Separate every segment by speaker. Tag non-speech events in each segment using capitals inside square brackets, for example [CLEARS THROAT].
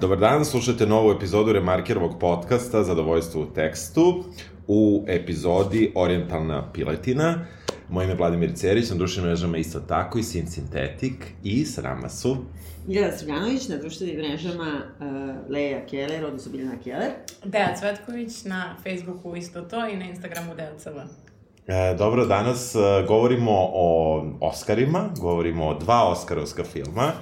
Speaker 1: Dobar dan, slušate novu epizodu Remarkerovog podcasta Zadovoljstvo u tekstu u epizodi Orientalna piletina. Moje ime je Vladimir Cerić, na društvenim mrežama isto tako i Sin Sintetik i srama su.
Speaker 2: Miljana Srbljanović, na društvenim mrežama uh, Leja Keller, odnosno Biljana Keller.
Speaker 3: Deja Cvetković, na Facebooku isto to i na Instagramu Deja
Speaker 1: E, dobro, danas e, govorimo o Oscarima, govorimo o dva Oskarovska filma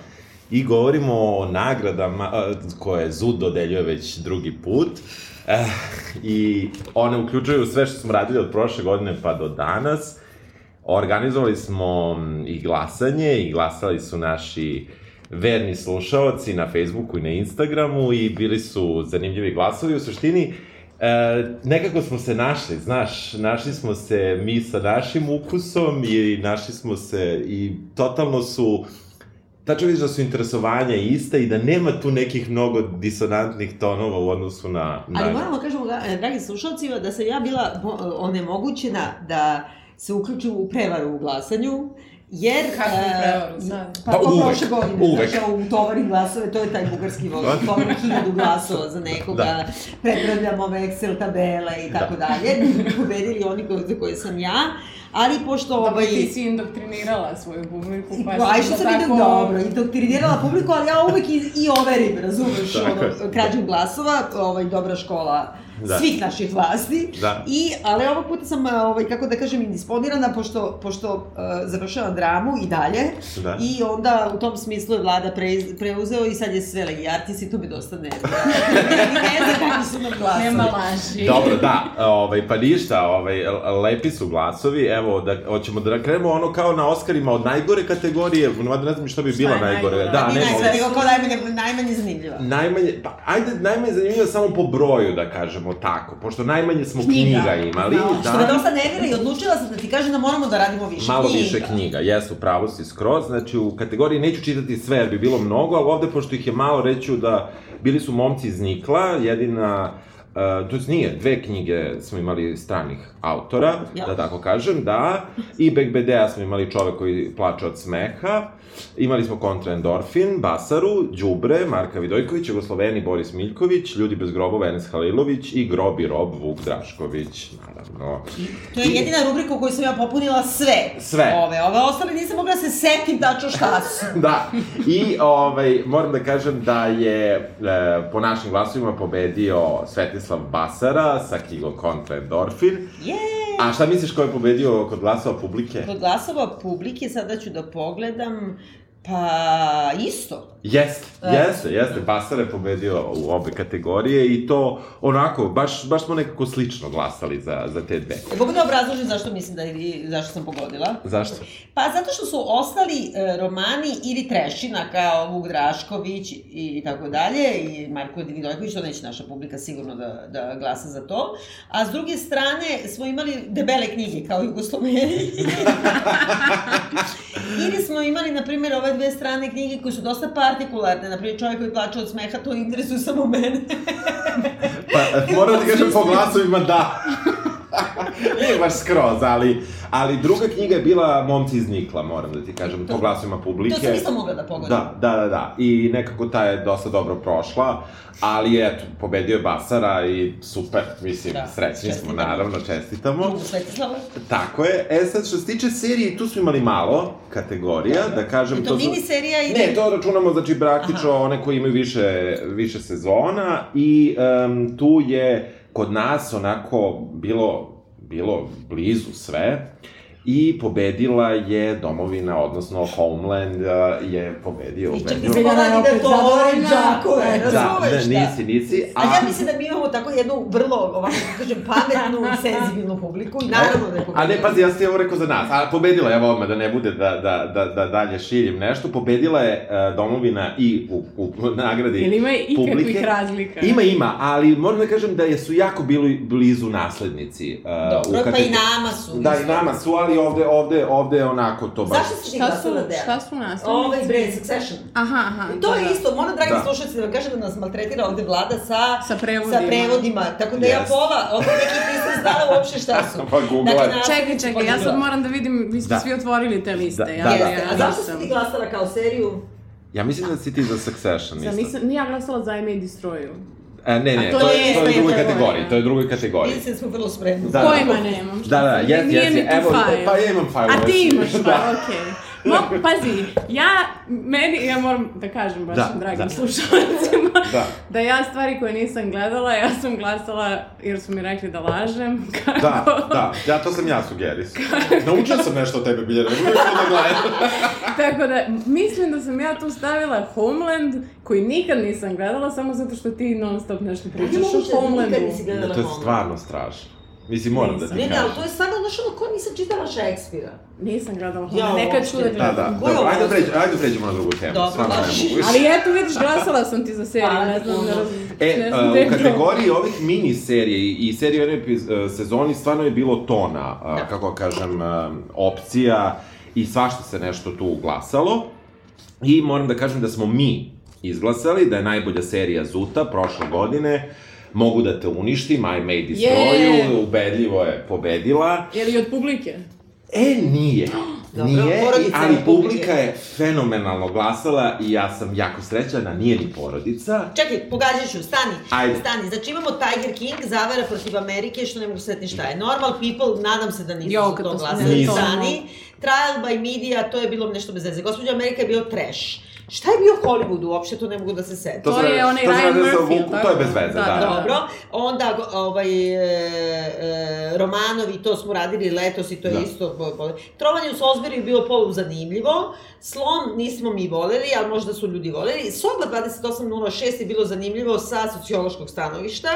Speaker 1: i govorimo o nagradama e, koje ZUD dodeljuje već drugi put. E, I one uključuju sve što smo radili od prošle godine pa do danas. Organizovali smo i glasanje i glasali su naši verni slušaoci na Facebooku i na Instagramu i bili su zanimljivi glasovi. U suštini, E, nekako smo se našli, znaš, našli smo se mi sa našim ukusom i našli smo se i totalno su tačno vidiš da su interesovanja ista i da nema tu nekih mnogo disonantnih tonova u odnosu na... na...
Speaker 2: Ali
Speaker 1: [LAUGHS]
Speaker 2: moramo da kažemo, ga- dragi slušalcima, da sam ja bila mo- onemogućena da se uključim u prevaru u glasanju, jer...
Speaker 3: Kakvu
Speaker 2: e,
Speaker 3: prevaru sad?
Speaker 2: Pa,
Speaker 1: Pa
Speaker 2: pa to
Speaker 1: uvek,
Speaker 2: prošle godine,
Speaker 1: uvek.
Speaker 2: uvek. znaš, u tovari glasove, to je taj bugarski voz,
Speaker 1: Da.
Speaker 2: tovari hiljadu glasova za nekoga,
Speaker 1: Da.
Speaker 2: da. prepravljam ove Excel tabele i tako da. dalje, pobedili oni koji, za koje sam ja, ali pošto...
Speaker 3: Dobro,
Speaker 2: ovaj,
Speaker 3: ti si indoktrinirala svoju publiku,
Speaker 2: I,
Speaker 3: pa
Speaker 2: Aj, što sam vidio dobro, indoktrinirala publiku, ali ja uvek i, i overim, razumeš,
Speaker 1: Tako je.
Speaker 2: ono, krađom glasova, ovaj, dobra škola
Speaker 1: Da.
Speaker 2: da. svih naših vlasti.
Speaker 1: Da.
Speaker 2: I, ali ovog puta sam, a, ovaj, kako da kažem, indisponirana, pošto, pošto uh, završavam dramu i dalje.
Speaker 1: Da.
Speaker 2: I onda u tom smislu je vlada pre, preuzeo i sad je sve legijartis i to mi dosta ne [LAUGHS] ne znam kako su nam glasovi.
Speaker 3: Nema laži.
Speaker 1: Dobro, da, ovaj, pa ništa, ovaj, lepi su glasovi, evo, da, hoćemo da krenemo ono kao na Oscarima od najgore kategorije, mada ne znam šta bi
Speaker 3: Šta
Speaker 1: bila
Speaker 3: je
Speaker 1: najgore.
Speaker 3: najgora?
Speaker 1: Da,
Speaker 2: Ni
Speaker 1: ne,
Speaker 2: najzad, nego kao najmanje, najmanje zanimljiva.
Speaker 1: Najmanje, pa ajde, najmanje zanimljivo samo po broju, da kažemo tako, pošto najmanje smo knjiga, knjiga imali,
Speaker 2: da. Što me
Speaker 1: da,
Speaker 2: dosta nervira i odlučila sam da ti kažem da moramo da radimo više
Speaker 1: malo
Speaker 2: knjiga.
Speaker 1: više knjiga, jesu, pravo si skroz, znači u kategoriji neću čitati sve, jer bi bilo mnogo, ali ovde, pošto ih je malo, reću da bili su momci iz Nikla, jedina, Uh, to jest nije, dve knjige smo imali stranih autora, ja.
Speaker 2: Ja.
Speaker 1: da tako kažem, da, i Begbedea smo imali čovek koji plače od smeha, imali smo kontraendorfin, Basaru, Đubre, Marka Vidojković, Jugosloveni Boris Miljković, Ljudi bez grobova Enes Halilović i Grobi Rob Vuk Drašković, naravno.
Speaker 2: To je jedina rubrika u kojoj sam ja popunila sve.
Speaker 1: Sve.
Speaker 2: Ove, ove ostale nisam mogla da se setim tačno šta su.
Speaker 1: [LAUGHS] da, i ovaj, moram da kažem da je e, po našim glasovima pobedio Svetislav Basara sa knjigom Kontra Endorfin.
Speaker 2: Jeee!
Speaker 1: A šta misliš ko je pobedio kod glasova publike?
Speaker 2: Kod glasova publike sada ću da pogledam, pa isto.
Speaker 1: Jeste,
Speaker 2: Da.
Speaker 1: jeste, jeste. Basara je pobedio u obe kategorije i to onako, baš, baš smo nekako slično glasali za, za te dve.
Speaker 2: E, mogu da obrazložim zašto mislim da i zašto sam pogodila?
Speaker 1: Zašto?
Speaker 2: Pa zato što su ostali e, romani ili trešina kao Vuk Drašković i, i tako dalje i Marko Vidojković, to neće naša publika sigurno da, da glasa za to. A s druge strane smo imali debele knjige kao Jugosloveni.
Speaker 1: [LAUGHS]
Speaker 2: ili smo imali, na primjer, ove dve strane knjige koje su dosta partikularne. Na primjer, čovjek koji plače od smeha, to interesuje samo mene.
Speaker 1: Pa, moram da kažem po glasovima da. [LAUGHS] Nije baš skroz, ali, ali druga knjiga je bila Momci iz Nikla, moram da ti kažem, po glasovima publike.
Speaker 2: To sam isto mogla da pogodim.
Speaker 1: Da, da, da, da. I nekako ta je dosta dobro prošla, ali eto, pobedio je Basara i super, mislim, da,
Speaker 2: Da,
Speaker 1: srećni smo,
Speaker 2: čestitamo.
Speaker 1: naravno, čestitamo.
Speaker 2: Drugu Svetislavu.
Speaker 1: Tako je. E sad, što se tiče serije, tu smo imali malo kategorija, da kažem...
Speaker 2: Je to mini serija ili...
Speaker 1: Ne, to računamo, znači, praktično Aha. one koji imaju više, više sezona i um, tu je kod nas onako bilo, bilo blizu sve i pobedila je domovina, odnosno Homeland uh, je pobedio.
Speaker 2: I čak
Speaker 1: ubedljivo.
Speaker 2: nisam mogla ni da to volim džakove, razumeš?
Speaker 1: Da, ne,
Speaker 2: šta?
Speaker 1: nisi, nisi.
Speaker 2: A ja mislim da mi imamo tako jednu vrlo, ovako da kažem, pametnu, senzibilnu publiku i naravno da je
Speaker 1: A ne,
Speaker 2: pobedila.
Speaker 1: pazi, ja sam ti ovo rekao za nas. A pobedila je, evo odmah, da ne bude da, da, da, da dalje širim nešto, pobedila je e, domovina i u, u nagradi
Speaker 3: Ili ima ikakvih
Speaker 1: publike.
Speaker 3: razlika?
Speaker 1: Ima, ima, ali moram da kažem da je su jako bili blizu naslednici. Uh,
Speaker 2: Dobro, pa i nama su.
Speaker 1: Da, i nama su, ali ovde, ovde, ovde onako to baš...
Speaker 2: Zašto si ti
Speaker 3: Šta su,
Speaker 2: glasala Dejan?
Speaker 3: šta su nastavnici?
Speaker 2: Ovaj bre, Succession.
Speaker 3: Aha, aha.
Speaker 2: To je isto, moram dragi
Speaker 1: Da.
Speaker 2: da. slušalci da vam kažem da nas maltretira ovde vlada sa,
Speaker 3: Sa prevodima.
Speaker 2: sa prevodima, tako da ja
Speaker 1: Yes.
Speaker 2: pola, ovde nekih nisam znala uopšte šta
Speaker 1: [LAUGHS]
Speaker 2: su.
Speaker 1: Pa Google
Speaker 2: Dakle,
Speaker 1: je.
Speaker 2: nas-
Speaker 3: Čekaj, čekaj, ja sad moram da vidim, vi ste
Speaker 1: Da.
Speaker 3: da. svi otvorili te liste.
Speaker 1: Da,
Speaker 3: ja,
Speaker 1: da, da.
Speaker 3: Ja,
Speaker 2: A zašto si ti
Speaker 3: nisam.
Speaker 2: glasala kao seriju?
Speaker 1: Ja mislim da si ti za Succession
Speaker 4: Sam
Speaker 1: isto.
Speaker 4: nisam, nije ja glasala za I May Destroy You.
Speaker 1: E, ne, ne,
Speaker 2: A
Speaker 1: to,
Speaker 2: to
Speaker 1: je,
Speaker 2: je-
Speaker 1: to
Speaker 2: to
Speaker 1: je
Speaker 2: je
Speaker 1: drugoj
Speaker 4: kategorija.
Speaker 1: kategoriji, to je drugoj kategoriji.
Speaker 2: Mislim smo vrlo spremni.
Speaker 1: Da.
Speaker 4: Pojma nemam. šta
Speaker 1: Da, da,
Speaker 4: sam-
Speaker 1: jes,
Speaker 4: nije
Speaker 1: jes,
Speaker 4: mi tu
Speaker 1: evo,
Speaker 4: fajl.
Speaker 1: pa ja imam fajl.
Speaker 4: A ti imaš pa,
Speaker 1: da.
Speaker 4: okej. Mo- pazi, ja, meni, ja moram da kažem
Speaker 1: Da,
Speaker 4: vašim dragim
Speaker 1: da.
Speaker 4: slušalcima
Speaker 1: Da.
Speaker 4: da ja stvari koje nisam gledala, ja sam glasala jer su mi rekli da lažem. [LAUGHS] Kako?
Speaker 1: Da, da, ja to sam ja sugerisao. Naučio sam nešto o tebi, Biljana, uvijek to da gledam.
Speaker 4: Tako da, mislim da sam ja tu stavila Homeland, koji nikad nisam gledala, samo zato što ti non stop nešto pričaš o Homelandu.
Speaker 1: Da, to je stvarno strašno. Mislim, moram da ti
Speaker 2: Ne, ne, ali to
Speaker 1: kažem.
Speaker 2: je stvarno znaš ono ko nisam čitala Šekspira.
Speaker 4: Nisam gledala
Speaker 2: Ja
Speaker 4: Homeland, nekad ću da
Speaker 2: uopšte.
Speaker 1: Da,
Speaker 4: gledam.
Speaker 1: da,
Speaker 2: Koja
Speaker 1: dobro, ajde,
Speaker 2: ovo?
Speaker 1: pređ, ajde da pređemo na drugu temu.
Speaker 2: Dobro,
Speaker 1: stvarno ne
Speaker 2: baš.
Speaker 1: mogu više.
Speaker 4: Ali eto, vidiš, glasala sam ti za seriju,
Speaker 2: Hvala
Speaker 4: ne znam, ne
Speaker 2: puno.
Speaker 4: razum-
Speaker 1: E,
Speaker 4: ne znam
Speaker 1: uh,
Speaker 4: gde je
Speaker 1: u
Speaker 4: to.
Speaker 1: kategoriji ovih mini serije i- i serije u jednoj epiz- uh, sezoni stvarno je bilo tona,
Speaker 4: Da.
Speaker 1: uh, kako kažem, uh, opcija i svašta se nešto tu glasalo. I moram da kažem da smo mi izglasali da je najbolja serija Zuta prošle godine Mogu da te uništim, I May Destroy You,
Speaker 4: Je.
Speaker 1: ubedljivo je pobedila.
Speaker 4: Je li od publike?
Speaker 1: E,
Speaker 4: [GASPS]
Speaker 1: nije.
Speaker 2: Dobro,
Speaker 1: nije, i,
Speaker 2: porodica
Speaker 1: ali
Speaker 2: je publika.
Speaker 1: publika je fenomenalno glasala i ja sam jako srećan, a nije ni porodica.
Speaker 2: Čekaj, pogađat ću, stani,
Speaker 1: Ajde.
Speaker 2: stani. Znači imamo Tiger King, Zavera protiv Amerike, što ne mogu setiti šta je. Normal People, nadam se da nisu
Speaker 4: Jo,
Speaker 2: za
Speaker 4: kad
Speaker 2: to
Speaker 4: to smo-
Speaker 2: glasali,
Speaker 1: Nisam.
Speaker 2: stani. Trial by Media, to je bilo nešto bez veze. Gospođa Amerika je bio trash. Šta je bio Hollywood uopšte, to ne mogu da se setim.
Speaker 1: To
Speaker 4: To,
Speaker 1: sam-
Speaker 4: je onaj
Speaker 1: to sam
Speaker 4: Ryan
Speaker 1: radio sa
Speaker 4: Murphy,
Speaker 1: Vukom,
Speaker 4: jel
Speaker 1: to je
Speaker 4: tako?
Speaker 1: bez veze, da, da.
Speaker 2: Dobro, onda go- ovaj, e, e, Romanovi, to smo radili letos i to je
Speaker 1: Da.
Speaker 2: isto... bo- bo- Trovanje u Salisbury je bilo polu zanimljivo, Slom nismo mi voleli, ali možda su ljudi voleli. Soba 2806 je bilo zanimljivo sa sociološkog stanovišta.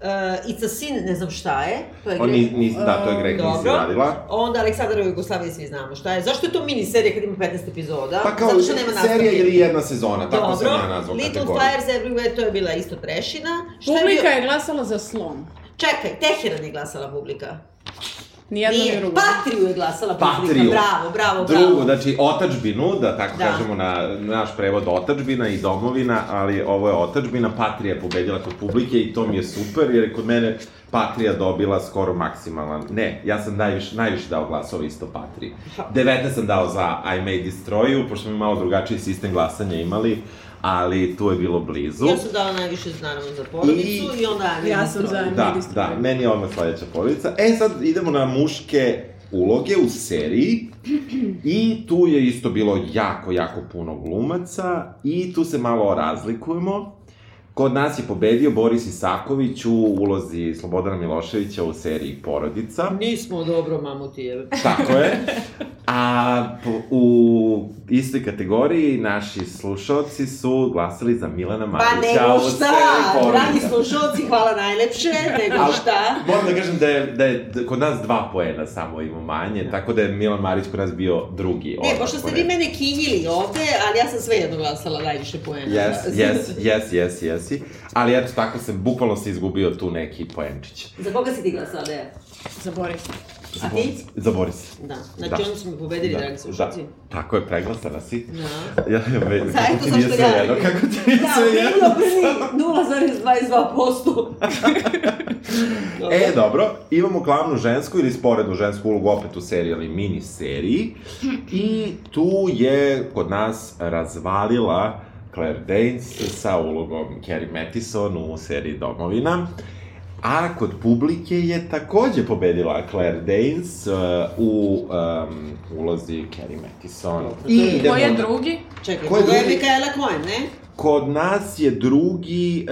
Speaker 1: Da.
Speaker 2: E, Ica Sin, ne znam šta je, to je
Speaker 1: On
Speaker 2: Greg.
Speaker 1: ni, ni, da, to je Greg
Speaker 2: Dobro.
Speaker 1: nisi radila.
Speaker 2: Onda Aleksandar u Jugoslaviji svi znamo šta je. Zašto je to miniserija kad ima 15 epizoda?
Speaker 1: Pa kao
Speaker 2: Zato što nema
Speaker 1: serija
Speaker 2: nastavka.
Speaker 1: ili jedna sezona, tako sam
Speaker 2: Dobro,
Speaker 1: ja nazvao
Speaker 2: Little
Speaker 1: kategoriju.
Speaker 2: Fires Everywhere, to je bila isto trešina. Šta je bio-
Speaker 4: Publika je glasala za slom.
Speaker 2: Čekaj, Teheran je glasala publika.
Speaker 4: Nijedno ni
Speaker 2: Nije, Pa!
Speaker 4: Ja, drugo.
Speaker 2: Patriju je glasala publika.
Speaker 1: Patriju.
Speaker 2: Bravo, bravo, bravo.
Speaker 1: Drugo, znači otačbinu, da tako
Speaker 2: Da.
Speaker 1: kažemo na naš prevod otačbina i domovina, ali ovo je otačbina, Patrija je pobedila kod publike i to mi je super, jer je kod mene Patrija dobila skoro maksimalan, ne, ja sam najviše, najviše dao glasova isto Patriji. 19 sam dao za I May Destroy You, pošto smo malo drugačiji sistem glasanja imali, ali tu je bilo blizu.
Speaker 2: Ja sam dala najviše naravno za porodicu i, onda Ana
Speaker 4: Ja
Speaker 2: je
Speaker 4: sam
Speaker 2: izdvojila.
Speaker 4: za-
Speaker 1: Da,
Speaker 4: medijski
Speaker 1: da,
Speaker 4: projekt.
Speaker 1: meni je odmah sledeća porodica. E, sad idemo na muške uloge u seriji. I tu je isto bilo jako, jako puno glumaca i tu se malo razlikujemo. Kod nas je pobedio Boris Isaković u ulozi Slobodana Miloševića u seriji Porodica.
Speaker 2: Nismo dobro, mamutijeve.
Speaker 1: Tako je. A po- u istoj kategoriji naši slušalci su glasali za Milana
Speaker 2: Pa
Speaker 1: Marića
Speaker 2: nego
Speaker 1: u
Speaker 2: šta,
Speaker 1: seriji Porodica.
Speaker 2: dragi slušalci, hvala najlepše, nego
Speaker 1: Ali-
Speaker 2: šta.
Speaker 1: Moram da kažem da je, da je d- kod nas dva poena samo ima manje, tako da je Milan Marić kod nas bio drugi.
Speaker 2: Ne,
Speaker 1: odmah
Speaker 2: E, pošto ste
Speaker 1: po
Speaker 2: vi
Speaker 1: redu.
Speaker 2: mene kinjili ovde, ali ja sam svejedno glasala najviše poena. [LAUGHS]
Speaker 1: Yes, yes, yes, yes, yes. Ali eto, tako sam, bukvalno se izgubio tu neki poenčić.
Speaker 2: Za koga si ti glasala, Deja?
Speaker 4: Zaborav sam.
Speaker 2: A ti?
Speaker 1: Zabori se.
Speaker 2: Da, znači
Speaker 1: Da.
Speaker 2: oni su me pobedili, dragi slušalci.
Speaker 1: Da. Tako je, preglasana si.
Speaker 2: Da.
Speaker 1: Ja, ve, kako
Speaker 2: Sajto,
Speaker 1: ti nije
Speaker 2: zašto
Speaker 1: sve
Speaker 2: ja?
Speaker 1: jedno, kako ti nije
Speaker 2: Da,
Speaker 1: sve jedno.
Speaker 2: bilo bi 0,22%.
Speaker 1: [LAUGHS] E, dobro, imamo glavnu žensku ili sporednu žensku ulogu opet u seriji ili mini seriji. I tu je kod nas razvalila Claire Danes sa ulogom Carrie Mathison u seriji Domovina. A kod publike je takođe pobedila Claire Danes uh, u um, ulozi Carrie Mathison. I idemo
Speaker 4: Ko je
Speaker 1: na-
Speaker 4: drugi?
Speaker 2: Čekaj,
Speaker 1: Ko je
Speaker 2: ko je
Speaker 1: drugi?
Speaker 2: Mikaela Cohen, ne?
Speaker 1: Kod nas je drugi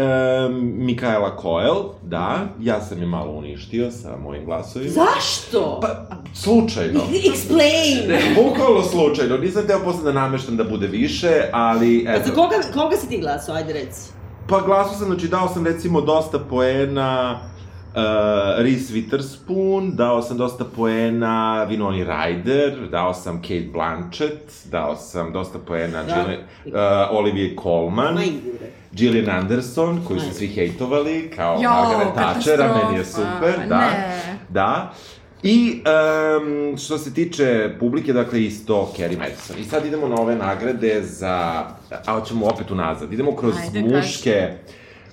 Speaker 1: um, Mikaela Koel, da, ja sam je malo uništio sa mojim glasovima.
Speaker 2: Zašto?
Speaker 1: Pa, slučajno.
Speaker 2: Explain!
Speaker 1: Bukvalno slučajno, nisam teo posle da nameštam da bude više, ali
Speaker 2: Pa za
Speaker 1: eto.
Speaker 2: koga, koga si ti glasao, ajde reci.
Speaker 1: Pa glasu sam, znači dao sam recimo dosta poena uh, Reese Witherspoon, dao sam dosta poena Vinoni Ryder, dao sam Kate Blanchett, dao sam dosta poena
Speaker 2: Da.
Speaker 1: Gillian, uh, Olivia Colman.
Speaker 2: Ma idi bre.
Speaker 1: Gillian Anderson, koju su
Speaker 2: Ajde.
Speaker 1: svi hejtovali, kao
Speaker 4: Jo,
Speaker 1: Margaret Thatcher, a meni je
Speaker 4: katastrofa,
Speaker 1: super, da.
Speaker 4: ne.
Speaker 1: Da. I um, što se tiče publike, dakle isto Carrie Madison. I sad idemo na ove nagrade za... A hoćemo opet unazad. Idemo kroz
Speaker 4: Ajde, kaži.
Speaker 1: muške...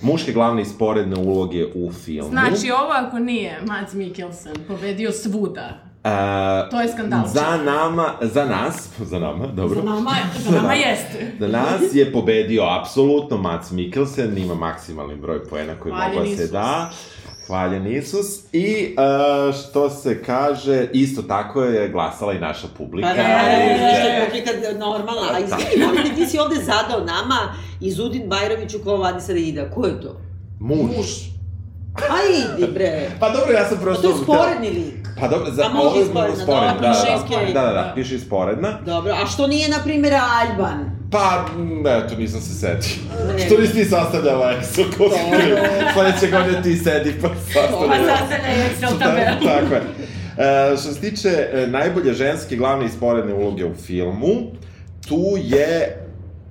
Speaker 1: Muške glavne i sporedne uloge u filmu.
Speaker 4: Znači, ovo ako nije Mads Mikkelsen pobedio svuda,
Speaker 1: A,
Speaker 3: To je skandal.
Speaker 1: E, za nama, za nas, [LAUGHS] za nama, dobro.
Speaker 3: Za nama, za nama jeste.
Speaker 1: Za nas je pobedio apsolutno Mats Mikkelsen, ima maksimalni broj poena koji
Speaker 3: Hvaljen
Speaker 1: mogla se
Speaker 3: Isus.
Speaker 1: da. Hvaljen Isus. I e, što se kaže, isto tako je glasala i naša publika.
Speaker 2: Pa da, da,
Speaker 1: i-
Speaker 2: da, što je publika normalna,
Speaker 1: Da.
Speaker 2: a izvini, molim te, ti si ovde zadao nama i Zudin Bajroviću kao Vadi Sarajida, ko je to?
Speaker 1: Muž.
Speaker 2: Ajdi bre,
Speaker 1: Pa dobro, ja sam
Speaker 2: pa
Speaker 1: prosto...
Speaker 2: to je sporedni lik.
Speaker 1: Pa dobro, za
Speaker 2: A može
Speaker 1: ovo je
Speaker 2: sporedna, da,
Speaker 1: sporedna, da,
Speaker 2: piše
Speaker 1: da,
Speaker 2: isporedna.
Speaker 1: da, da, da, piše isporedna.
Speaker 2: Dobro, a što nije, na primjer, Alban?
Speaker 1: Pa, ne, to nisam se setio.
Speaker 2: Ne.
Speaker 1: Što nisi ti sastavljala Excel konstruju? Sledeće godine ti sedi pa
Speaker 3: Pa
Speaker 1: sastavljala.
Speaker 3: sad se ne Excel tabela.
Speaker 1: Tako- [LAUGHS] Tako je. E, što se tiče e, najbolje ženske glavne isporedne uloge u filmu, tu je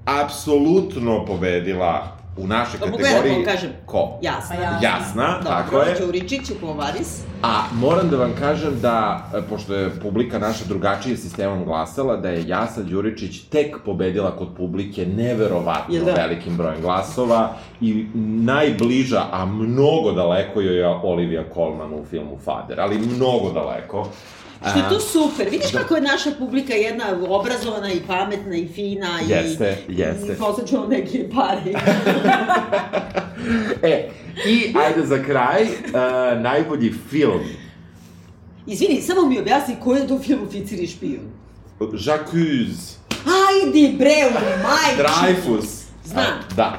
Speaker 1: apsolutno pobedila u našoj
Speaker 2: Pa pogledamo,
Speaker 1: kategoriji
Speaker 2: kažem.
Speaker 1: ko?
Speaker 2: Jasno.
Speaker 3: Pa ja.
Speaker 1: Jasna,
Speaker 2: Dobro,
Speaker 1: tako je.
Speaker 2: Ćuričić u Kovaris.
Speaker 1: A moram da vam kažem da, e, pošto je publika naša drugačije sistemom glasala, da je Jasa Đuričić tek pobedila kod publike neverovatno
Speaker 2: Jel da?
Speaker 1: velikim brojem glasova i najbliža, a mnogo daleko joj je Olivia Colman u filmu Fader, ali mnogo daleko.
Speaker 2: Što je
Speaker 1: A,
Speaker 2: to super. Vidiš
Speaker 1: Da.
Speaker 2: kako je naša publika jedna obrazovana i pametna i fina i...
Speaker 1: Jeste, jeste.
Speaker 2: I poslaćemo neke pare.
Speaker 1: [LAUGHS] E, i ajde za kraj, e, najbolji film.
Speaker 2: Izvini, samo mi objasni ko je to film Oficir i špijun.
Speaker 1: Jacques,
Speaker 2: Ajdi bre, u majči!
Speaker 1: Dreyfus.
Speaker 2: Znam.
Speaker 1: A, Da.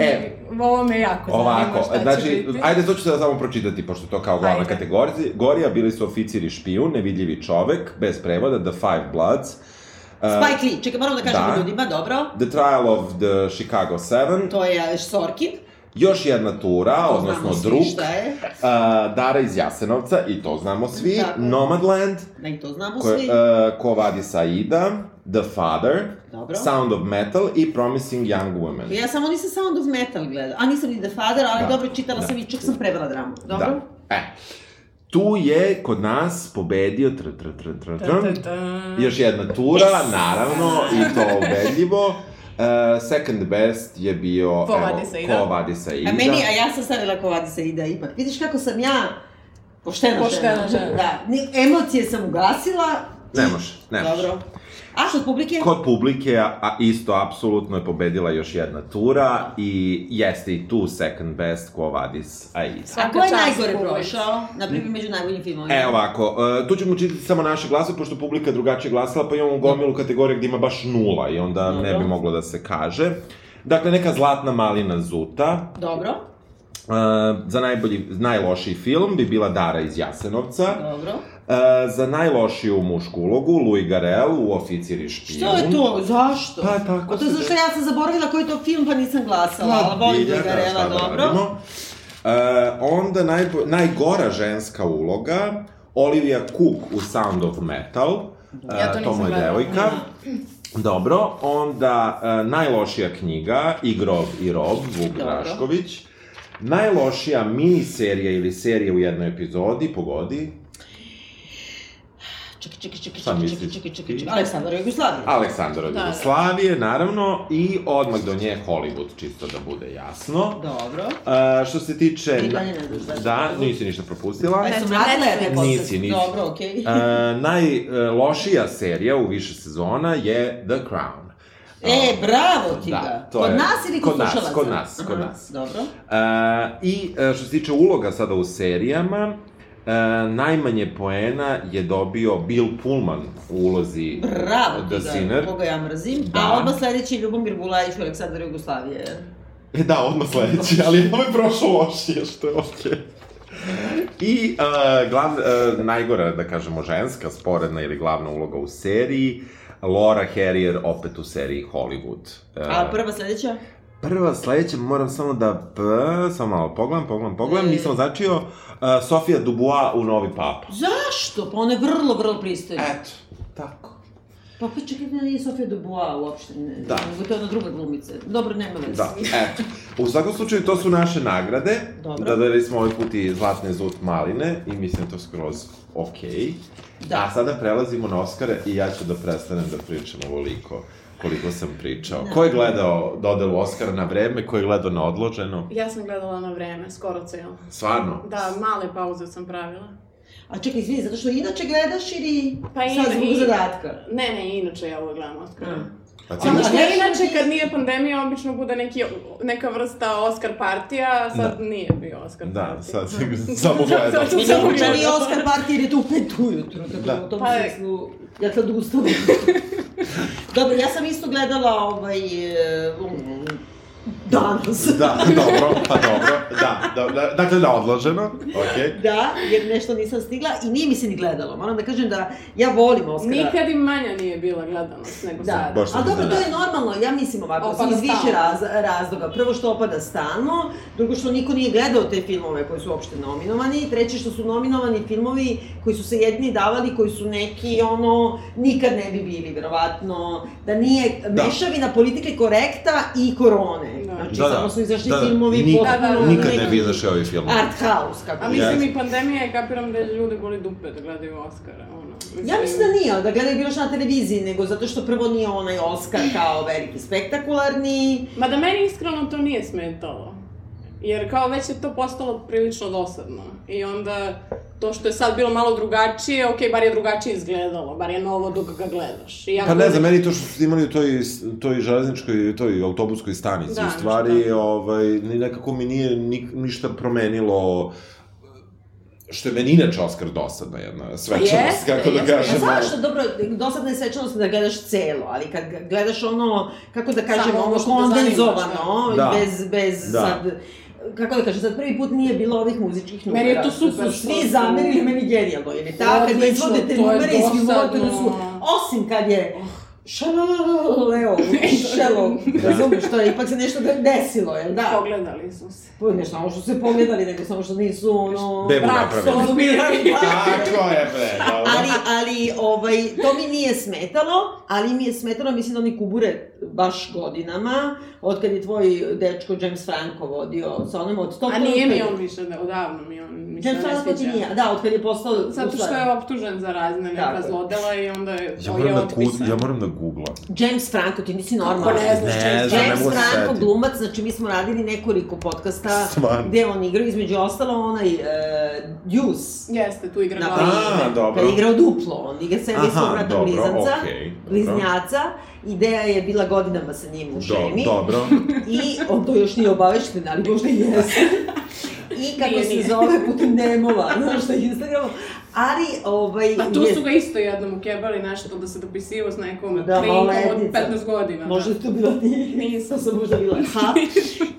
Speaker 1: E,
Speaker 4: E, Ovo me jako zanima
Speaker 1: Ovako,
Speaker 4: šta će
Speaker 1: znači,
Speaker 4: biti.
Speaker 1: ajde to ću sada samo pročitati, pošto to kao glavna
Speaker 4: Ajde.
Speaker 1: kategorija, gorija bili su oficiri špijun, nevidljivi čovek, bez prevoda, The Five Bloods, uh,
Speaker 2: Spike Lee, čekaj, moram da kažem
Speaker 1: Da.
Speaker 2: ljudima, dobro.
Speaker 1: The Trial of the Chicago Seven,
Speaker 2: To je Sorkin,
Speaker 1: još jedna tura,
Speaker 2: to
Speaker 1: odnosno
Speaker 2: znamo svi
Speaker 1: drug,
Speaker 2: šta je,
Speaker 1: uh, Dara iz Jasenovca, i to znamo svi,
Speaker 2: Tako.
Speaker 1: Nomadland,
Speaker 2: da i to znamo
Speaker 1: koje,
Speaker 2: svi.
Speaker 1: uh, ko vadi Saida, The Father,
Speaker 2: Dobro.
Speaker 1: Sound of Metal i Promising Young Women.
Speaker 2: Ja samo nisam Sound of Metal gledala, a nisam ni The Father, ali
Speaker 1: Da.
Speaker 2: dobro, čitala
Speaker 1: Da.
Speaker 2: sam i čak sam prevela dramu, dobro?
Speaker 1: Da. E. Tu je kod nas pobedio tr, tr, tr, tr, tr,
Speaker 4: Ta, ta, ta.
Speaker 1: Još jedna tura, yes. naravno, i to ubedljivo. Uh, second best je bio...
Speaker 3: Ko vadi da. Saida?
Speaker 1: Ko vadi da. Saida.
Speaker 2: A meni, a ja sam stavila ko vadi se ide ipak. Vidiš kako sam ja poštena,
Speaker 4: Poštena
Speaker 2: žena.
Speaker 4: žena.
Speaker 2: Da, Ni- emocije sam ugasila.
Speaker 1: Ne može, ne može.
Speaker 2: Dobro. A što od publike?
Speaker 1: Kod publike, a- a isto, apsolutno je pobedila još jedna tura i jeste i tu second best Ko vadi Saida.
Speaker 2: A ko je
Speaker 3: Svaka čast
Speaker 2: najgore
Speaker 3: publici.
Speaker 2: prošao?
Speaker 1: Mm.
Speaker 2: Na primjer, među najboljim filmovima.
Speaker 1: da. E ovako, e, tu ćemo čitati samo naše glasove, pošto publika drugačije glasala, pa imamo gomilu kategorija gde ima baš nula i onda ne bi
Speaker 2: Dobro.
Speaker 1: moglo da se kaže. Dakle, neka zlatna malina Zuta,
Speaker 2: Dobro,
Speaker 1: E, za najbolji, najlošiji film bi bila Dara iz Jasenovca.
Speaker 2: dobro.
Speaker 1: E, za najlošiju mušku ulogu, Louis Garel u Oficiri špijun.
Speaker 2: Što je to? Zašto?
Speaker 1: Pa, tako
Speaker 2: Pa to je
Speaker 1: se
Speaker 2: zato što ja sam zaboravila koji je to film, pa nisam glasala.
Speaker 1: Pa,
Speaker 2: ali volim
Speaker 1: bilja,
Speaker 2: da
Speaker 1: da, šta
Speaker 2: Garela,
Speaker 1: da
Speaker 2: dobro.
Speaker 1: radimo. E, onda najbo, najgora ženska uloga, Olivia Cook u Sound of Metal. E,
Speaker 3: Ja to nisam
Speaker 1: moja
Speaker 3: gledala.
Speaker 2: [CLEARS THROAT]
Speaker 1: devojka. Dobro, onda e, najlošija knjiga, Igrov i rob, Vuk
Speaker 2: Dobro.
Speaker 1: Drašković. Najlošija miniserija ili serija u jednoj epizodi, pogodi,
Speaker 2: Čekaj, čekaj, čekaj,
Speaker 1: Šta
Speaker 2: čekaj, čekaj,
Speaker 1: misliš?
Speaker 2: čekaj, čekaj, čekaj. Aleksandar Jugoslavija.
Speaker 1: Aleksandar od
Speaker 3: Da.
Speaker 1: Jugoslavije, naravno, i odmah do nje Hollywood, čisto da bude jasno.
Speaker 2: Dobro.
Speaker 1: E, što se tiče...
Speaker 2: Ti dalje ne znaš šta si
Speaker 1: da,
Speaker 2: rekla.
Speaker 1: nisi ništa propustila. E,
Speaker 2: Pa
Speaker 3: Ne,
Speaker 2: sam
Speaker 3: ne,
Speaker 2: radila
Speaker 3: ne,
Speaker 2: je
Speaker 1: ne.
Speaker 2: posle.
Speaker 1: Nisi, nisi.
Speaker 2: Dobro, okej.
Speaker 1: E,
Speaker 2: [LAUGHS]
Speaker 1: najlošija serija u više sezona je The Crown.
Speaker 2: E, bravo ti
Speaker 1: Da,
Speaker 2: ga.
Speaker 1: to
Speaker 2: kod
Speaker 1: je-
Speaker 2: nas ili
Speaker 1: kod
Speaker 2: kod
Speaker 1: nas,
Speaker 2: slušalaca?
Speaker 1: kod nas, kod
Speaker 2: Aha,
Speaker 1: nas.
Speaker 2: Dobro.
Speaker 1: E, I e, što se tiče uloga sada u serijama, e, najmanje poena je dobio Bill Pullman u ulozi
Speaker 2: Bravo
Speaker 1: The
Speaker 2: ti da,
Speaker 1: Sinner.
Speaker 2: ga, koga ja mrzim.
Speaker 1: Da.
Speaker 2: A odmah sledeći je Ljubomir Bulajić u Aleksandar Jugoslavije.
Speaker 1: E, da, odmah sledeći, ali ovo je prošlo lošije, što je okej. I uh, glav, uh, najgora, da kažemo, ženska, sporedna ili glavna uloga u seriji, Laura Harrier opet u seriji Hollywood. Uh,
Speaker 2: A prva sledeća?
Speaker 1: prva sledeća, moram samo da... P, samo malo pogledam, pogledam, pogledam,
Speaker 2: E.
Speaker 1: nisam začio. Uh, Sofia Dubois u Novi Papa.
Speaker 2: Zašto? Pa ona je vrlo, vrlo pristojna.
Speaker 1: Eto, tako.
Speaker 2: Pa pa čekaj, ne, nije Sofia Dubois uopšte. Ne,
Speaker 1: Da.
Speaker 2: Nego to je ona druga glumica. Dobro, nema veze.
Speaker 1: Da, eto. U svakom slučaju, to su naše nagrade.
Speaker 2: Dobro.
Speaker 1: Dodelili smo ovaj put i zlatne zut maline i mislim da to skroz okej. Okay.
Speaker 2: Da.
Speaker 1: A sada prelazimo na Oscara i ja ću da prestanem da pričam ovoliko koliko sam
Speaker 2: Da.
Speaker 1: pričao. Ko je gledao dodelu Oscara na vreme, ko je gledao na odloženo?
Speaker 3: Ja sam gledala na vreme, skoro celo.
Speaker 1: Stvarno?
Speaker 3: Da, male pauze sam pravila.
Speaker 2: A čekaj, izvini, zato što inače gledaš ili
Speaker 4: Pa
Speaker 2: sad
Speaker 4: i-
Speaker 2: zbog
Speaker 4: i-
Speaker 2: zadatka?
Speaker 4: Ne, ne, inače ja uvijek gledam Oscara.
Speaker 2: Mm.
Speaker 1: Pa ti
Speaker 4: Samo
Speaker 2: imaš
Speaker 4: što
Speaker 2: nešto
Speaker 4: inače
Speaker 2: ti-
Speaker 4: kad nije pandemija, obično bude neki, neka vrsta Oscar partija, a sad nije bio Oscar
Speaker 1: Da,
Speaker 4: partija.
Speaker 1: sad samo gledaš.
Speaker 4: Sad-
Speaker 2: Mislim,
Speaker 4: Samo
Speaker 2: uče nije
Speaker 4: gledam.
Speaker 2: Oscar party jer je to u pet ujutru, tako da,
Speaker 1: Da.
Speaker 2: u tom
Speaker 4: Pa je.
Speaker 2: smislu, ja sad ustavam.
Speaker 4: [LAUGHS]
Speaker 2: Dobro, ja sam isto gledala ovaj, e, um,
Speaker 4: [LAUGHS]
Speaker 2: danas.
Speaker 1: Da, dobro, pa dobro, da, da, da, dakle, na odloženo, okej.
Speaker 2: Da, jer nešto nisam stigla i nije mi se ni gledalo. Moram da kažem da ja volim Oscara.
Speaker 4: Nikad i manja nije bila gledanost nego
Speaker 2: Da.
Speaker 4: sad.
Speaker 1: Baš sam
Speaker 2: Ali dobro,
Speaker 1: iznenada.
Speaker 2: to je normalno, ja mislim ovako,
Speaker 4: Opada
Speaker 2: iz više
Speaker 4: stalno.
Speaker 2: raz, razloga. Prvo što opada stalno, drugo što niko nije gledao te filmove koji su uopšte nominovani, treće što su nominovani filmovi koji su se jedni davali, koji su neki, ono, nikad ne bi bili, verovatno, da nije
Speaker 1: Da.
Speaker 2: mešavina politike korekta i korone.
Speaker 4: Da.
Speaker 2: Znači,
Speaker 1: Da, da.
Speaker 2: samo su izašli
Speaker 1: Da, da.
Speaker 2: filmovi
Speaker 1: Nik-
Speaker 2: potpuno
Speaker 4: Da, da, da.
Speaker 1: Nikad ne
Speaker 2: neki
Speaker 1: bi izašao ovi film.
Speaker 2: Art house, kako
Speaker 4: A
Speaker 2: bi se
Speaker 4: mislim
Speaker 1: Jeste.
Speaker 4: i pandemija je kapiram da ljudi boli dupe da gledaju Oscara, ono.
Speaker 2: Ja mislim da nije, ali da gledaju bilo što na televiziji, nego zato što prvo nije onaj Oscar kao veliki spektakularni.
Speaker 4: Ma da meni iskreno to nije smetalo. Jer kao već je to postalo prilično dosadno. I onda to što je sad bilo malo drugačije, okej, bar je drugačije izgledalo, bar je novo dok ga gledaš. I ja
Speaker 1: Pa ne
Speaker 4: volim-
Speaker 1: znam, meni to što su imali u toj, toj železničkoj, toj autobuskoj stanici,
Speaker 4: Da,
Speaker 1: u stvari,
Speaker 4: ništa.
Speaker 1: ovaj, ni- nekako mi nije ni, ništa promenilo što je meni inače Oscar dosadna jedna svečanost,
Speaker 4: Jeste,
Speaker 1: kako da
Speaker 4: jeste. Pa
Speaker 1: kažem.
Speaker 2: A
Speaker 4: Samo-
Speaker 2: E, zašto? Dobro, dosadna je svečanost da gledaš celo, ali kad gledaš ono, kako da kažem,
Speaker 4: Samo ono
Speaker 2: ono
Speaker 4: što te zanima,
Speaker 2: kondenzovano,
Speaker 1: da.
Speaker 2: bez, bez
Speaker 1: Da.
Speaker 2: sad, kako da kažem, sad prvi put nije bilo ovih muzičkih numera.
Speaker 4: Meni je to
Speaker 2: što
Speaker 4: super
Speaker 2: su
Speaker 4: što
Speaker 2: svi
Speaker 4: su-
Speaker 2: zamerili, meni genijalno, jer je ta, kad
Speaker 4: Odlično,
Speaker 2: izvode te
Speaker 4: to je
Speaker 2: numere iz filmova, to
Speaker 4: dosadno.
Speaker 2: su, osim kad je, Šaleo,
Speaker 4: [LAUGHS]
Speaker 2: šelo,
Speaker 4: Da.
Speaker 2: razumiješ, to je ipak se nešto desilo, jel da?
Speaker 4: Pogledali su se.
Speaker 2: Pa ne samo što su se pogledali, nego samo što nisu ono...
Speaker 1: Bebu
Speaker 2: brak
Speaker 1: napravili.
Speaker 2: konzumirali,
Speaker 1: [LAUGHS]
Speaker 2: da.
Speaker 1: Tako je, bre, dobro.
Speaker 2: Ali, ali, ovaj, to mi nije smetalo, ali mi je smetalo, mislim da oni kubure baš godinama, otkad je tvoj dečko James Franco vodio sa onim od toga...
Speaker 4: A nije mi on više, da, odavno mi on mi se
Speaker 2: James Franco
Speaker 4: ne
Speaker 2: ti
Speaker 4: sviđa.
Speaker 2: nije, da, otkad je postao...
Speaker 4: Zato što je optužen za razne neka
Speaker 2: Tako je.
Speaker 4: zlodela i onda je,
Speaker 1: Ja
Speaker 4: je
Speaker 1: moram, da
Speaker 4: otpisan.
Speaker 1: gu, ja moram da googlam.
Speaker 2: James Franco, ti nisi
Speaker 4: Pa
Speaker 2: normalan.
Speaker 4: ne znam
Speaker 1: Ne
Speaker 4: što je
Speaker 1: znam, ne
Speaker 2: James
Speaker 1: mogu se
Speaker 2: Franco,
Speaker 1: setiti.
Speaker 2: glumac, znači mi smo radili nekoliko
Speaker 4: Da.
Speaker 2: podcasta
Speaker 1: Stvarno.
Speaker 2: gde on igra, između ostalo onaj e, Deuce.
Speaker 4: Jeste, tu igra
Speaker 2: Na
Speaker 4: glavnu.
Speaker 1: A,
Speaker 2: primer,
Speaker 1: dobro.
Speaker 2: kad je igrao duplo, on igra sebi svog
Speaker 1: Aha,
Speaker 2: brata
Speaker 1: dobro,
Speaker 2: blizanca,
Speaker 1: okej. dobro.
Speaker 2: bliznjaca, ideja je bila godinama sa njim u
Speaker 1: Do,
Speaker 2: šemi
Speaker 1: dobro.
Speaker 2: i on to još nije obavešten, ali možda i jeste. I kako
Speaker 4: Nije,
Speaker 2: se
Speaker 4: nije.
Speaker 2: zove putem nemova, znaš na Instagramu, ali ovaj...
Speaker 4: Pa tu
Speaker 2: je-
Speaker 4: su ga isto jednom ukebali nešto da se dopisivo s nekom
Speaker 2: Da,
Speaker 4: klinkom od
Speaker 2: maloletnica.
Speaker 4: 15 godina. da.
Speaker 2: Možda je to bila ti. [LAUGHS]
Speaker 4: Nisam.
Speaker 2: To sam možda bila. Ha.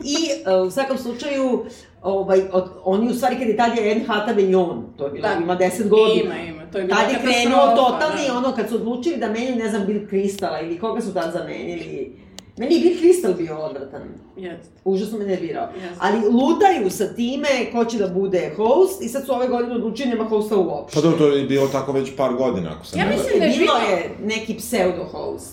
Speaker 2: I e, u svakom slučaju, ovaj, od, oni u stvari kad je tad je Anne Hathaway i on, to je bilo,
Speaker 4: Da.
Speaker 2: ima 10 godina.
Speaker 4: Ima, ima. To je bila
Speaker 2: Tad je
Speaker 4: katastrofa,
Speaker 2: krenuo totalni,
Speaker 4: da.
Speaker 2: ono, kad su odlučili da menjaju, ne znam, Bill Kristala ili koga su tad zamenili. Meni je Bill Kristal bio odvratan.
Speaker 4: Jeste.
Speaker 2: Užasno me nervirao.
Speaker 4: Jeste.
Speaker 2: Ali lutaju sa time ko će da bude host i sad su ove godine odlučili nema hosta uopšte.
Speaker 1: Pa dobro, to je bilo tako već par godina, ako sam
Speaker 4: Ja
Speaker 1: ne
Speaker 4: mislim
Speaker 1: varam.
Speaker 4: da je
Speaker 2: Bilo
Speaker 4: bilo-
Speaker 2: je neki pseudo-host.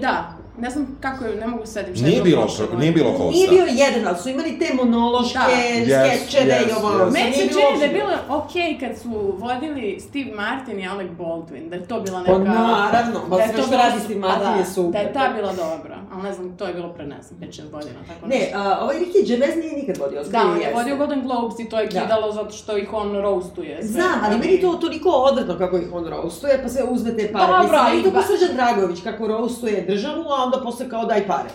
Speaker 4: Da, ne znam kako je, ne mogu se setim šta da je
Speaker 1: Nije
Speaker 4: bilo
Speaker 1: bilo,
Speaker 4: prošle
Speaker 1: nije
Speaker 4: godine.
Speaker 1: bilo hosta.
Speaker 2: Nije bio jedan, ali su imali te monološke,
Speaker 1: Da.
Speaker 2: skečeve
Speaker 1: Yes,
Speaker 2: i ovo.
Speaker 1: yes,
Speaker 2: ono.
Speaker 1: yes.
Speaker 4: Meni se
Speaker 2: Pa Nije
Speaker 4: čini da je
Speaker 2: uopšte.
Speaker 4: bilo okej kad su vodili Steve Martin i Alec Baldwin, da je to bila neka...
Speaker 2: Pa naravno, pa
Speaker 4: da je
Speaker 2: sve
Speaker 4: to
Speaker 2: što
Speaker 4: bila-
Speaker 2: radi Steve
Speaker 4: pa
Speaker 2: Martin
Speaker 4: da,
Speaker 2: je super.
Speaker 4: Da je ta bila dobra, ali ne znam, to je bilo pre, ne znam, 5-6 godina, tako
Speaker 2: Ne, a, ovaj Ricky Gervais nije nikad vodio Oscar.
Speaker 4: Da, on je
Speaker 2: jeste.
Speaker 4: vodio Golden Globes i to je
Speaker 2: Da.
Speaker 4: kidalo zato što ih on roastuje. sve.
Speaker 2: Znam, ali meni je to toliko odvratno kako ih on roastuje, pa sve uzme te pare.
Speaker 4: Dobro,
Speaker 2: Mislim, meni to
Speaker 4: ali ba-
Speaker 2: ko Srđan Dragović, kako roastuje državu, a onda posle kao daj pare.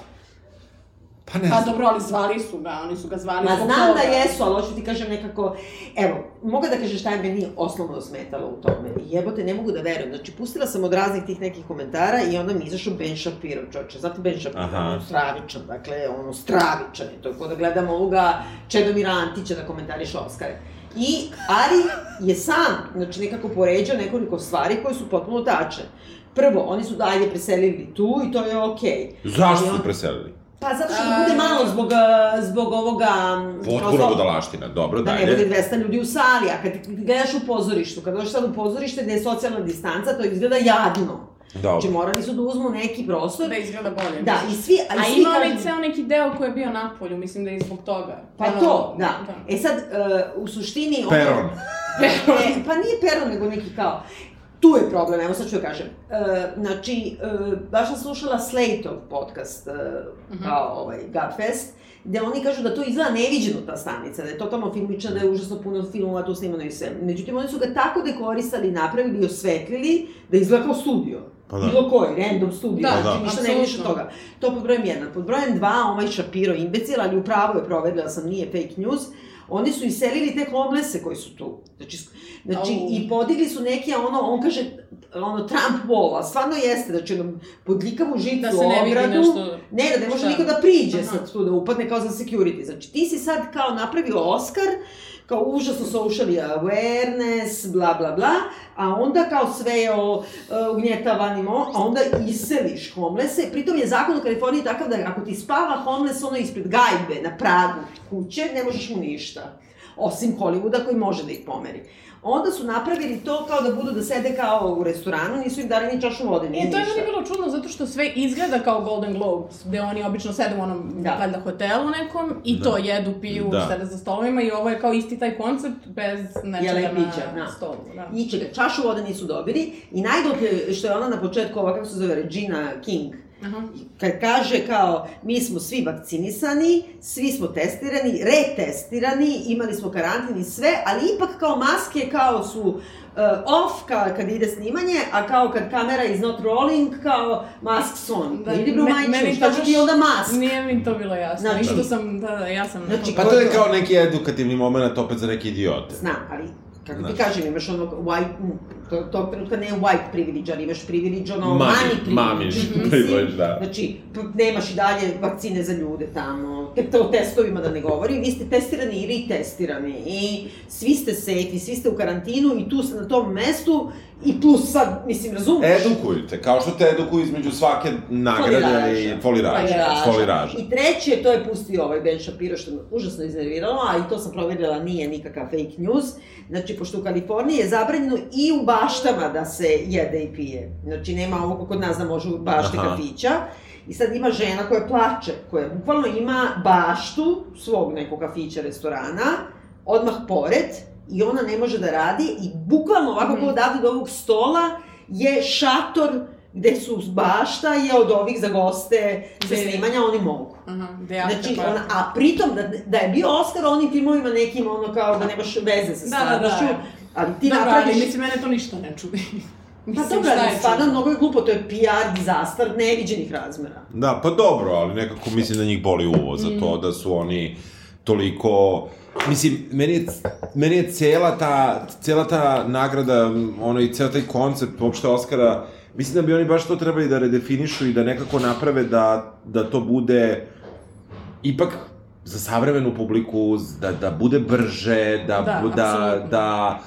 Speaker 1: Pa ne
Speaker 4: Pa
Speaker 1: znam.
Speaker 4: dobro, ali zvali su ga, oni su ga zvali
Speaker 2: Ma
Speaker 4: zbog
Speaker 2: znam da
Speaker 4: toga.
Speaker 2: jesu, ali hoću ti kažem nekako, evo, mogu da kažem šta je meni osnovno smetalo u tome. Jebote, ne mogu da verujem. Znači, pustila sam od raznih tih nekih komentara i onda mi je izašao Ben Shapiro, čoče. Znate Ben Shapiro,
Speaker 1: Aha.
Speaker 2: ono stravičan, dakle, ono stravičan je. To je ko da gledam ovoga Čedomira Antića da komentariš Oscare. I, ali je sam, znači nekako poređao nekoliko stvari koje su potpuno tačne. Prvo, oni su dalje preselili tu i to je okej.
Speaker 1: Zašto
Speaker 2: Ali on-
Speaker 1: su preselili?
Speaker 2: Pa zato što
Speaker 4: A-
Speaker 2: da bude malo zbog, eh, zbog ovoga... mm,
Speaker 1: Potpuna
Speaker 2: kao-
Speaker 1: budalaština, dobro,
Speaker 2: Da ne bude
Speaker 1: dalje.
Speaker 2: 200 ljudi u sali, a kad gledaš u pozorištu, kad dođeš sad u pozorište gde je socijalna distanca, to izgleda jadno. Znači
Speaker 1: Dobro.
Speaker 2: morali su da uzmu neki prostor.
Speaker 4: Da izgleda bolje.
Speaker 2: Da, i svi,
Speaker 4: A,
Speaker 2: a i svi
Speaker 4: ima onaj
Speaker 2: kažu-
Speaker 4: ceo neki deo koji je bio na polju, mislim da je i zbog toga.
Speaker 2: Pa
Speaker 4: Ono,
Speaker 2: to, da.
Speaker 4: [LAUGHS]
Speaker 2: E sad, eh, u suštini... ono-
Speaker 1: Peron.
Speaker 2: E, pa nije peron, nego neki kao... tu je problem, evo sad ću da kažem. E, znači, e, baš sam slušala Slate-ov podcast, e,
Speaker 3: Mhm.
Speaker 2: kao ovaj Gabfest, gde oni kažu da to izgleda neviđeno ta stanica, da je totalno filmična, da je užasno puno filmova tu snimano i sve. Međutim, oni su ga tako dekorisali, napravili i osvetlili, da izgleda kao studio.
Speaker 1: Pa
Speaker 2: Da.
Speaker 1: da.
Speaker 2: Bilo koji, random studio, da,
Speaker 4: Da,
Speaker 1: da.
Speaker 2: znači ništa ne više
Speaker 4: apsolutno.
Speaker 2: toga. To pod brojem jedan. Pod brojem dva, ovaj Shapiro imbecil, ali upravo je proverila sam, nije fake news, oni su iselili te homelesse koji su tu. Znači, sk- znači
Speaker 4: Au.
Speaker 2: i podigli su neke, ono, on kaže, ono, Trump wall, a stvarno jeste, znači, ono, podlikavu žicu
Speaker 3: Da se ne vidi
Speaker 2: ogradu,
Speaker 3: nešto...
Speaker 2: Ne, da ne može
Speaker 3: Šta?
Speaker 2: niko da priđe
Speaker 3: Aha.
Speaker 2: sad tu, da upadne kao za security. Znači, ti si sad kao napravio Oscar, kao užasno social awareness, bla, bla, bla, a onda kao sve je o uh, ugnjetavanim, o- a onda iseliš homelese. Pritom je zakon u Kaliforniji takav da ako ti spava homeless ono ispred gajbe, na pragu kuće, ne možeš mu ništa. Osim Hollywooda koji može da ih pomeri. Onda su napravili to kao da budu da sede kao u restoranu, nisu im dali ni čašu vode, ni
Speaker 4: E, to je
Speaker 2: ništa.
Speaker 4: meni bilo čudno zato što sve izgleda kao Golden Globes, gde oni obično sede u onom,
Speaker 2: Da.
Speaker 4: da. valjda, hotelu nekom i
Speaker 1: Da.
Speaker 4: to jedu, piju,
Speaker 1: Da.
Speaker 4: da. sede za stolovima i ovo je kao isti taj koncept bez nečega
Speaker 2: Jela i
Speaker 4: na
Speaker 2: pića, da.
Speaker 4: stolu. Da.
Speaker 2: ničega. Čašu vode nisu dobili i najgluplje što je ona na početku, ova kako se zove, Regina King,
Speaker 4: Aha.
Speaker 2: kad kaže kao, mi smo svi vakcinisani, svi smo testirani, retestirani, imali smo karantin i sve, ali ipak kao maske kao su uh, off ka, kad ide snimanje, a kao kad kamera is not rolling, kao masks on. Da,
Speaker 4: Da,
Speaker 2: Idi bro
Speaker 4: me-
Speaker 2: majče,
Speaker 4: meni
Speaker 2: šta
Speaker 4: to
Speaker 2: će
Speaker 4: baš-
Speaker 2: ti onda mask?
Speaker 4: Nije mi to bilo jasno.
Speaker 2: Znači-
Speaker 4: Znači, Išto sam, da, da, ja sam...
Speaker 2: Znači,
Speaker 1: Pa to je kao neki edukativni moment opet za neke idiote.
Speaker 2: Znam, ali kako ti
Speaker 1: Znaš.
Speaker 2: kažem, imaš onog white, mm, to, tog trenutka ne white privilege, ali imaš privilege ono, mami,
Speaker 1: Mami-
Speaker 2: privilege.
Speaker 1: mami
Speaker 2: Mislim,
Speaker 1: [LAUGHS] privilege, da.
Speaker 2: Znači, p- nemaš i dalje vakcine za ljude tamo, tek to o testovima da ne govorim, vi ste testirani i retestirani i svi ste safe i svi ste u karantinu i tu ste na tom mestu i plus sad, mislim, razumeš?
Speaker 1: Edukuju te, kao što te edukuju između svake nagrade i
Speaker 2: Foliraža.
Speaker 1: foliraža. Foliraža.
Speaker 2: Pa I treće, to je pustio ovaj Ben Shapiro, što me užasno iznerviralo, a i to sam proverila, nije nikakav fake news. Znači, pošto u Kaliforniji je zabranjeno i u baštama da se jede i pije. Znači, nema ovo kako kod nas da može u bašti
Speaker 1: Aha.
Speaker 2: kafića. I sad ima žena koja plače, koja bukvalno ima baštu svog nekog kafića, restorana, odmah pored, i ona ne može da radi i bukvalno ovako
Speaker 4: Mhm.
Speaker 2: kao odavde do ovog stola je šator gde su bašta je od ovih za goste, za
Speaker 4: Gde- pa
Speaker 2: snimanja oni mogu.
Speaker 4: Aha, gde ja
Speaker 2: Znači, ona, a pritom, da, da je bio Oscar u onim filmovima nekim, ono kao da nemaš veze sa
Speaker 4: Da, da, da.
Speaker 2: stvarnošću, ali ti
Speaker 4: Dobro,
Speaker 2: napraviš...
Speaker 4: ali mislim, mene to ništa ne čudi.
Speaker 2: Pa
Speaker 4: Mislim,
Speaker 2: dobro,
Speaker 4: šta
Speaker 2: ali
Speaker 4: je
Speaker 2: stvarno
Speaker 4: čudno?
Speaker 2: mnogo je glupo, to je PR dizastar neviđenih razmera.
Speaker 1: Da, pa dobro, ali nekako mislim da njih boli uvo za to
Speaker 4: Mm.
Speaker 1: da su oni toliko... Mislim, meni je, meni je cela ta, cela ta nagrada, m, ono i ceo taj koncept uopšte Oscara, mislim da bi oni baš to trebali da redefinišu i da nekako naprave da, da to bude ipak za savremenu publiku, da, da bude brže, da,
Speaker 4: Da,
Speaker 1: da,
Speaker 4: apsolutno.
Speaker 1: da,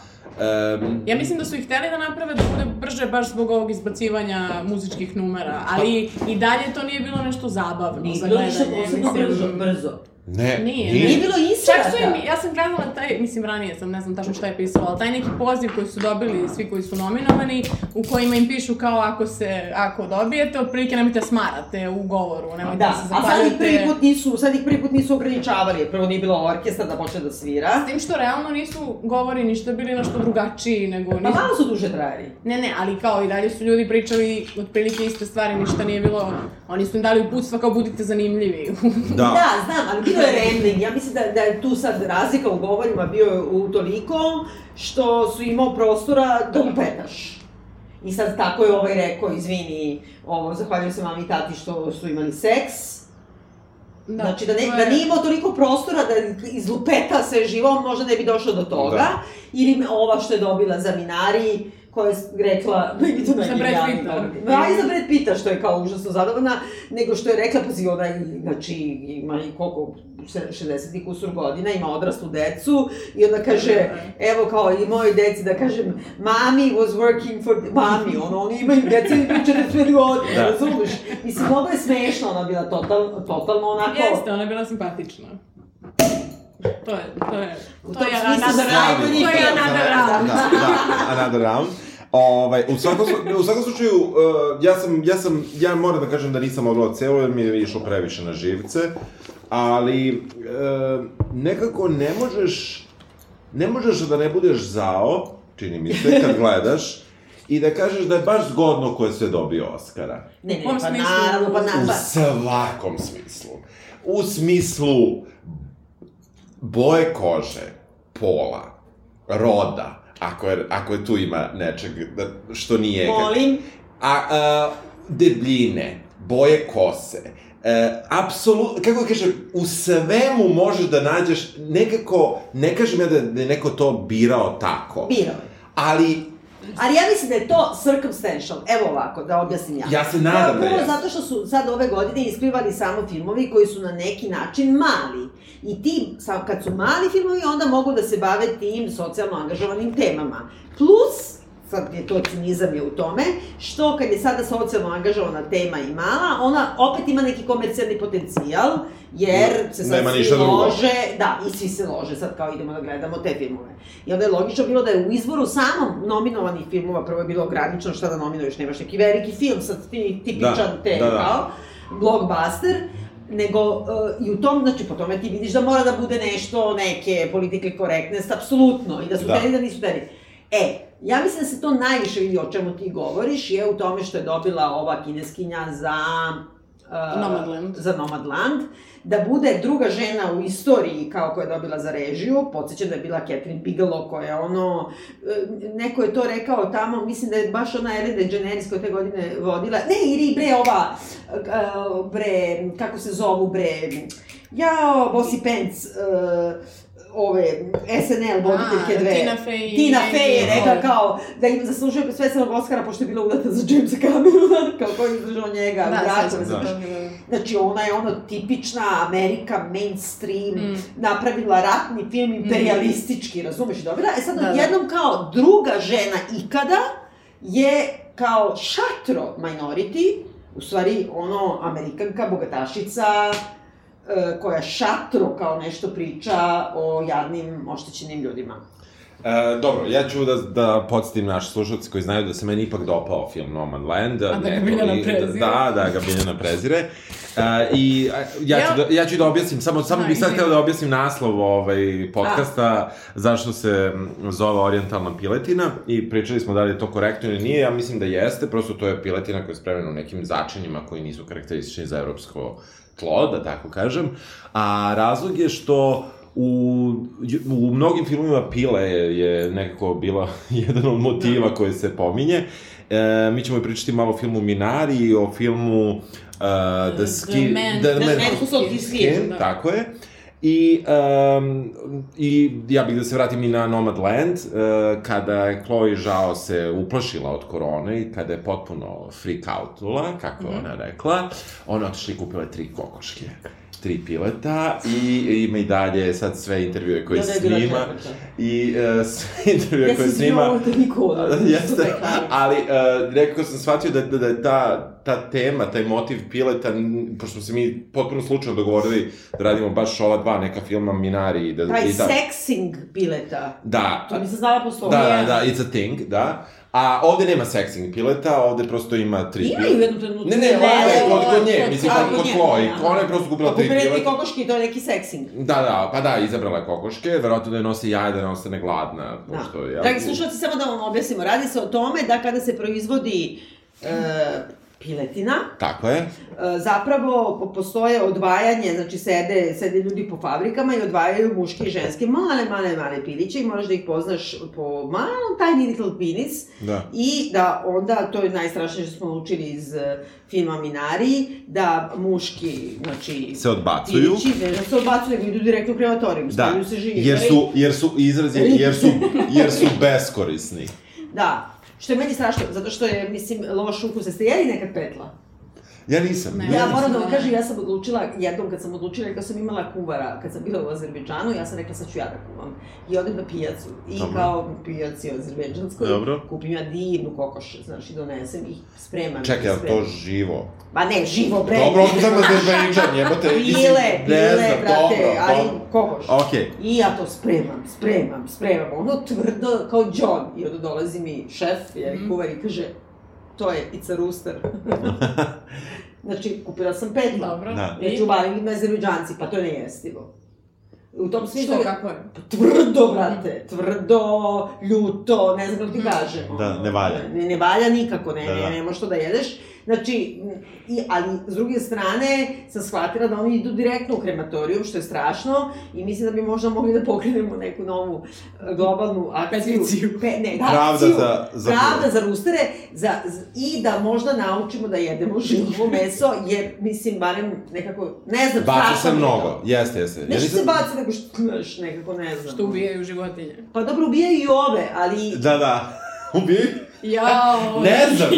Speaker 1: um,
Speaker 4: Ja mislim da su ih hteli da naprave da bude brže baš zbog ovog izbacivanja muzičkih numera, ali i dalje to nije bilo nešto zabavno za gledanje. mislim.
Speaker 2: brzo.
Speaker 1: ne,
Speaker 4: Nije,
Speaker 2: Nije bilo
Speaker 4: Čak su
Speaker 2: inserata.
Speaker 4: im, ja sam gledala taj, mislim ranije sam, ne znam tačno šta je pisalo, ali taj neki poziv koji su dobili svi koji su nominovani, u kojima im pišu kao ako se, ako dobijete, otprilike nemojte da smarate u govoru, nemojte da,
Speaker 2: Da,
Speaker 4: se
Speaker 2: a sad ih prvi
Speaker 4: zapaljate.
Speaker 2: put nisu, sad ih prvi put nisu ograničavali, prvo nije bilo orkestra da počne da svira.
Speaker 4: S tim što realno nisu govori ništa bili nešto drugačiji nego...
Speaker 2: Pa
Speaker 4: nisu-
Speaker 2: malo su duže trajali.
Speaker 4: Ne, ne, ali kao i dalje su ljudi pričali otprilike iste stvari, ništa nije bilo, oni su im dali uputstva kao budite
Speaker 2: [LAUGHS]
Speaker 4: zanimljivi.
Speaker 1: da,
Speaker 2: Da, znam, ali bilo je rambling. Ja mislim da, da je tu sad razlika u govorima bio je u toliko što su imao prostora da upetaš. I sad tako je ovaj rekao, izvini, ovo, zahvaljujem se mami i tati što su imali seks. Da, znači, da, ne,
Speaker 4: to
Speaker 2: da
Speaker 4: je-
Speaker 2: nije imao toliko prostora da izlupeta sve živo, on možda ne bi došao do toga.
Speaker 1: Da.
Speaker 2: Ili me- ova što je dobila za Minari, koja je rekla, [LAUGHS] meni to
Speaker 4: Za Brad
Speaker 2: najgenijalnije
Speaker 4: Pitta.
Speaker 2: dobro. Da, i za Brad Pitta, što je kao užasno zadovoljna, nego što je rekla, pazi, ona i- znači, ima i koliko, se- 60 i kusur godina, ima odraslu decu, i onda kaže,
Speaker 4: da.
Speaker 2: evo kao i mojoj deci da kažem, mami was working for, mami, ono, oni imaju decu i 40 godina,
Speaker 1: Da.
Speaker 2: razumeš? Mislim, mnogo je smešno ona bila, total, totalno onako,
Speaker 4: Jeste, ona je bila simpatična. To je, to je,
Speaker 2: U
Speaker 4: to
Speaker 2: tom
Speaker 4: je
Speaker 2: smislu
Speaker 4: another round,
Speaker 2: najbolji
Speaker 4: to je
Speaker 2: film.
Speaker 4: another round.
Speaker 1: Da, da, another round. Ovaj, u, svakom, slu- u svakom slučaju, uh, ja sam, ja sam, ja moram da kažem da nisam mogla celo jer mi je išlo previše na živce, ali uh, nekako ne možeš, ne možeš da ne budeš zao, čini mi se, kad gledaš, i da kažeš da je baš zgodno ko je sve dobio Oscara.
Speaker 2: Ne, ne,
Speaker 3: U kom
Speaker 2: pa
Speaker 3: smislu?
Speaker 2: naravno, pa
Speaker 1: U
Speaker 2: naravno.
Speaker 1: svakom smislu. U smislu boje kože, pola, roda, ako je, ako je tu ima nečeg da- što nije...
Speaker 2: Molim,
Speaker 1: A, a debljine, boje kose, e, apsolutno, kako kaže, u svemu možeš da nađeš nekako, ne kažem ja da da je neko to birao tako,
Speaker 2: birao. je.
Speaker 1: ali
Speaker 2: Ali ja mislim da je to circumstantial. Evo ovako, da objasnim ja.
Speaker 1: ja se nadam da
Speaker 2: Prvo
Speaker 1: je.
Speaker 2: zato što su sad ove godine isplivali samo filmovi koji su na neki način mali. I ti, sa- kad su mali filmovi, onda mogu da se bave tim socijalno angažovanim temama. Plus, sad je to cinizam je u tome, što kad je sada socijalno angažovana tema i mala, ona opet ima neki komercijalni potencijal, jer se sad
Speaker 1: Nema
Speaker 2: svi
Speaker 1: ništa drugo.
Speaker 2: lože, da, i svi se lože, sad kao idemo da gledamo te filmove. I onda je logično bilo da je u izboru samom nominovanih filmova, prvo je bilo ograničeno šta da nominuješ, nemaš neki veliki film, sad ti tipičan
Speaker 1: Da,
Speaker 2: te,
Speaker 1: da, da.
Speaker 2: kao, blockbuster, nego e, i u tom, znači po tome ti vidiš da mora da bude nešto, neke politike korektnost, apsolutno, i da su
Speaker 1: Da.
Speaker 2: da. teni da nisu teni. E, ja mislim da se to najviše vidi o čemu ti govoriš, je u tome što je dobila ova kineskinja za... e,
Speaker 4: Nomadland.
Speaker 2: Za Nomadland. Da bude druga žena u istoriji kao koja je dobila za režiju, podsjećam da je bila Catherine Bigelow koja je ono, e, neko je to rekao tamo, mislim da je baš ona Ellen DeGeneres koja je te godine vodila, ne Iri bre ova, e, bre, kako se zovu bre, jao, Bossy Pants, e, ove SNL voditeljke dve.
Speaker 3: Tina Fey. i
Speaker 2: Tina
Speaker 3: Andy
Speaker 2: Fey je rekla
Speaker 3: Hall.
Speaker 2: kao da im zaslužuje svesnog Oscara pošto je bila udata za Jamesa Camerona, [LAUGHS] kao koji je izdržao njega,
Speaker 3: Da,
Speaker 2: da,
Speaker 3: sećam se
Speaker 1: znaš.
Speaker 3: toga, da.
Speaker 2: Znači, ona je ono tipična Amerika mainstream,
Speaker 3: Mm.
Speaker 2: napravila ratni film imperialistički, razumeš, i dobila. E sad,
Speaker 3: Da, da.
Speaker 2: odjednom kao druga žena ikada je kao šatro minority, u stvari ono amerikanka, bogatašica, e, koja šatro kao nešto priča o jadnim, oštećenim ljudima.
Speaker 1: E, dobro, ja ću da, da podsjetim naše slušalce koji znaju da se meni ipak dopao film Nomadland.
Speaker 3: da ga Biljana prezire.
Speaker 1: Da, da ga Biljana prezire. E, I a, ja, ću da, ja ću da objasnim, samo, samo
Speaker 3: Da,
Speaker 1: bih sad
Speaker 3: izvini.
Speaker 1: htio da objasnim naslov ovaj podcasta, zašto se m, zove orijentalna piletina i pričali smo da li je to korektno ili nije, ja mislim da jeste, prosto to je piletina koja je spremljena u nekim začinima koji nisu karakteristični za evropsko tlo, da tako kažem, a razlog je što u, u mnogim filmovima pile je, je nekako bila [LAUGHS] jedan od
Speaker 3: Da.
Speaker 1: motiva koji se pominje. E, mi ćemo i pričati malo o filmu Minari, o filmu uh, The,
Speaker 3: The
Speaker 1: Skin...
Speaker 3: Man-
Speaker 1: The
Speaker 3: The
Speaker 1: Man
Speaker 3: Man
Speaker 1: Who
Speaker 3: Who Sold His
Speaker 1: Skin,
Speaker 3: Skin, da.
Speaker 1: Tako je. I, um, I ja bih da se vratim i na Nomadland, uh, kada je Chloe Zhao se uplašila od korone i kada je potpuno freak outula, kako je
Speaker 3: Mhm.
Speaker 1: mm -hmm. ona rekla, ona je otišla i kupila je tri kokoške tri pileta i ima i dalje sad sve intervjue koje
Speaker 2: Da, da je bila
Speaker 1: snima
Speaker 2: četvrta.
Speaker 1: i uh, sve intervjue koje snima
Speaker 2: Ja sam snimala da niko
Speaker 1: Da,
Speaker 2: ono,
Speaker 1: [LAUGHS] Jeste,
Speaker 2: rekao.
Speaker 1: ali uh, nekako sam shvatio da, da, da je ta, ta tema, taj motiv pileta, n- pošto smo se mi potpuno slučajno dogovorili da radimo baš ova dva neka filma Minari i da...
Speaker 2: Taj
Speaker 1: i da,
Speaker 2: seksing bileta.
Speaker 1: Da,
Speaker 2: Pa To nisam znala postoji.
Speaker 1: da, da, da, it's a thing, da. A ovde nema seksing pileta, ovde prosto ima tri
Speaker 2: Ima i u
Speaker 1: pileta.
Speaker 2: jednom trenutku.
Speaker 1: Ne, ne, ona je kod, kod nje,
Speaker 3: kod-
Speaker 1: mislim,
Speaker 2: a,
Speaker 1: kod,
Speaker 2: kod
Speaker 1: kod
Speaker 2: nje,
Speaker 1: Chloe,
Speaker 2: aha.
Speaker 1: ona je prosto kupila tri
Speaker 2: Kupila je
Speaker 1: pileta.
Speaker 2: kokoški, to je neki seksing.
Speaker 1: Da, da, pa da, izabrala je kokoške, verovatno da je nosi jaja, da ne ostane gladna, pošto
Speaker 2: Da.
Speaker 1: je...
Speaker 2: Dragi slušalci, samo da vam objasnimo. Radi se o tome da kada se proizvodi e, piletina,
Speaker 1: Tako je.
Speaker 2: e, zapravo po- postoje odvajanje, znači sede, sede ljudi po fabrikama i odvajaju muške i ženske male, male, male piliće i možeš da ih poznaš po malom tiny little penis
Speaker 1: Da.
Speaker 2: i da onda, to je najstrašnije što smo učili iz e, filma Minari, da muški, znači...
Speaker 1: Se odbacuju.
Speaker 2: Pilići, ne da se odbacuju, nego idu direktno u krematorijum,
Speaker 1: Da,
Speaker 2: da. se živi.
Speaker 1: jer su, jer su
Speaker 2: [LAUGHS]
Speaker 1: izrazi, jer su, jer su beskorisni.
Speaker 2: Da, što je meni strašno, zato što je, mislim, loš ukus. Jeste jeli nekad petla?
Speaker 1: Ja nisam.
Speaker 3: Ne.
Speaker 2: Ja
Speaker 1: Ja,
Speaker 2: moram da vam
Speaker 3: ne.
Speaker 2: kažem, ja sam odlučila, jednom kad sam odlučila, kad sam imala kuvara, kad sam bila u Azerbejdžanu, ja sam rekla sad ću ja da kuvam. I odem na pijacu. I
Speaker 1: Dobro.
Speaker 2: Dobro. kao na pijaci u Azerbejdžanskoj,
Speaker 1: Dobro.
Speaker 2: kupim ja divnu kokoš, znaš, i donesem i spremam.
Speaker 1: Čekaj, ali to
Speaker 2: spremam.
Speaker 1: živo.
Speaker 2: Ma ne, živo, da bre!
Speaker 1: Dobro, otkud sam
Speaker 2: [LAUGHS]
Speaker 1: Azerbejdžan, jebote. mislim,
Speaker 2: Bile,
Speaker 1: ne
Speaker 2: bile,
Speaker 1: znam,
Speaker 2: brate,
Speaker 1: dobro,
Speaker 2: ali
Speaker 1: dobro.
Speaker 2: kokoš.
Speaker 1: Okej.
Speaker 2: I ja to spremam, spremam, spremam, ono tvrdo kao John. I onda dolazi mi šef, je
Speaker 3: Mhm.
Speaker 2: kuvar i kaže, to je pizza
Speaker 1: [LAUGHS]
Speaker 2: rooster. znači, kupila sam petla.
Speaker 3: Dobro.
Speaker 1: Da.
Speaker 3: I-
Speaker 2: Već ubalili me Azerbejdžanci, pa to je nejestivo. U tom smislu...
Speaker 5: Što, kako je?
Speaker 2: Tvrdo, brate, tvrdo, ljuto, ne znam kako ti
Speaker 5: Mhm.
Speaker 2: kažem.
Speaker 1: Da, ne valja.
Speaker 2: Ne, ne valja nikako, ne,
Speaker 1: Da, da.
Speaker 2: ne, ne možeš to da jedeš. Znači, m, i, ali s druge strane sam shvatila da oni idu direktno u krematorijum, što je strašno i mislim da bi možda mogli da pokrenemo neku novu e, globalnu akciju.
Speaker 5: Peticiju.
Speaker 2: Pe, ne, da,
Speaker 1: Pravda
Speaker 2: akciju.
Speaker 1: za, za
Speaker 2: Pravda za rustere za, z- i da možda naučimo da jedemo [LAUGHS] živo meso, jer mislim, barem nekako, ne znam,
Speaker 1: Baca
Speaker 2: strašno
Speaker 1: se
Speaker 2: mi je to.
Speaker 1: mnogo, jeste, jeste. Ja
Speaker 2: Ne što se
Speaker 1: nisam-
Speaker 2: baci, nego što, znaš, nekako ne znam.
Speaker 4: Što ubijaju životinje.
Speaker 2: Pa dobro, ubijaju i ove, ali...
Speaker 1: Da, da. [LAUGHS] Ubi?
Speaker 6: Jao.
Speaker 1: Ne znam.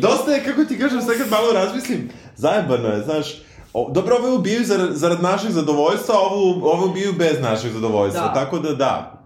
Speaker 1: Dosta je, kako ti kažem, sad kad malo razmislim, zajebano je, znaš, o, dobro, ove ubijaju zar, zarad našeg zadovoljstva, a ovu, ove ubijaju bez našeg zadovoljstva,
Speaker 2: Da.
Speaker 1: tako da da.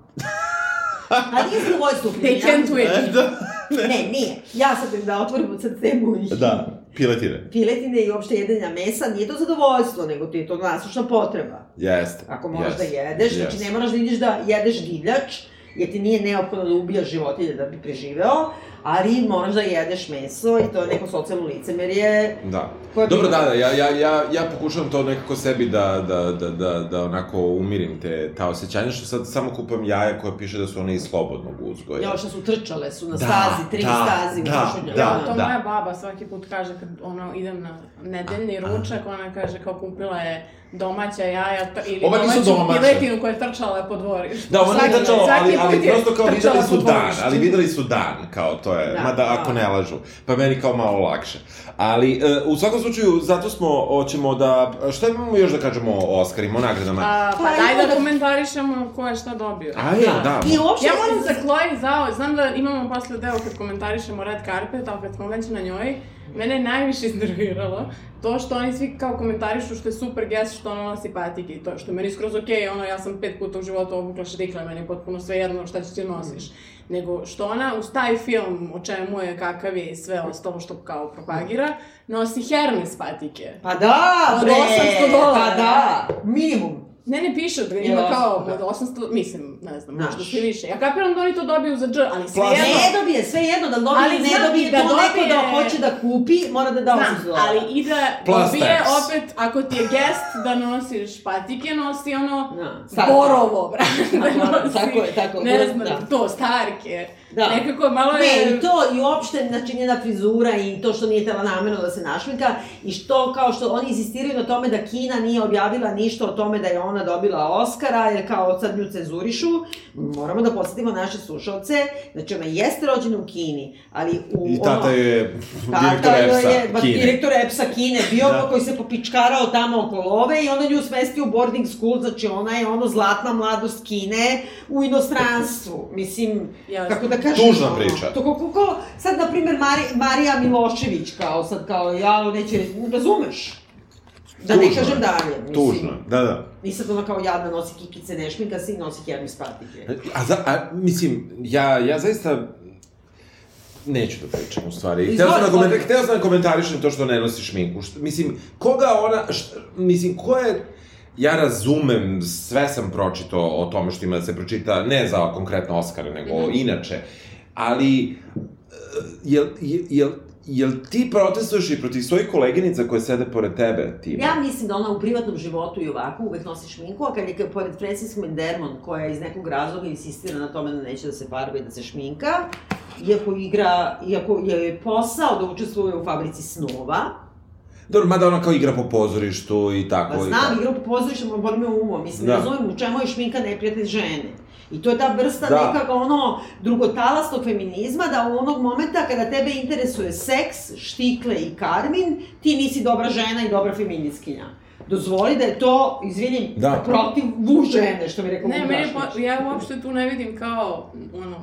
Speaker 2: A nije zadovoljstvo u
Speaker 4: They can't
Speaker 2: pitanju.
Speaker 4: win.
Speaker 1: da.
Speaker 2: Ne, nije. Ja sad da otvorim sad temu i
Speaker 1: Da, piletire.
Speaker 2: piletine i uopšte jedenja mesa, nije to zadovoljstvo, nego ti je to nasušna potreba.
Speaker 1: Jeste.
Speaker 2: Ako moraš
Speaker 1: jeste,
Speaker 2: da jedeš, znači
Speaker 1: jeste.
Speaker 2: ne moraš da ideš da jedeš divljač, jer ti nije neophodno da ubijaš životinje da bi preživeo, ali moraš da jedeš meso i to je neko socijalno licemerje.
Speaker 1: Da.
Speaker 2: koje-
Speaker 1: Dobro, da, da, ja, ja, ja, ja pokušavam to nekako sebi da, da, da, da, da onako umirim te, ta osjećanja, što sad samo kupam jaja koje piše da su one iz slobodnog uzgoja.
Speaker 2: Ja, što su trčale, su na
Speaker 1: Da,
Speaker 2: stazi, tri
Speaker 1: da,
Speaker 2: stazi u
Speaker 1: da,
Speaker 2: Košunjaku.
Speaker 1: da.
Speaker 4: Da, to moja baba svaki put kaže kad ono idem na nedeljni ručak, ona kaže kao kupila je domaća jaja t- ili
Speaker 1: Ova nisu domaća.
Speaker 4: piletinu koja je trčala po dvorištu.
Speaker 1: Da, ona je
Speaker 4: Svaki-
Speaker 1: trčala, ali,
Speaker 4: svaki put
Speaker 1: ali
Speaker 4: je
Speaker 1: prosto kao
Speaker 4: trčala
Speaker 1: videli su
Speaker 4: po
Speaker 1: dan,
Speaker 4: dvorištu.
Speaker 1: ali videli su dan, kao to je,
Speaker 2: Da,
Speaker 1: mada
Speaker 2: da.
Speaker 1: ako ne lažu, pa meni kao malo lakše. Ali, e, u svakom slučaju, zato smo, hoćemo da, šta imamo još da kažemo o Oscarima, o nagradama?
Speaker 4: A, pa
Speaker 2: Pa ajmo
Speaker 4: daj
Speaker 2: da-
Speaker 4: da komentarišemo ko je šta dobio.
Speaker 1: Ajde, da.
Speaker 2: I uopšte...
Speaker 4: Ja moram za Chloe zao, znam da imamo posle deo kad komentarišemo red carpet, ali kad smo već na njoj, mene je najviše [LAUGHS] iznerviralo to što oni svi kao komentarišu što je super gest što ona nosi patike i to što je meni skroz okej, ono ja sam pet puta u životu obukla štikle, meni je potpuno sve jedno šta će ti nosiš. Nego što ona uz taj film o čemu je, kakav je i sve ostalo što kao propagira, nosi Hermes patike.
Speaker 2: Pa da,
Speaker 4: Od
Speaker 2: bre,
Speaker 4: 800 dolara.
Speaker 2: pa da, minimum.
Speaker 4: Ne, ne piše da
Speaker 2: Ili
Speaker 4: ima kao
Speaker 2: osam,
Speaker 4: od 800, mislim, ne znam, možda
Speaker 2: Naš.
Speaker 4: se više. Ja kapiram da oni to dobiju za dž, ali sve
Speaker 1: Plaza.
Speaker 4: jedno,
Speaker 2: Ne dobije, sve jedno, da dobije,
Speaker 4: Ali
Speaker 2: ne
Speaker 4: znam
Speaker 2: dobije,
Speaker 4: da
Speaker 2: to neko
Speaker 4: dobije-
Speaker 2: da hoće da kupi, mora da da 800
Speaker 4: Znam,
Speaker 2: dolara.
Speaker 4: ali i da
Speaker 1: Plus
Speaker 4: dobije
Speaker 1: tax.
Speaker 4: opet, ako ti je gest da nosiš patike, nosi ono
Speaker 2: Da,
Speaker 4: Starke. borovo, [LAUGHS] brate, da
Speaker 2: Borovo,
Speaker 4: nosi.
Speaker 2: tako je, tako,
Speaker 4: Ne znam,
Speaker 2: da.
Speaker 4: to, starke.
Speaker 2: Da.
Speaker 4: Nekako malo je...
Speaker 2: Ne, i to, i uopšte, znači, njena frizura i to što nije tela namerno da se našminka i što, kao što oni insistiraju na tome da Kina nije objavila ništa o tome da je ona dobila Oscara, jer kao sad nju cenzurišu, moramo da podsjetimo naše slušalce, znači, ona jeste rođena u Kini, ali u...
Speaker 1: I tata
Speaker 2: ono-
Speaker 1: je direktor
Speaker 2: Tata joj je,
Speaker 1: EPS-a,
Speaker 2: ba,
Speaker 1: Kine.
Speaker 2: direktor EPS-a Kine bio,
Speaker 1: Da.
Speaker 2: koji se popičkarao tamo oko love i onda nju smestio u boarding school, znači ona je ono zlatna mladost Kine u inostranstvu. Mislim,
Speaker 4: Jasno.
Speaker 2: kako da kažem...
Speaker 1: Tužna
Speaker 2: ono,
Speaker 1: priča.
Speaker 2: To kako, kako sad, na primjer, Mari, Marija Milošević, kao sad, kao, ja, neće, razumeš? Da ne
Speaker 1: Tužno je.
Speaker 2: kažem dalje. Mislim,
Speaker 1: Tužno, je, da, da.
Speaker 2: I sad ona kao jadna nosi kikice, ne šminka se i nosi Hermes patike.
Speaker 1: A, za, a mislim, ja, ja zaista neću da pričam u stvari. Hteo sam, da
Speaker 2: Izvoli,
Speaker 1: komentar,
Speaker 2: izvoli.
Speaker 1: hteo sam da komentarišem to što ne nosi šminku. Što, mislim, koga ona, šta, mislim, ko je Ja razumem, sve sam pročitao o tome što ima da se pročita, ne za konkretno Oscara, nego
Speaker 2: Mhm.
Speaker 1: inače, ali, e, jel, jel, jel, jel ti protestuješ i protiv svojih koleginica koje sede pored tebe, Tima?
Speaker 2: Ja mislim da ona u privatnom životu i ovako uvek nosi šminku, a kad je k- pored Francis McDermott, koja iz nekog razloga insistira na tome da neće da se farba i da se šminka, iako igra, iako je posao da učestvuje u fabrici snova,
Speaker 1: Dobro, mada ona kao igra po pozorištu i tako.
Speaker 2: pa
Speaker 1: i
Speaker 2: znam, igra po pozorištu, ali boli me umom, mislim,
Speaker 1: Da.
Speaker 2: ne razumem u čemu je šminka neprijatelj žene. I to je ta vrsta
Speaker 1: Da.
Speaker 2: da. nekako ono drugotalasnog feminizma da u onog momenta kada tebe interesuje seks, štikle i karmin, ti nisi dobra žena i dobra feminiskinja. Dozvoli da je to, izvinim,
Speaker 1: Da.
Speaker 2: da. protiv vu žene, što bi rekao
Speaker 4: Ne,
Speaker 2: Vuk
Speaker 4: meni, je
Speaker 2: Drašković.
Speaker 4: po, ja uopšte tu ne vidim kao, ono,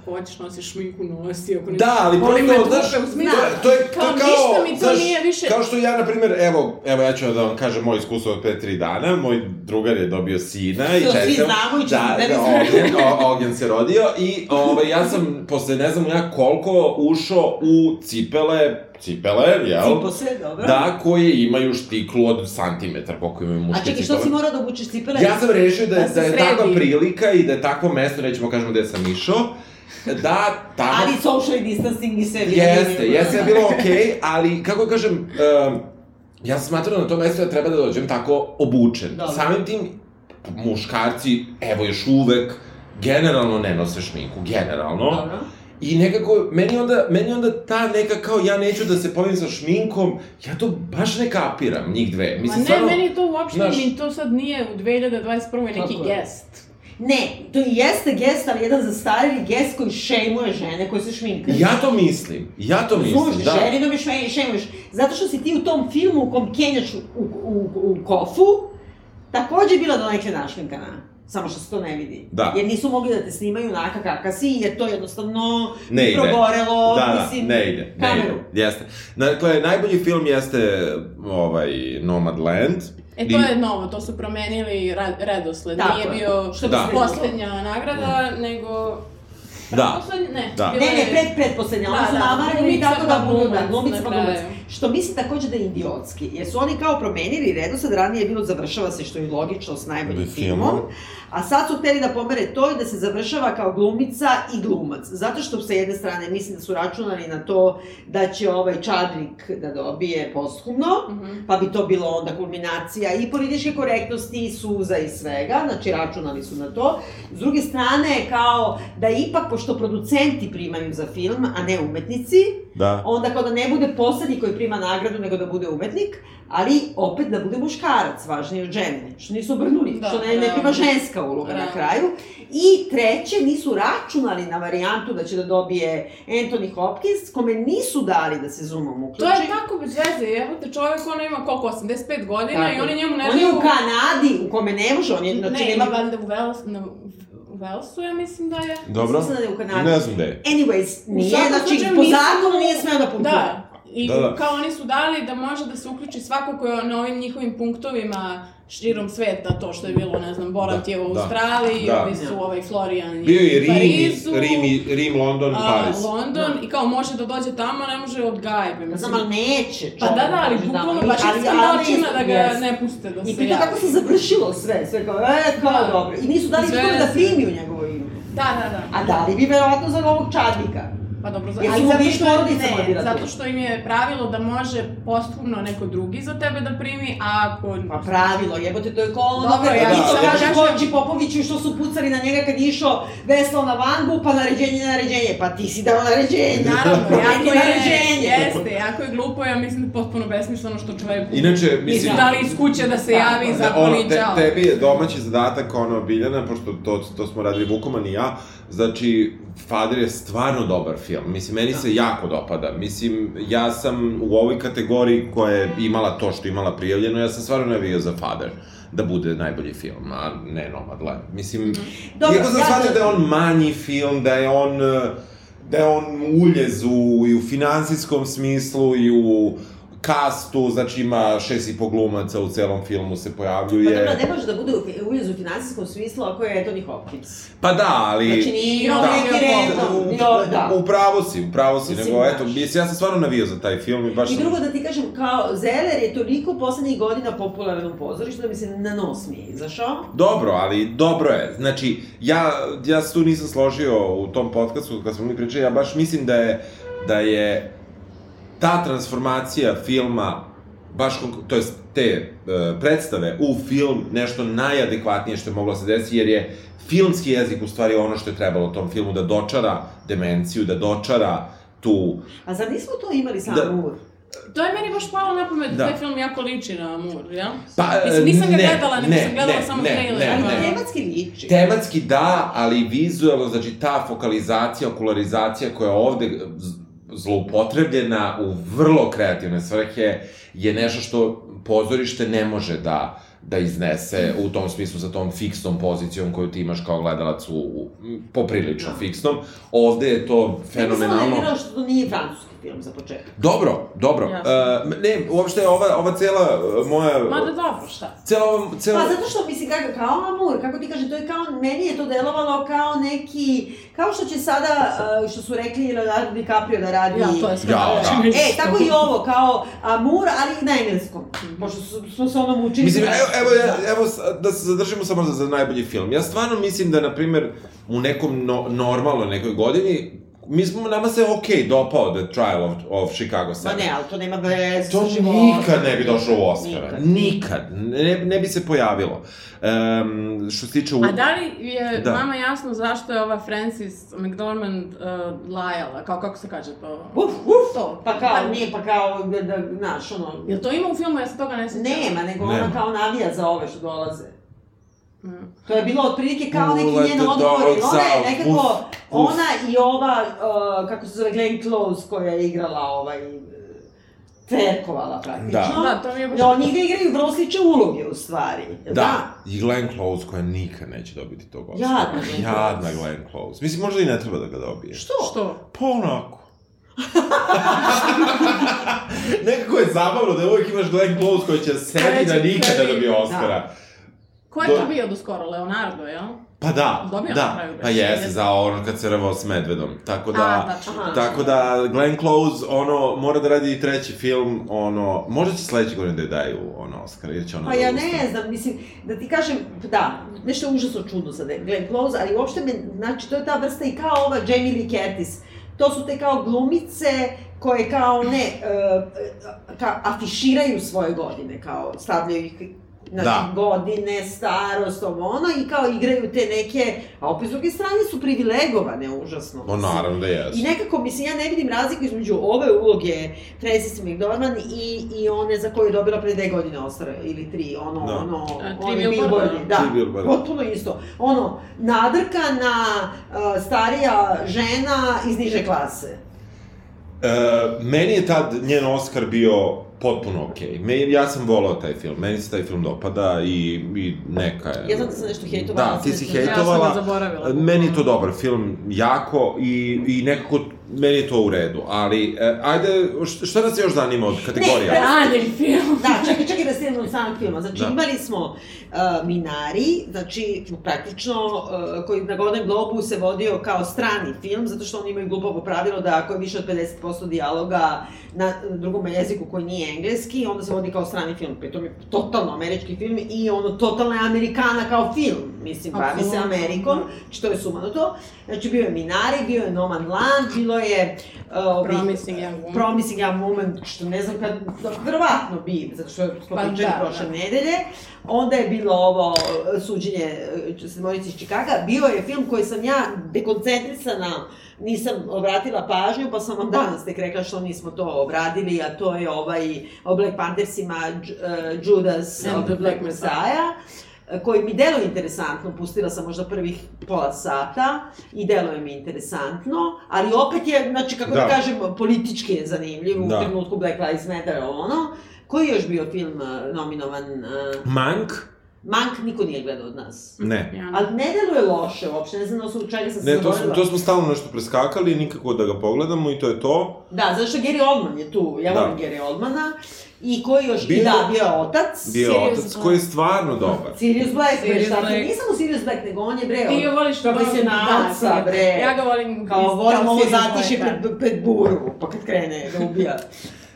Speaker 4: ako hoćeš nosiš šminku, nosi, ako
Speaker 1: Da, ali
Speaker 4: Boli me
Speaker 1: prosto,
Speaker 4: dupe
Speaker 1: znaš,
Speaker 4: u smislu-
Speaker 1: to je- to je to
Speaker 4: Kao,
Speaker 1: je kao,
Speaker 4: ništa mi to
Speaker 1: znaš,
Speaker 4: nije više-
Speaker 1: Kao što ja, na primjer, evo, evo ja ću da vam kažem moje iskustvo od pre tri dana, moj drugar je dobio sina i
Speaker 2: To svi
Speaker 1: čestitam.
Speaker 2: znamo i
Speaker 1: da,
Speaker 2: čestitam.
Speaker 1: da, Ognjen, o, Ognjen se rodio i ovaj, ja sam, posle ne znam ja koliko, ušao u cipele, cipele, jel?
Speaker 2: Cipo se, dobro.
Speaker 1: Da, koje imaju štiklu od santimetar, koliko imaju muške
Speaker 2: A čekaj, što si morao da obučeš cipele?
Speaker 1: Ja sam rešio da,
Speaker 4: Da
Speaker 1: je-
Speaker 4: se
Speaker 1: da je takva
Speaker 4: sredi.
Speaker 1: prilika i da je takvo mesto, nećemo kažemo gde sam išao, da tamo
Speaker 2: Ali social distancing i sve.
Speaker 1: Jeste, jeste je bilo okej, ali kako kažem, um, ja sam smatrao da na to mesto ja treba da dođem da tako obučen.
Speaker 2: Dobro.
Speaker 1: Samim tim, muškarci, evo još uvek, generalno ne nose šminku, generalno.
Speaker 2: Dobro.
Speaker 1: I nekako, meni onda, meni onda ta neka kao ja neću da se pojavim sa šminkom, ja to baš ne kapiram, njih dve.
Speaker 4: Ma
Speaker 1: Mislim,
Speaker 4: ne,
Speaker 1: stvarno,
Speaker 4: meni to uopšte,
Speaker 1: znaš-
Speaker 4: ni to sad nije u 2021. neki
Speaker 2: Tako je.
Speaker 4: gest.
Speaker 2: Ne, to i jeste gest, ali jedan zastarili gest koji šejmuje žene koje se šminkaju.
Speaker 1: Ja to mislim, ja to mislim,
Speaker 2: Služi,
Speaker 1: da.
Speaker 2: ženi da mi šme- šemuješ. Zato što si ti u tom filmu u kom kenjaš u, u, u, u kofu, takođe bila do neke našminkana. Samo što se to ne vidi.
Speaker 1: Da.
Speaker 2: Jer nisu mogli da te snimaju onaka kaka si, jer to jednostavno
Speaker 1: Ne ide.
Speaker 2: progorelo.
Speaker 1: Da, da,
Speaker 2: mislim,
Speaker 1: ne ide, ne
Speaker 2: kameru.
Speaker 1: ide, jeste. Dakle, najbolji film jeste ovaj Nomadland.
Speaker 4: E
Speaker 1: I-
Speaker 4: to je novo, to su promenili ra- redosled.
Speaker 2: Tako
Speaker 4: nije
Speaker 2: je.
Speaker 4: bio
Speaker 2: Što
Speaker 1: bi Da.
Speaker 4: da.
Speaker 1: se
Speaker 2: bilo?
Speaker 4: poslednja nagrada, nego...
Speaker 1: Da,
Speaker 4: Poslednja, ne,
Speaker 1: Da.
Speaker 2: Ne,
Speaker 4: bila
Speaker 2: ne,
Speaker 4: je-
Speaker 2: pred, predposlednja,
Speaker 4: Da,
Speaker 2: ona se
Speaker 4: da,
Speaker 2: navaraju i
Speaker 4: glumica
Speaker 2: tako da
Speaker 4: pa
Speaker 2: budu da
Speaker 4: glumac
Speaker 2: glumica
Speaker 4: na
Speaker 2: pa glumac.
Speaker 4: kraju.
Speaker 2: Što mislim takođe da je idiotski, jer su oni kao promenili redosled, ranije je bilo završava se što je logično s najboljim
Speaker 1: Bi filmom.
Speaker 2: filmom, a sad su hteli da pomere to i da se završava kao glumica i glumac. Zato što sa jedne strane mislim da su računali na to da će ovaj Čadrik da dobije posthumno,
Speaker 4: Mhm.
Speaker 2: pa bi to bilo onda kulminacija i političke korektnosti i suza i svega, znači računali su na to. S druge strane, kao da ipak, pošto producenti primaju za film, a ne umetnici,
Speaker 1: da.
Speaker 2: onda kao da ne bude poslednji koji prima nagradu, nego da bude umetnik, ali opet da bude muškarac, važnije od žene, što nisu obrnuli, da,
Speaker 4: Da,
Speaker 2: što ne, ne
Speaker 4: realno.
Speaker 2: prima ženska uloga na
Speaker 4: Realno.
Speaker 2: kraju. I treće, nisu računali na varijantu da će da dobije Anthony Hopkins, kome nisu dali da se zoomom
Speaker 4: To
Speaker 2: uključi.
Speaker 4: je tako bez veze, evo te čovjek, on ima koliko, 85 godina
Speaker 2: Tako.
Speaker 4: i oni njemu ne
Speaker 2: On je u Kanadi, u kome ne može, on je, znači,
Speaker 4: ne, ima
Speaker 2: nema...
Speaker 4: valjda u Velsu, na, u Velsu, ja mislim da je.
Speaker 1: Dobro.
Speaker 2: Mislim da je u Kanadi.
Speaker 1: Ne znam gde je.
Speaker 2: Anyways, nije,
Speaker 4: svakom
Speaker 2: znači,
Speaker 4: slučaju
Speaker 2: po
Speaker 4: nisu-
Speaker 2: zakonu nije smeo da putuje.
Speaker 4: Da, i
Speaker 1: Da, da.
Speaker 4: kao oni su dali da može da se uključi svako ko je na ovim njihovim punktovima širom sveta, to što je bilo, ne znam, Borat
Speaker 1: Da,
Speaker 4: je u
Speaker 1: da.
Speaker 4: Australiji,
Speaker 1: Da.
Speaker 4: ovi su ovaj Florian je
Speaker 1: Bio je
Speaker 4: u
Speaker 1: Rim,
Speaker 4: Parizu,
Speaker 1: Rim, i- Rim, London,
Speaker 4: a,
Speaker 1: Paris.
Speaker 4: London, i kao može da dođe tamo, ne može od gajbe,
Speaker 2: Ja
Speaker 4: mislim.
Speaker 2: znam, ali neće.
Speaker 4: Pa da,
Speaker 2: čovjek,
Speaker 4: da, ali
Speaker 2: znači,
Speaker 4: bukvalno
Speaker 2: ali-
Speaker 4: baš
Speaker 2: ali-
Speaker 4: iskandal
Speaker 2: ali-
Speaker 4: čina da ga
Speaker 2: Yes.
Speaker 4: ne puste da se
Speaker 2: I pritom
Speaker 4: javi.
Speaker 2: kako se završilo sve, sve kao, e, kao
Speaker 4: Da.
Speaker 2: dobro. I nisu dali
Speaker 4: Sve-
Speaker 2: nikome da primi u njegovo ime.
Speaker 4: Da, da, da.
Speaker 2: A dali bi verovatno za ovog čadnika.
Speaker 4: Pa dobro, za,
Speaker 2: Jer
Speaker 4: ali
Speaker 2: su
Speaker 4: zato
Speaker 2: ovi
Speaker 4: što,
Speaker 2: porodica
Speaker 4: ne,
Speaker 2: planirate.
Speaker 4: zato što im je pravilo da može posthumno neko drugi za tebe da primi, a ako...
Speaker 2: Pa pravilo, jebote, to je kao ono,
Speaker 4: Dobro,
Speaker 2: dobro,
Speaker 4: ja da-
Speaker 2: ja
Speaker 1: sam-
Speaker 2: isto
Speaker 1: ja
Speaker 2: kaže
Speaker 4: kažem-
Speaker 2: Koči Popoviću što su pucali na njega kad je išao veslo na vangu, pa naređenje, naređenje, pa ti si dao naređenje.
Speaker 4: Naravno, jako
Speaker 2: Promeni
Speaker 4: je,
Speaker 2: naređenje.
Speaker 4: jeste, jako je glupo, ja mislim da je potpuno besmisleno što čovjek...
Speaker 1: Inače, mislim... e,
Speaker 4: Mislim, da li iz kuće da se
Speaker 2: Da,
Speaker 4: javi za
Speaker 1: ono, te,
Speaker 4: poliđao.
Speaker 1: tebi je domaći zadatak, ono, Biljana, pošto to, to smo radili Vukoman i ja, znači, Fader je stvarno dobar film. Mislim, meni se
Speaker 4: Da.
Speaker 1: jako dopada. Mislim, ja sam u ovoj kategoriji koja je imala to što je imala prijavljeno, ja sam stvarno navio za Fader da bude najbolji film, a ne Nomadland. Mislim, Dobro,
Speaker 2: Dobro,
Speaker 1: iako sam
Speaker 2: ja
Speaker 1: shvatio
Speaker 2: sam-
Speaker 1: da je on manji film, da je on eh, da je on uljez u, i u finansijskom smislu i u kastu, znači ima šest i po glumaca u celom filmu se
Speaker 2: Pa
Speaker 1: pojavljuje.
Speaker 2: dobro, ne može da bude u- uljez u finansijskom smislu ako je Anthony Hopkins.
Speaker 1: Pa da, ali...
Speaker 2: Znači nije
Speaker 4: Da,
Speaker 2: da, neki random,
Speaker 1: u,
Speaker 2: jo, da.
Speaker 1: u pravo si, u pravo si,
Speaker 2: Mislim,
Speaker 1: nego eto,
Speaker 2: znaš.
Speaker 1: mislim, ja sam stvarno navio za taj film i baš
Speaker 2: I
Speaker 1: sam...
Speaker 2: drugo da ti kažem, kao Zeller je toliko poslednjih godina popularan u pozorištu da mi se na nos mi je izašao.
Speaker 1: Dobro, ali dobro je. Znači, ja, ja se tu nisam složio u tom podcastu kad smo mi pričali, ja baš mislim da je, da je ta transformacija filma, baš, konk- to jest te e, predstave u film nešto najadekvatnije što je moglo da se desiti, jer je filmski jezik u stvari ono što je trebalo tom filmu, da dočara demenciju, da dočara tu...
Speaker 2: A zar nismo to imali samo
Speaker 1: Da.
Speaker 2: da. ur?
Speaker 4: To je meni baš palo na pamet,
Speaker 1: Da.
Speaker 4: da. taj film jako liči na Amur, jel?
Speaker 1: Pa, e,
Speaker 4: Mislim, nisam ga
Speaker 1: ne,
Speaker 4: gledala, nego
Speaker 1: ne,
Speaker 4: sam gledala
Speaker 1: ne,
Speaker 4: samo
Speaker 1: ne,
Speaker 4: trailer.
Speaker 1: ne,
Speaker 2: Ali
Speaker 1: ne.
Speaker 4: Da.
Speaker 2: tematski liči.
Speaker 1: Tematski da, ali vizualno, znači ta fokalizacija, okularizacija koja je ovde z- zloupotrebljena u vrlo kreativne svrhe je nešto što pozorište ne može da da iznese u tom smislu sa tom fiksnom pozicijom koju ti imaš kao gledalac u, u poprilično fiksnom. Ovde je to
Speaker 2: Ja sam
Speaker 1: fenomenalno.
Speaker 2: nervirala da što to nije francuski film za početak.
Speaker 1: Dobro, dobro.
Speaker 4: Jasno.
Speaker 1: Uh, ne, uopšte ova, ova cela uh, moja...
Speaker 4: Ma da dobro, šta?
Speaker 1: Cela ova...
Speaker 2: Pa
Speaker 1: Cela...
Speaker 2: zato što mislim kako, kao Amur, kako ti kažem, to je kao, meni je to delovalo kao neki, kao što će sada, uh, što su rekli Leonardo DiCaprio da radi
Speaker 4: Ja, to je sve.
Speaker 1: Ja, da.
Speaker 2: E, tako i ovo, kao Amur, ali na engleskom. Pošto su- smo se ono mučili.
Speaker 1: Mislim, evo, evo, ja- evo, s- da se zadržimo samo za, za najbolji film. Ja stvarno mislim da, na primer, u nekom no, normalno nekoj godini, mi smo, nama se ok dopao The Trial of, of Chicago 7.
Speaker 2: Ma Pa ne, ali to nema veze
Speaker 1: To
Speaker 2: sa životom.
Speaker 1: nikad ne bi došlo u Oscara.
Speaker 2: Nikad.
Speaker 1: Nikad. Ne, ne bi se pojavilo. Um, što se tiče... U...
Speaker 4: A da li je
Speaker 1: Da.
Speaker 4: da. vama jasno zašto je ova Francis McDormand uh, lajala? Kao, kako se kaže to?
Speaker 2: Uf, uf.
Speaker 4: To.
Speaker 2: Pa kao, nije, pa kao, da, da, znaš, ono...
Speaker 4: Jel to ima u filmu, ja se toga ne sjećam?
Speaker 2: Nema, nego
Speaker 1: Nema.
Speaker 2: ona kao navija za ove što dolaze.
Speaker 4: Mm.
Speaker 2: To je bilo otprilike kao neki
Speaker 1: Let the
Speaker 2: njen odgovor,
Speaker 1: dogs
Speaker 2: jer ona je
Speaker 1: out.
Speaker 2: nekako,
Speaker 1: Uf, uf.
Speaker 2: ona i ova, uh, kako se zove, Glenn Close koja je igrala ovaj, uh, cerkovala praktično.
Speaker 4: Da, to mi je baš...
Speaker 2: Da, oni igra igraju vrlo slične uloge u stvari.
Speaker 1: Da. I Glenn Close koja nikad neće dobiti tog Oscara.
Speaker 2: Jadna Glenn
Speaker 1: Jadna
Speaker 2: Close.
Speaker 1: Glenn Close. Mislim, možda i ne treba da ga dobije.
Speaker 2: Što?
Speaker 4: Što?
Speaker 1: Pa onako. [LAUGHS] Nekako je zabavno da uvijek imaš Glenn Close koji će sedi da
Speaker 4: Treći,
Speaker 1: nikada
Speaker 4: treći,
Speaker 1: dobije Oscara.
Speaker 4: Ko je to
Speaker 1: Do-
Speaker 4: bio do skoro? Leonardo, jel?
Speaker 1: Pa da,
Speaker 4: Dobio na
Speaker 1: da,
Speaker 4: kraju, bre.
Speaker 1: pa jeste, za ono kad se rvao s Medvedom, tako da...
Speaker 4: A, tačno.
Speaker 2: Aha.
Speaker 1: Tako da, Glenn Close, ono, mora da radi i treći film, ono, možda će sledeće godine da je daju, ono, Oscar, ili će ono...
Speaker 2: Pa ja ne znam, mislim, da ti kažem, da, nešto je užasno čudno sad, Glenn Close, ali uopšte me, znači, to je ta vrsta i kao ova Jamie Lee Curtis. To su te kao glumice koje kao ne, e, e, ka, afiširaju svoje godine, kao stavljaju ih znači,
Speaker 1: Da.
Speaker 2: godine, starost, ovo ono, i kao igraju te neke, a opet s druge strane su privilegovane užasno.
Speaker 1: No, naravno da
Speaker 2: I
Speaker 1: jesu.
Speaker 2: nekako, mislim, ja ne vidim razliku između ove uloge Frances McDormand i, i one za koju je dobila pre dve godine Oscara ili tri, ono,
Speaker 1: Da.
Speaker 2: da. ono,
Speaker 4: A, tri
Speaker 2: oni
Speaker 4: Billboarda.
Speaker 2: billboardi, da,
Speaker 1: Tri Billboarda.
Speaker 2: potpuno isto. Ono, nadrkana, uh, starija žena iz niže klase.
Speaker 1: E, meni je tad njen Oscar bio potpuno okej. Me- Ja sam volao taj film, meni se taj film dopada i, i neka je...
Speaker 2: Ja znam da sam nešto hejtovala,
Speaker 1: Da, ti si
Speaker 2: sve sam-
Speaker 1: hejtovala.
Speaker 4: Ja sam ga zaboravila.
Speaker 1: Meni je to dobar film, jako, i, i nekako meni je to u redu, ali e, ajde, š- šta nas još zanima od kategorija?
Speaker 2: [LAUGHS] Ne,
Speaker 4: Dalje film.
Speaker 2: Da, čekaj, čekaj da stignemo od samog filma. Znači,
Speaker 1: Da.
Speaker 2: da. imali smo uh, Minari, znači, praktično, uh, koji na Golden Globu se vodio kao strani film, zato što oni imaju glupo pravilo da ako je više od 50% dijaloga na drugom jeziku koji nije engleski, onda se vodi kao strani film. Pritom je totalno američki film i ono, totalna je Amerikana kao film. Mislim, bavi se
Speaker 4: Apsolutno.
Speaker 2: Amerikom, što je sumanuto. Znači, bio je Minari, bio je Noman Land, bilo je... Uh, ovih-
Speaker 4: Promising Young Woman.
Speaker 2: Promising Young Woman, što ne znam kad, verovatno bi, zato što smo
Speaker 4: Pa
Speaker 2: pričali
Speaker 4: da,
Speaker 2: prošle
Speaker 4: da.
Speaker 2: nedelje. Onda je bilo ovo e, suđenje e, Sedmorici iz Čikaga. Bio je film koji sam ja dekoncentrisana, nisam obratila pažnju, pa sam vam danas tek rekla što nismo to obradili, a to je ovaj o Black Panthersima Dž- e, Judas
Speaker 4: And
Speaker 2: and the Black Messiah e, koji mi deluje interesantno, pustila sam možda prvih pola sata i deluje mi interesantno, ali opet je, znači kako da,
Speaker 1: Da.
Speaker 2: da kažem, politički je zanimljiv
Speaker 1: Da.
Speaker 2: u trenutku Black Lives Matter, ono. Koji je još bio film e, nominovan? Uh,
Speaker 1: Mank?
Speaker 2: Mank niko nije gledao od nas.
Speaker 1: Ne.
Speaker 4: Ja.
Speaker 2: Ali ne deluje loše uopšte, ne znam na osnovu čega sam se
Speaker 1: Ne, to smo,
Speaker 2: zaborila.
Speaker 1: to smo stalno nešto preskakali, nikako da ga pogledamo i to je to.
Speaker 2: Da, zato što Gary Oldman je tu, ja
Speaker 1: Da.
Speaker 2: volim Gary Oldmana. I koji još,
Speaker 1: Bio-
Speaker 2: i da, bio je otac.
Speaker 1: Bio
Speaker 4: Serious
Speaker 1: otac
Speaker 4: Black.
Speaker 1: koji je stvarno dobar.
Speaker 2: Sirius Black, bre,
Speaker 4: Sirius
Speaker 2: šta ti,
Speaker 4: Black.
Speaker 2: nisam u Sirius Black, nego on je bre,
Speaker 4: Ti ga
Speaker 2: on,
Speaker 4: voliš kao
Speaker 2: profesionalca,
Speaker 4: da,
Speaker 2: bre.
Speaker 4: Ja ga volim
Speaker 2: kao
Speaker 4: iz-
Speaker 2: volim ovo
Speaker 4: Sirius da.
Speaker 2: zatiše
Speaker 4: Blacka.
Speaker 2: pred, pred buru, pa kad krene da
Speaker 1: [LAUGHS]
Speaker 2: ubija.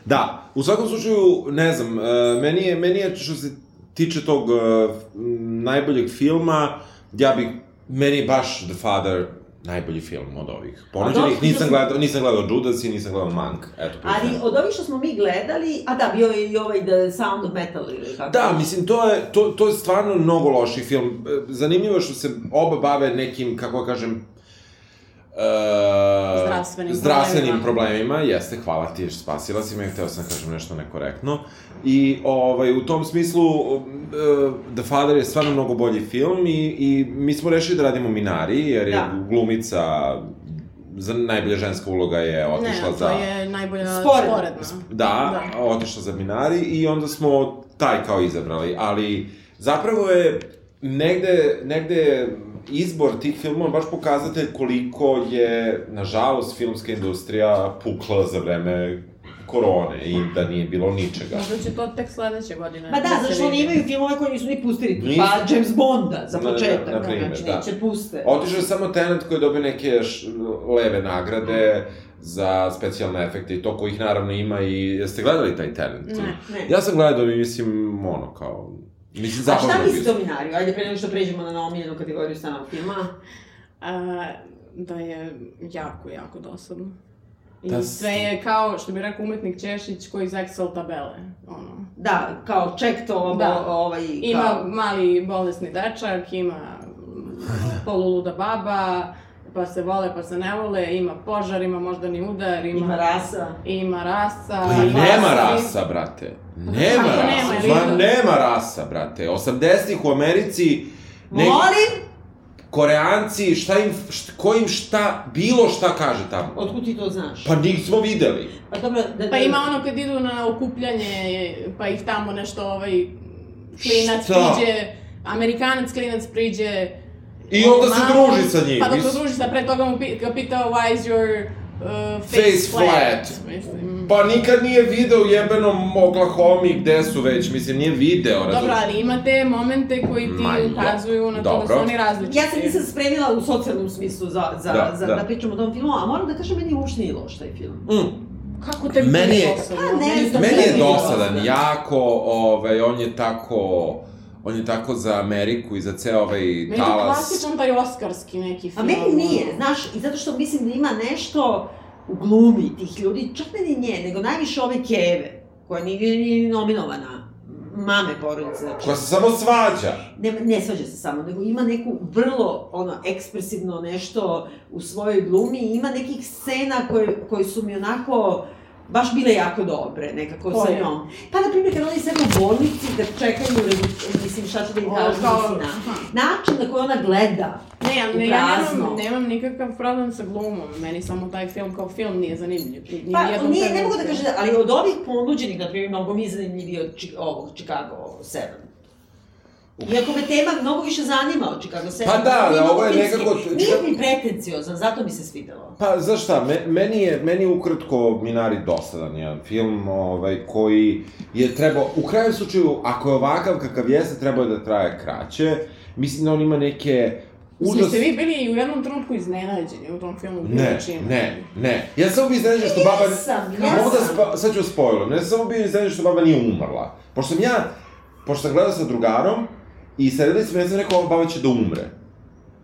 Speaker 1: Da, u svakom slučaju, ne znam, e, meni je, meni je što se tiče tog e, m, najboljeg filma, ja bih, meni je baš The Father najbolji film od ovih.
Speaker 2: A
Speaker 1: Ponuđenih
Speaker 2: dobro,
Speaker 1: nisam
Speaker 2: mislim-
Speaker 1: gledao, nisam gledao Judas i nisam gledao Mank, eto.
Speaker 2: Ali
Speaker 1: priznajem.
Speaker 2: od ovih što smo mi gledali, a da, bio je i ovaj The Sound of Metal ili kako.
Speaker 1: Da, mislim, to je, to, to je stvarno mnogo loši film. E, Zanimljivo je što se oba bave nekim, kako da kažem, e,
Speaker 4: Zdravstvenim
Speaker 1: zdravstvenim
Speaker 4: problemima.
Speaker 1: problemima. Jeste, hvala ti, spasila si me, hteo sam da kažem nešto nekorektno. I ovaj, u tom smislu, e, The Father je stvarno mnogo bolji film i, i mi smo rešili da radimo Minari, jer je
Speaker 2: Da.
Speaker 1: glumica, za najbolja ženska uloga je otišla
Speaker 4: Ne,
Speaker 1: za...
Speaker 4: to je najbolja
Speaker 2: Sporedna.
Speaker 4: sporedna.
Speaker 1: Da, da.
Speaker 4: Da.
Speaker 1: otišla za Minari i onda smo taj kao izabrali, ali zapravo je negde, negde je izbor tih filmova baš pokazatelj koliko je, nažalost, filmska industrija pukla za vreme korone i da nije bilo ničega.
Speaker 4: Možda će to tek sledeće godine.
Speaker 2: Ma da,
Speaker 4: se
Speaker 2: zato što oni
Speaker 4: vidi.
Speaker 2: imaju filmove koje nisu ni pustili,
Speaker 1: Nisu.
Speaker 2: pa James Bonda za
Speaker 1: Na- na-
Speaker 2: početak,
Speaker 1: na primer,
Speaker 2: znači
Speaker 1: da.
Speaker 2: neće puste.
Speaker 1: Otišao je samo Tenet koji je dobio neke š, leve nagrade za specijalne efekte i to kojih naravno ima i... Jeste gledali taj Tenet?
Speaker 4: Ne.
Speaker 2: Ne.
Speaker 1: Ja sam gledao i mislim, ono, kao... Mislim,
Speaker 2: A
Speaker 1: zabavno
Speaker 2: šta
Speaker 1: bio.
Speaker 2: misli o Minariju? Ajde, pre nego što pređemo na omiljenu kategoriju samog filma.
Speaker 4: A, da je jako, jako dosadno. I
Speaker 7: Da s-
Speaker 4: sve je kao, što bi rekao umetnik Češić, koji iz Excel tabele, ono.
Speaker 2: Da, kao ček to ovo,
Speaker 4: Da.
Speaker 2: ovaj,
Speaker 4: Ima
Speaker 2: kao...
Speaker 4: mali bolesni dečak, ima mm, poluluda baba, pa se vole, pa se ne vole, ima požar, ima moždani udar, ima, da.
Speaker 2: Ima rasa.
Speaker 4: ima rasa.
Speaker 1: Ali
Speaker 4: ima
Speaker 1: nema
Speaker 4: rasa.
Speaker 1: rasa, brate. Nema
Speaker 4: pa Kako nema,
Speaker 1: rasa.
Speaker 4: ili-
Speaker 1: Ma nema rasa, brate. 80-ih u Americi neki
Speaker 2: Molim?
Speaker 1: Koreanci, šta im, št, ko im šta, bilo šta kaže tamo.
Speaker 2: Otkud ti to znaš?
Speaker 1: Pa nismo videli.
Speaker 2: Pa dobro, da,
Speaker 4: Pa ima ono kad idu na okupljanje, pa ih tamo nešto ovaj klinac
Speaker 1: Šta?
Speaker 4: priđe, Amerikanac klinac priđe.
Speaker 1: I
Speaker 4: ovom
Speaker 1: onda se
Speaker 4: malom,
Speaker 1: druži sa njim,
Speaker 4: Pa dok se
Speaker 1: mislim.
Speaker 4: druži sa pre toga mu pi- ga pitao why is your uh, face,
Speaker 1: Face
Speaker 4: flat.
Speaker 1: flat.
Speaker 4: Mislim.
Speaker 1: Pa nikad nije video u jebenom Oklahomi gde su već, mislim, nije video,
Speaker 4: Dobro,
Speaker 1: razumiješ?
Speaker 4: ali ima te momente koji ti
Speaker 1: Ma, ja.
Speaker 4: ukazuju na to da
Speaker 1: Dobro.
Speaker 4: su oni različiti.
Speaker 2: Ja se nisam spremila u socijalnom smislu za, za,
Speaker 1: Da,
Speaker 2: za, da.
Speaker 1: da.
Speaker 2: pričam o tom filmu, a moram da kažem, meni uopšte nije loš taj film.
Speaker 1: Mm.
Speaker 4: Kako te
Speaker 1: Meni
Speaker 4: meni
Speaker 1: je-
Speaker 2: Pa ne
Speaker 4: da
Speaker 2: znam,
Speaker 1: Meni je
Speaker 2: dosadan.
Speaker 1: dosadan, jako, ovaj, on je tako, on je tako za Ameriku i za ceo ovaj
Speaker 4: Meni je to
Speaker 1: talas.
Speaker 4: klasičan taj oskarski neki
Speaker 2: A
Speaker 4: film.
Speaker 2: meni nije, znaš, i zato što mislim da ima nešto u glumi tih ljudi, čak ne ni nje, nego najviše ove Keve, koja nije, nije ni nominovana mame porodice. Znači,
Speaker 1: Koja se samo svađa.
Speaker 2: ne, ne svađa se samo, nego ima neku vrlo ono, ekspresivno nešto u svojoj glumi i ima nekih scena koje, koje su mi onako baš bile jako dobre, nekako sa
Speaker 4: Koje?
Speaker 2: njom. Pa, na primjer, kad oni sede u bolnici da čekaju, rezu- mislim, šta će da im
Speaker 4: Ovo,
Speaker 2: kažu,
Speaker 4: kao-
Speaker 2: mislim, na- način na koji ona gleda.
Speaker 4: Ne, ja, ne, ja
Speaker 2: Prazno.
Speaker 4: nemam, nemam nikakav problem sa glumom. Meni samo taj film kao film nije zanimljiv. Ni
Speaker 2: Pa,
Speaker 4: u jednom
Speaker 2: nije, ne mogu da
Speaker 4: trenutku.
Speaker 2: kažem, da- ali od ovih ponuđenih, na primjer, mnogo mi je zanimljiviji od Chi- ovog Chicago 7. Iako me tema mnogo više zanima od Chicago 7.
Speaker 1: Pa da,
Speaker 2: Nije
Speaker 1: da, ovo je
Speaker 2: filmski.
Speaker 1: nekako-
Speaker 2: Nije mi pretenciozan, zato mi se svidelo.
Speaker 1: Pa, znaš šta, me, meni je, meni je ukratko Minari dosadan jedan film, ovaj, koji je trebao, u krajem slučaju, ako je ovakav kakav jeste, trebao je da traje kraće. Mislim da on ima neke
Speaker 4: Užas.
Speaker 1: užas...
Speaker 4: Ste vi bili i u jednom trenutku iznenađeni u tom filmu?
Speaker 1: Ne,
Speaker 4: Čim?
Speaker 1: ne, ne. Ja sam bio iznenađen što baba...
Speaker 2: Jesam,
Speaker 1: Pa, Mogu da
Speaker 2: jesam.
Speaker 1: spa, sad ću spojlom. Ja sam samo bio iznenađen što baba nije umrla. Pošto sam ja, pošto sam gledao sa drugarom i sedeli smo, ja sam rekao, ova baba će da umre.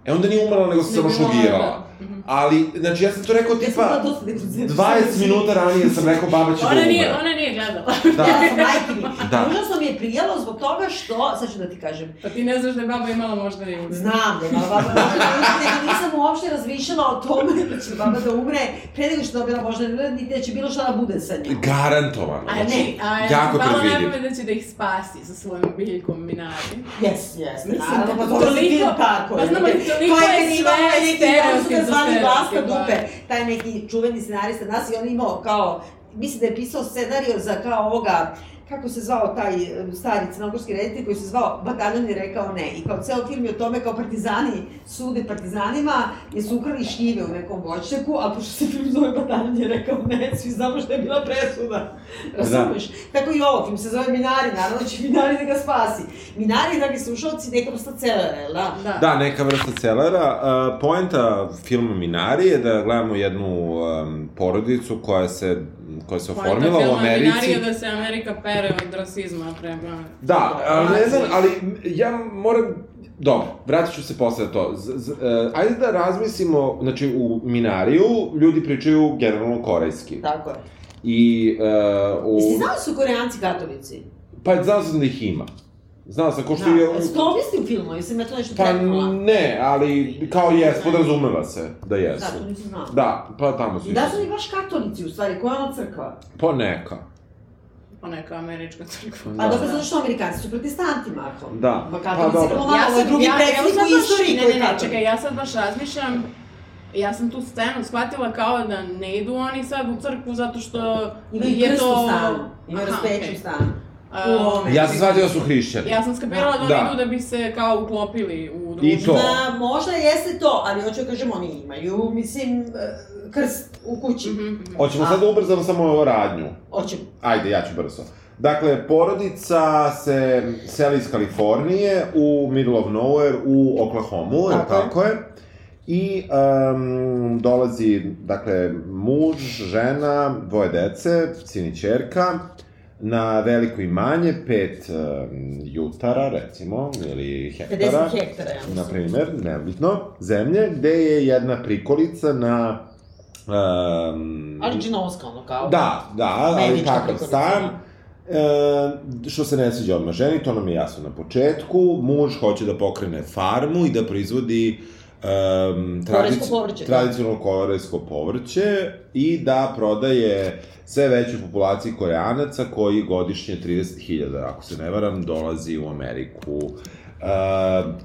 Speaker 1: E onda nije umrla, nego se samo
Speaker 4: Nego je
Speaker 1: šlugirala.
Speaker 4: umrla, da. Mhm.
Speaker 1: Ali, znači, ja sam to rekao
Speaker 2: Ja sam bila
Speaker 1: tipa...
Speaker 2: dosta deprezirana.
Speaker 1: 20 minuta ranije sam rekao baba će da
Speaker 4: Ona nije,
Speaker 1: umre.
Speaker 4: ona nije
Speaker 1: [LAUGHS]
Speaker 4: gledala.
Speaker 1: Da.
Speaker 2: Ja sam majke mi.
Speaker 1: Da.
Speaker 2: Užasno mi je prijalo zbog toga što, sad ću da ti kažem,
Speaker 4: Pa ti ne znaš da je baba imala možda i udar.
Speaker 2: znam da je baba
Speaker 1: [LAUGHS]
Speaker 2: možda da umre, nego nisam uopšte razmišljala o tome da će baba da umre, pre nego što je dobila možda da niti da će bilo šta da bude sa njom.
Speaker 1: Garantovano.
Speaker 4: A
Speaker 1: znači,
Speaker 4: ne, a ja
Speaker 1: jako
Speaker 4: sam pala na
Speaker 1: predvidiv.
Speaker 4: pamet da će da ih spasi sa svojom biljkom Minari.
Speaker 2: Jes, jes,
Speaker 4: Mislim,
Speaker 2: naravno, pa
Speaker 4: da-
Speaker 2: dobro si
Speaker 4: toliko-
Speaker 2: film tako.
Speaker 4: pa znam, ali
Speaker 2: jebote.
Speaker 4: toliko
Speaker 2: To
Speaker 4: je
Speaker 2: kad
Speaker 4: sve
Speaker 2: imamo neki
Speaker 4: stereotip
Speaker 2: ono što
Speaker 4: do
Speaker 2: zvani Vlaska
Speaker 4: stereotipa.
Speaker 2: Dupe, taj neki čuveni scenarista nas i on je imao kao, mislim da je pisao scenario za kao ovoga, kako se zvao taj e, stari crnogorski reditelj koji se zvao Bataljon je rekao ne. I kao ceo film je o tome kao partizani sude partizanima jer su ukrali šljive u nekom voćnjaku, a pošto se film zove Bataljon je rekao ne, svi znamo što je bila presuda. Razumeš? Tako i ovo, film se zove Minari, naravno će Minari da ga spasi. Minari, dragi slušalci, neka vrsta celera, jel da?
Speaker 4: Da.
Speaker 1: Da, neka vrsta celera. Uh, poenta filma Minari je da gledamo jednu um, porodicu koja se, koja se
Speaker 4: Poenta
Speaker 1: oformila u
Speaker 4: filma Minari
Speaker 1: Americi.
Speaker 4: je da se Amerika pere od rasizma prema...
Speaker 1: Da, ali ne znam, ali ja moram... Dobro, vratit ću se posle na to. Z, z, e, ajde da razmislimo, znači u Minariju ljudi pričaju generalno korejski.
Speaker 2: Tako je.
Speaker 1: I e, u...
Speaker 2: Jesi znao da su koreanci katolici?
Speaker 1: Pa znao sam da ih ima. Znao sam, ko što je...
Speaker 2: Da. Su to objasni u filmu, jesam ja to nešto
Speaker 1: Pa
Speaker 2: prekinula?
Speaker 1: ne, ali kao jes, podrazumeva se da
Speaker 2: Da,
Speaker 1: jesu.
Speaker 2: to nisam znala.
Speaker 1: Da, pa tamo su.
Speaker 2: I da su oni baš katolici u stvari, koja je ona crkva?
Speaker 1: Po neka.
Speaker 4: Poneka američka crkva.
Speaker 2: Pa dobro, zato što Amerikanci su protestanti, Marko.
Speaker 1: Da.
Speaker 2: Pa
Speaker 1: Pa
Speaker 2: katolici
Speaker 1: dobro.
Speaker 2: kao malo, ovo je drugi
Speaker 4: evo
Speaker 2: predsjednik
Speaker 4: sad
Speaker 2: u
Speaker 4: baš-
Speaker 2: istoriji
Speaker 4: ne,
Speaker 2: koji je
Speaker 4: ne, ne,
Speaker 2: katolik.
Speaker 4: čekaj, ja sad baš razmišljam, ja sam tu scenu shvatila kao da ne idu oni sad u crkvu zato što
Speaker 2: Imaju
Speaker 4: je
Speaker 2: krst u
Speaker 4: to...
Speaker 2: stanu, imaju
Speaker 4: Aha,
Speaker 2: raspeću u
Speaker 4: okej.
Speaker 2: stanu.
Speaker 4: A,
Speaker 2: U ovome.
Speaker 1: Ja sam shvatio da su hrišćani.
Speaker 4: Ja sam skapirala da,
Speaker 1: Da.
Speaker 4: oni idu da bi se kao uklopili u društvo.
Speaker 1: I to.
Speaker 2: Ma, možda jeste to, ali hoću da kažem, oni imaju, mislim, e, krst u kući.
Speaker 4: Mhm, mhm.
Speaker 1: Hoćemo sad da ubrzamo samo ovo radnju.
Speaker 2: Hoćemo.
Speaker 1: Ajde, ja ću brzo. Dakle, porodica se seli iz Kalifornije u middle of nowhere u Oklahomu, tako,
Speaker 2: Tako je.
Speaker 1: tako je. I um, dolazi, dakle, muž, žena, dvoje dece, sin i čerka. na veliko imanje, pet um, jutara, recimo, ili hektara.
Speaker 2: 50 hektara, ja mislim.
Speaker 1: Na primer, nebitno, zemlje, gde je jedna prikolica na... Um,
Speaker 2: Ali džinovska, ono kao.
Speaker 1: Da, da, ali
Speaker 2: Medička
Speaker 1: takav
Speaker 2: prikolica.
Speaker 1: stan. E, što se ne sviđa odmah ženi, to nam je jasno na početku. Muž hoće da pokrene farmu i da proizvodi um,
Speaker 2: Korejsko povrće, da.
Speaker 1: tradicionalno korejsko povrće i da prodaje sve većoj populaciji koreanaca koji godišnje 30.000, ako se ne varam, dolazi u Ameriku. E,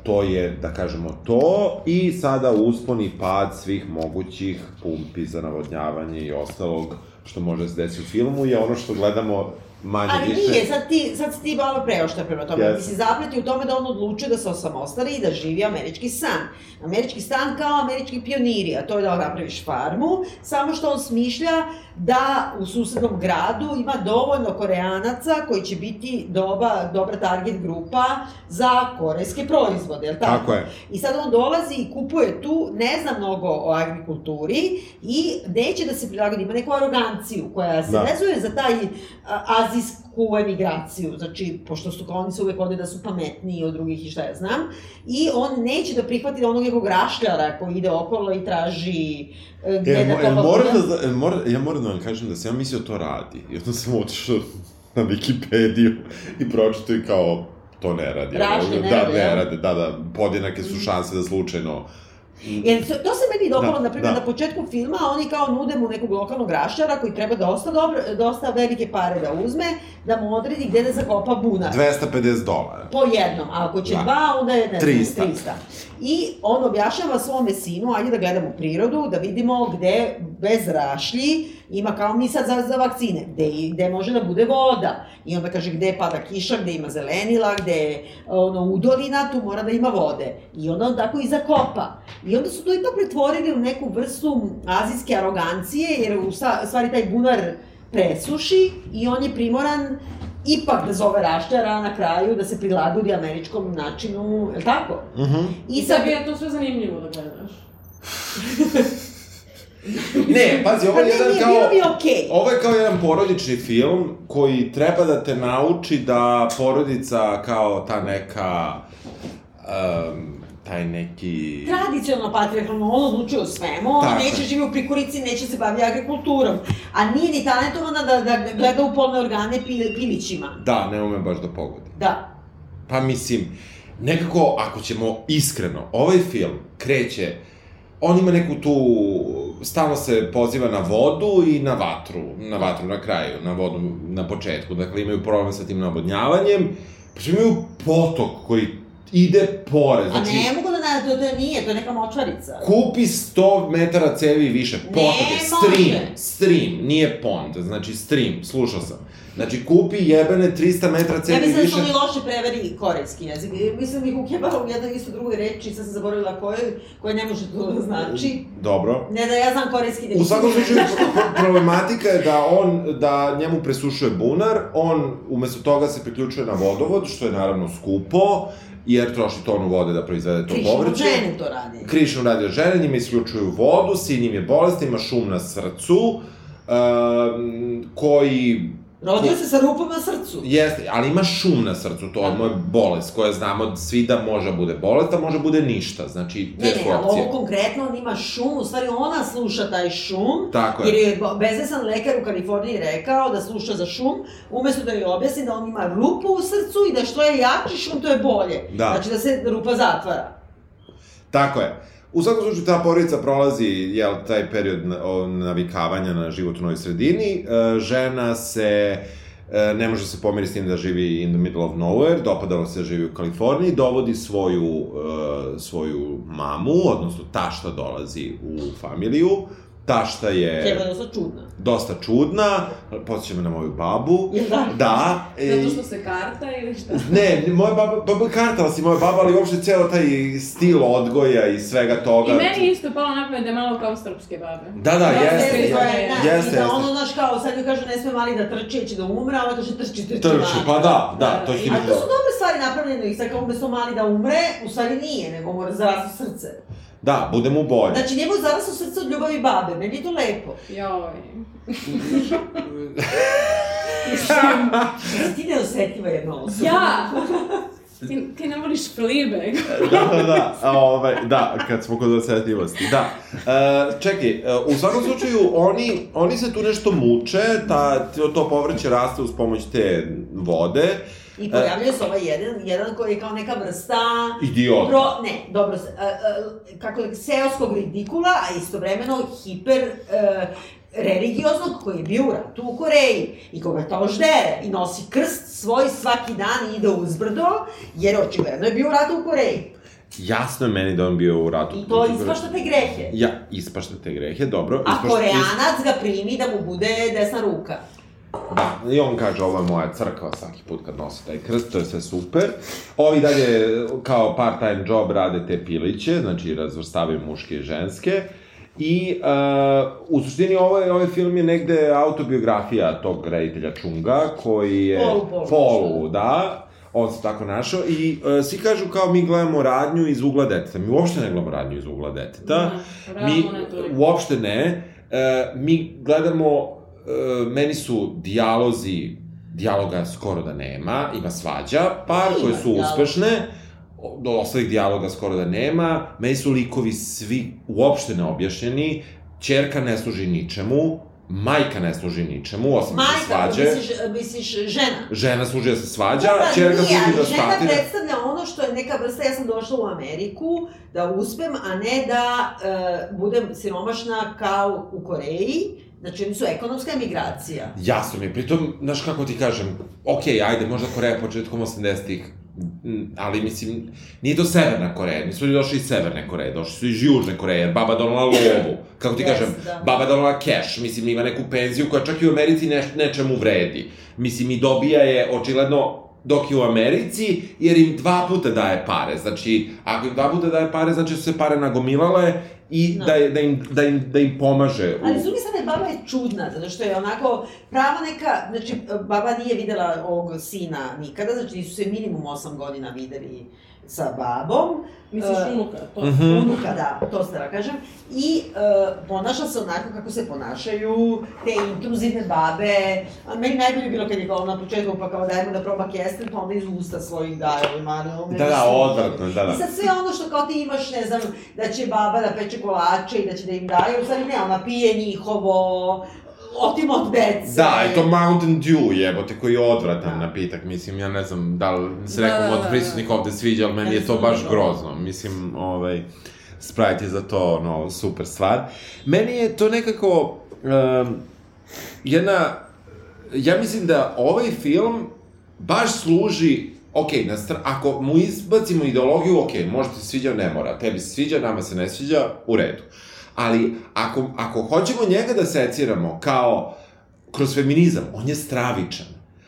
Speaker 1: to je, da kažemo, to i sada uspon i pad svih mogućih pumpi za navodnjavanje i ostalog što može se desiti u filmu je ono što gledamo manje
Speaker 2: Ali
Speaker 1: više.
Speaker 2: nije, sad ti, sad si ti malo preošta prema tome.
Speaker 1: Jeste.
Speaker 2: Yes. Ti si zapleti u tome da on odlučio da se osamostali i da živi američki san. Američki san kao američki pioniri, a to je da napraviš farmu, samo što on smišlja da u susednom gradu ima dovoljno koreanaca koji će biti doba, dobra target grupa za korejske proizvode, je li tako?
Speaker 1: Tako je.
Speaker 2: I sad on dolazi i kupuje tu, ne zna mnogo o agrikulturi i neće da se prilagodi, ima neku aroganciju koja se
Speaker 1: Da.
Speaker 2: da. vezuje za taj a, azijsku emigraciju, znači, pošto su kao oni se uvek ode da su pametniji od drugih i šta ja znam, i on neće da prihvati da onog nekog rašljara koji ide okolo i traži e, gde
Speaker 1: E,
Speaker 2: da
Speaker 1: mo, e,
Speaker 2: kopa
Speaker 1: moram
Speaker 2: ulja.
Speaker 1: da, zna- e, mora, ja moram da vam kažem da sam ja mislio to radi. I onda sam otišao na Wikipediju i pročito i kao, to ne radi.
Speaker 2: Rašlje ne
Speaker 1: da,
Speaker 2: rade,
Speaker 1: ne
Speaker 2: jel? Mhm.
Speaker 1: rade, da, da, podjednake su šanse da slučajno
Speaker 2: Jer se- to se meni dopalo,
Speaker 1: Da,
Speaker 2: da, na primjer,
Speaker 1: da.
Speaker 2: da. na početku filma, oni kao nude mu nekog lokalnog rašara koji treba dosta, dobro, dosta velike pare da uzme, da mu odredi gde da zakopa bunar.
Speaker 1: 250 dolara.
Speaker 2: Po jednom, a ako će
Speaker 1: Da.
Speaker 2: da. dva, onda je ne znam,
Speaker 1: 300.
Speaker 2: 300. I on objašnjava svome sinu, ajde da gledamo prirodu, da vidimo gde bez rašlji ima kao mi sad za, za vakcine, gde, i- gde može da bude voda. I onda kaže gde pada kiša, gde ima zelenila, gde je ono, udolina, tu mora da ima vode. I onda on tako i zakopa. I onda su to ipak pretvorili u neku vrstu azijske arogancije, jer u sa- stvari taj bunar presuši i on je primoran ipak da zove raštara na kraju da se prilagodi američkom načinu, je li tako?
Speaker 1: Mhm.
Speaker 2: I sad,
Speaker 4: Da bi je to sve zanimljivo da gledaš.
Speaker 1: Ne, pazi, ovo
Speaker 2: pa
Speaker 1: je
Speaker 2: ne,
Speaker 1: jedan
Speaker 2: nije, bilo
Speaker 1: kao...
Speaker 2: mi je okej.
Speaker 1: Ovo je kao jedan porodični film koji treba da te nauči da porodica kao ta neka... Um, taj neki...
Speaker 2: Tradicionalno patrijarhalno, on odlučuje o svemu, on
Speaker 1: Tako je.
Speaker 2: neće živi u prikurici, neće se bavi agrikulturom. A nije ni talentovana da, da gleda u polne organe pil, pilićima.
Speaker 1: Da, ne ume baš da pogodi.
Speaker 2: Da.
Speaker 1: Pa mislim, nekako ako ćemo iskreno, ovaj film kreće, on ima neku tu, stalno se poziva na vodu i na vatru, na vatru na kraju, na vodu na početku, dakle imaju problem sa tim navodnjavanjem, pa što imaju potok koji ide pored,
Speaker 2: A
Speaker 1: znači...
Speaker 2: ne mogu da ne, to, to nije, to je neka močvarica.
Speaker 1: Kupi 100 metara cevi i više, potok je
Speaker 2: može.
Speaker 1: stream, stream, nije pond, znači stream, slušao sam. Znači kupi jebene 300 metara
Speaker 2: Ja
Speaker 1: cevi i
Speaker 2: mislim da
Speaker 1: više.
Speaker 2: su oni loše preveli korejski jezik. Mislim da ih ukebala u jednoj isto drugoj reči, sad sam zaboravila koje, koje ne može to da znači.
Speaker 1: Dobro.
Speaker 2: Ne da ja znam korejski da
Speaker 1: U svakom slučaju pro- problematika je da on da njemu presušuje bunar, on umesto toga se priključuje na vodovod, što je naravno skupo, jer troši tonu vode da proizvede to povrće.
Speaker 2: žene to radi.
Speaker 1: Krišom radio žene, njima isključuju vodu, sin im je bolestan, ima šum na srcu, um, koji
Speaker 2: Rodio se sa rupom na srcu.
Speaker 1: Jeste, ali ima šum na srcu, to odmah je bolest koja znamo svi da može bude bolest, a može bude ništa, znači
Speaker 2: Ne,
Speaker 1: te
Speaker 2: ne, ali
Speaker 1: opcije.
Speaker 2: ovo konkretno on ima šum, u stvari ona sluša taj šum,
Speaker 1: Tako
Speaker 2: jer
Speaker 1: je.
Speaker 2: je bo- bezvesan lekar u Kaliforniji rekao da sluša za šum, umesto da joj objasni da on ima rupu u srcu i da što je jači šum, to je bolje.
Speaker 1: Da.
Speaker 2: Znači da se rupa zatvara.
Speaker 1: Tako je. U svakom slučaju ta porodica prolazi jel, taj period na- o, navikavanja na život u novoj sredini. E, žena se e, ne može se pomeri s tim da živi in the middle of nowhere, dopadalo se da živi u Kaliforniji, dovodi svoju, e, svoju mamu, odnosno tašta dolazi u familiju. Tašta je
Speaker 2: Keva je dosta čudna.
Speaker 1: dosta čudna, podsjeća me na moju babu.
Speaker 2: Jel da?
Speaker 1: Da, e,
Speaker 4: Zato što se karta ili šta?
Speaker 1: ne, moja baba, baba kartala si moja baba, ali uopšte ceo taj stil odgoja i svega toga.
Speaker 4: I meni isto je palo na pamet da je malo kao srpske babe.
Speaker 1: Da, da,
Speaker 4: Da,
Speaker 1: jeste.
Speaker 4: sve
Speaker 2: Jeste,
Speaker 1: jeste.
Speaker 4: izgleda.
Speaker 1: Jeste,
Speaker 2: jeste, jeste. I da
Speaker 1: jeste.
Speaker 2: ono, znaš, kao, sad joj kažu, ne sme mali da trči, jer će da umre, a ona kaže, trči, trči,
Speaker 1: Trči, pa da, da, to je
Speaker 2: A to su
Speaker 1: hiljada.
Speaker 2: dobre stvari napravljene, i sad kao umesto mali da umre, u stvari nije, nego mora zarastu srce.
Speaker 1: Da, bude mu
Speaker 4: [LAUGHS]
Speaker 1: bolje.
Speaker 2: Znači, njemu je zaraslo srce od ljubavi babe, meni je to lepo.
Speaker 4: Joj.
Speaker 2: Znači, Ti ne osetljiva jedna osoba.
Speaker 4: Ja! Ti, ti ne voliš Fleabag.
Speaker 1: da, da, da, A, ovaj, da, kad smo kod osjetljivosti, da. E, čekaj, e, u svakom slučaju, oni, oni se tu nešto muče, ta, to povrće raste uz pomoć te vode.
Speaker 2: I pojavljaju se ovaj jedan, jedan koji je kao neka vrsta...
Speaker 1: Idiota.
Speaker 2: Pro, ne, dobro, s- a, a, kako je, seoskog ridikula, a istovremeno hiper e, religioznog koji je bio u ratu u Koreji i koga tamo ždere i nosi krst svoj svaki dan i ide uzbrdo jer očigledno je bio u ratu u Koreji.
Speaker 1: Jasno je meni da on bio u ratu. Znači,
Speaker 2: I to ispašta te grehe.
Speaker 1: Ja, ispašta te grehe, dobro.
Speaker 2: A
Speaker 1: ispašta-
Speaker 2: koreanac ga primi da mu bude desna ruka.
Speaker 1: Da, i on kaže, ovo je moja crkva svaki put kad nosi taj krst, to je sve super. Ovi dalje, kao part-time job, rade te piliće, znači razvrstavaju muške i ženske. I uh, u suštini ovaj, ovaj film je negde autobiografija tog reditelja Čunga, koji je...
Speaker 2: Polu, polu.
Speaker 1: Polu, da. On se tako našao i uh, svi kažu kao mi gledamo radnju iz ugla deteta. Mi uopšte ne gledamo radnju iz ugla deteta. Da. Mi,
Speaker 4: Da, realno ne toliko.
Speaker 1: uopšte ne. E, mi gledamo, e, meni su dijalozi, dijaloga skoro da nema, ima svađa, par
Speaker 2: Ima
Speaker 1: koje su
Speaker 2: dijalog.
Speaker 1: uspešne, o- do ostalih dijaloga skoro da nema, meni su likovi svi uopšte neobjašnjeni, čerka ne služi ničemu, majka ne služi ničemu, osim da se
Speaker 2: Majka,
Speaker 1: svađe.
Speaker 2: misliš, e, misliš žena.
Speaker 1: Žena služi da se svađa,
Speaker 2: Pa
Speaker 1: čerka
Speaker 2: nije,
Speaker 1: služi da
Speaker 2: ali žena
Speaker 1: statira.
Speaker 2: predstavlja ono što je neka vrsta, ja sam došla u Ameriku da uspem, a ne da e, budem siromašna kao u Koreji. Znači, oni su ekonomska emigracija.
Speaker 1: Jasno mi je, pritom, znaš kako ti kažem, okej, ajde, možda Koreja početkom 80-ih, m, ali mislim, nije to Severna Koreja, nisu oni došli iz Severne Koreje, došli su iz Južne Koreje, jer baba
Speaker 2: [CLEARS THROAT]
Speaker 1: donala lovu, kako ti
Speaker 2: Yes,
Speaker 1: kažem,
Speaker 2: da.
Speaker 1: baba donala keš, mislim, ima neku penziju koja čak i u Americi neš, nečemu vredi. Mislim, i dobija je, očigledno, dok je u Americi, jer im dva puta daje pare. Znači, ako im dva puta daje pare, znači da su se pare nagomilale i
Speaker 2: Da.
Speaker 1: da, je- da, im, da, im, da im pomaže. u-
Speaker 2: Ali s druge strane, baba je čudna, zato što je onako prava neka, znači, baba nije videla ovog sina nikada, znači nisu se minimum 8 godina videli sa babom.
Speaker 4: Misliš
Speaker 2: E,
Speaker 4: unuka, to.
Speaker 1: Mhm.
Speaker 2: unuka, da, to stara kažem, i e, ponaša se onako kako se ponašaju te intruzivne babe. A meni najbolje je bilo kad je kao na početku, pa kao dajemo da proba kesten, pa onda iz usta svojih daje ovi mane.
Speaker 1: Da, da, odvratno, da, da.
Speaker 2: I sad sve ono što kao ti imaš, ne znam, da će baba da peče kolače i da će da im daje, u stvari ne, ona pije njihovo, otima od dece.
Speaker 1: Da, i to Mountain Dew jebote koji je odvratan napitak, mislim, ja ne znam da li se
Speaker 4: Da,
Speaker 1: nekom
Speaker 4: da,
Speaker 1: od
Speaker 4: da,
Speaker 1: prisutnih ovde sviđa, ali meni
Speaker 4: Meni
Speaker 1: je to
Speaker 4: se
Speaker 1: baš
Speaker 4: sviđa.
Speaker 1: grozno, mislim, ovaj, Sprite je za to, ono, super stvar. Meni je to nekako um, jedna, ja mislim da ovaj film baš služi Ok, na str... ako mu izbacimo ideologiju, ok, možda ti se sviđa, ne mora. Tebi se sviđa, nama se ne sviđa, u redu. Ali ako, ako hoćemo njega da seciramo kao kroz feminizam, on je stravičan.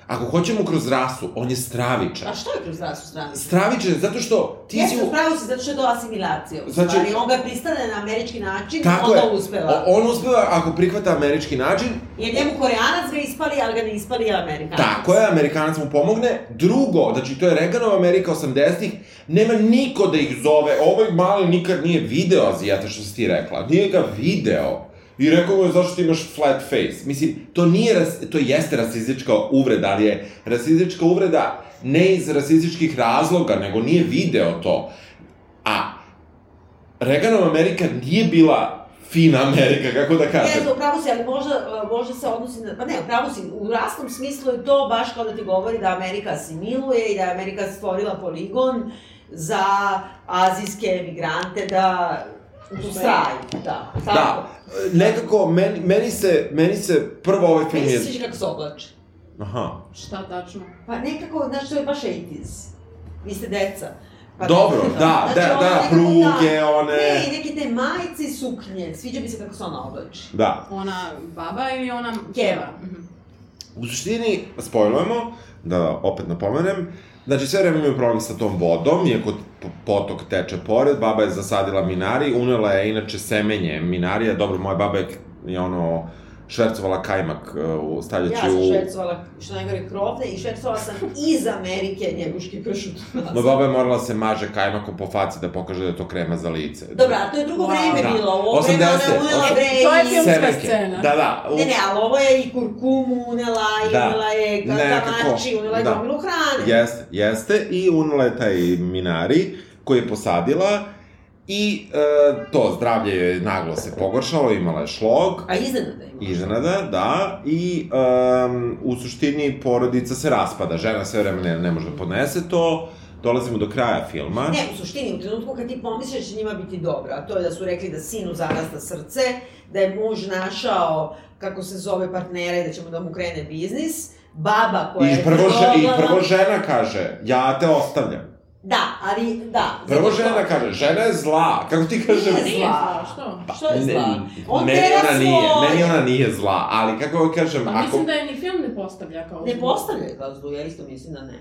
Speaker 1: Ako hoćemo kroz rasu, on je stravičan.
Speaker 2: A što je kroz zdravstvu stranu?
Speaker 1: Stravičan je zato što ti si...
Speaker 2: Jesi,
Speaker 1: u-
Speaker 2: u pravu si, zato što je to asimilacija. u
Speaker 1: Znači-
Speaker 2: stvari, on ga pristane na američki način,
Speaker 1: Tako
Speaker 2: onda
Speaker 1: je.
Speaker 2: uspeva.
Speaker 1: O- On uspeva ako prihvata američki način,
Speaker 2: Jer njemu koreanac ga ispali, ali ga ne ispali amerikanac.
Speaker 1: Tako je, Amerikanac mu pomogne. Drugo, znači to je Reaganova Amerika 80-ih, nema niko da ih zove. Ovaj mali nikad nije video Azijata, što si ti rekla. Nije ga video. I rekao mu je zašto ti imaš flat face. Mislim, to nije, ras, to jeste rasistička uvreda, ali je rasistička uvreda ne iz rasističkih razloga, nego nije video to. A Reaganova Amerika nije bila fina Amerika, kako da kažem.
Speaker 2: Jeste, u pravu si, ali možda, možda se odnosi na... Pa ne, u pravu si, u rasnom smislu je to baš kao da ti govori da Amerika asimiluje i da je Amerika stvorila poligon za azijske emigrante da ustraju. Da, tako.
Speaker 1: Da, nekako, meni, meni, se, meni se prvo ovaj film
Speaker 2: Meni se
Speaker 1: je...
Speaker 2: sviđa kako se oblače.
Speaker 1: Aha.
Speaker 4: Šta tačno?
Speaker 2: Pa nekako, znaš, to je baš 80s. Vi ste deca. Pa Znači,
Speaker 1: Dobro, da, da,
Speaker 2: ono
Speaker 1: da,
Speaker 2: nekako
Speaker 1: pruge,
Speaker 2: Da, ne,
Speaker 1: one...
Speaker 2: i neke te majice i suknje, sviđa mi se kako se ona oblači.
Speaker 1: Da,
Speaker 4: Ona baba ili ona...
Speaker 2: Keva.
Speaker 4: Mhm.
Speaker 1: u suštini, spojlujemo, da opet napomenem, znači sve vreme imaju problem sa tom vodom, iako p- potok teče pored, baba je zasadila minari, unela je inače semenje minarija, dobro, moja baba je, k- je ono, švercovala kajmak, e, u- stavljaći
Speaker 2: Ja sam
Speaker 1: u...
Speaker 2: švercovala, što najgore, krovne i švercovala sam iz Amerike njeguški pršut.
Speaker 1: Moja baba je morala da se maže kajmakom po faci da pokaže da je to krema za lice.
Speaker 2: Dobro, a to je drugo
Speaker 4: Wow.
Speaker 2: vreme
Speaker 1: Da.
Speaker 2: bilo, ovo vreme ona je
Speaker 1: 80-te,
Speaker 2: unela
Speaker 1: osam-
Speaker 2: bre
Speaker 4: To je
Speaker 2: i-
Speaker 4: film-
Speaker 1: Semenke.
Speaker 4: scena.
Speaker 1: Da, da. u-
Speaker 2: Ne, ne, ali ovo je i kurkumu unela, i
Speaker 1: Da.
Speaker 2: unela je
Speaker 1: Nekako,
Speaker 2: katamači, unela je
Speaker 1: da.
Speaker 2: gomilu hrane.
Speaker 1: Jeste, jeste. I unela je taj minari koji je posadila i e, to zdravlje je naglo se pogoršalo, imala je šlog.
Speaker 2: A iznenada je imala.
Speaker 1: Iznenada, da, i um, u suštini porodica se raspada, žena sve vreme ne, ne može da podnese to, dolazimo do kraja filma.
Speaker 2: Ne, u suštini, u trenutku kad ti pomisliš da će njima biti dobro, a to je da su rekli da sinu zarasta srce, da je muž našao, kako se zove, partnera i da ćemo da mu krene biznis, baba koja
Speaker 1: I
Speaker 2: je...
Speaker 1: prvo, že, I
Speaker 2: probala-
Speaker 1: prvo žena kaže, ja te ostavljam.
Speaker 2: Da, ali da.
Speaker 1: Prvo
Speaker 2: zato što-
Speaker 1: žena kaže, žena je zla, kako ti kaže?
Speaker 2: Nije
Speaker 4: Nije zla, što?
Speaker 1: Pa,
Speaker 2: Što je zla? On
Speaker 1: meni
Speaker 2: tera
Speaker 1: ona
Speaker 2: svoj-
Speaker 1: nije, meni ona nije zla, ali kako joj kažem,
Speaker 4: Pa
Speaker 1: ako...
Speaker 4: mislim da je ni film ne postavlja kao
Speaker 2: Ne postavlja je kao zlu, ja isto mislim da ne.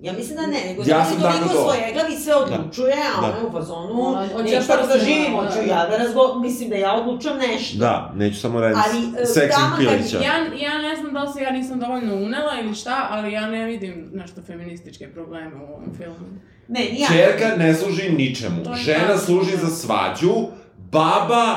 Speaker 2: Ja mislim da ne, nego
Speaker 1: Ja
Speaker 2: ja
Speaker 1: sam
Speaker 2: sam
Speaker 1: tako
Speaker 2: toliko
Speaker 1: to.
Speaker 2: svoje glavi sve odlučuje, a
Speaker 1: Da.
Speaker 2: ona je u fazonu,
Speaker 4: Ona- hoće
Speaker 2: neću
Speaker 4: da
Speaker 2: tako da živim,
Speaker 4: da,
Speaker 2: hoću
Speaker 4: da.
Speaker 2: ja da razgo... mislim da ja odlučam nešto.
Speaker 1: Da, neću samo reći
Speaker 2: Ali, e,
Speaker 1: seksim
Speaker 2: tamo kad
Speaker 1: pilića.
Speaker 4: Ja, ja ne znam da li se ja nisam dovoljno unela ili šta, ali ja ne vidim nešto feminističke probleme u ovom filmu.
Speaker 2: Ne, ni ja.
Speaker 1: Čerka ne služi ničemu.
Speaker 4: To je
Speaker 1: Žena
Speaker 4: tačno.
Speaker 1: služi
Speaker 2: da.
Speaker 1: za svađu, baba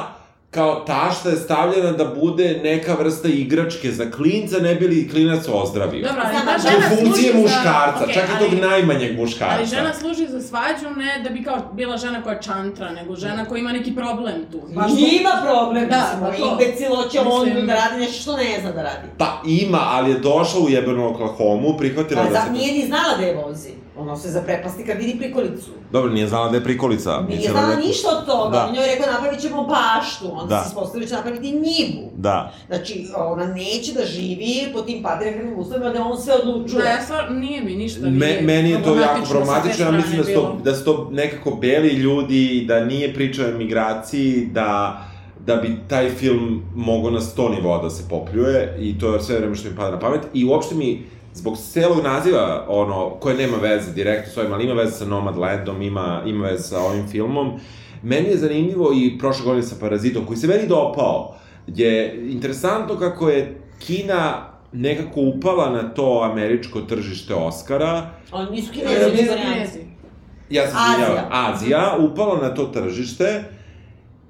Speaker 1: kao tašta je stavljena da bude neka vrsta igračke za klinca, ne bi li klinac ozdravio.
Speaker 4: Dobro, ali
Speaker 2: Sama
Speaker 4: ta
Speaker 2: žena
Speaker 1: U
Speaker 4: žena
Speaker 1: funkciji
Speaker 4: služi za...
Speaker 1: da, muškarca,
Speaker 4: Okej,
Speaker 1: čak i tog
Speaker 4: ali-
Speaker 1: najmanjeg muškarca.
Speaker 4: Ali žena služi za svađu ne da bi kao bila žena koja čantra, nego žena koja ima neki problem tu. Baš
Speaker 2: Ima problem,
Speaker 4: Da,
Speaker 2: da,
Speaker 4: pa
Speaker 2: mislim,
Speaker 4: to.
Speaker 2: imbecilo će on
Speaker 4: Mislim-
Speaker 2: da radi nešto što ne zna da radi.
Speaker 1: Pa ima, ali je došla u jebenu Oklahomu, prihvatila
Speaker 2: Pa
Speaker 1: da se...
Speaker 2: za, nije ni znala da je vozi. Ono se zaprepasti kad vidi prikolicu.
Speaker 1: Dobro, nije znala da je prikolica.
Speaker 2: Nije
Speaker 1: mislila
Speaker 2: znala
Speaker 1: da-
Speaker 2: ništa od toga.
Speaker 1: Da.
Speaker 2: Da. Njoj je rekao napravit ćemo baštu, onda
Speaker 1: Da.
Speaker 2: se ispostavio da će napraviti njivu.
Speaker 1: Da.
Speaker 2: Znači, ona neće da živi po tim patriarkalnim uslovima da on sve odlučuje.
Speaker 4: Da, ja stvar, nije mi ništa.
Speaker 1: Me,
Speaker 4: nije
Speaker 1: meni je to jako
Speaker 4: sa
Speaker 1: problematično,
Speaker 4: te
Speaker 1: ja mislim da su,
Speaker 4: strane
Speaker 1: to,
Speaker 4: bilo.
Speaker 1: da su to nekako beli ljudi, da nije priča o emigraciji, da, da bi taj film mogao na sto nivoa da se popljuje i to je sve vreme što mi pada na pamet i uopšte mi zbog celog naziva, ono, koje nema veze direktno s ovim, ali ima veze sa Nomadlandom, ima, ima veze sa ovim filmom, meni je zanimljivo i prošle godine sa Parazitom, koji se meni dopao, je interesantno kako je Kina nekako upala na to američko tržište Oscara,
Speaker 2: Oni nisu
Speaker 4: Kinezi,
Speaker 2: kinezi, nego Koreanci.
Speaker 4: Kinezi.
Speaker 1: Ja sam
Speaker 2: Azija.
Speaker 1: izvinjavam, Azija upala na to tržište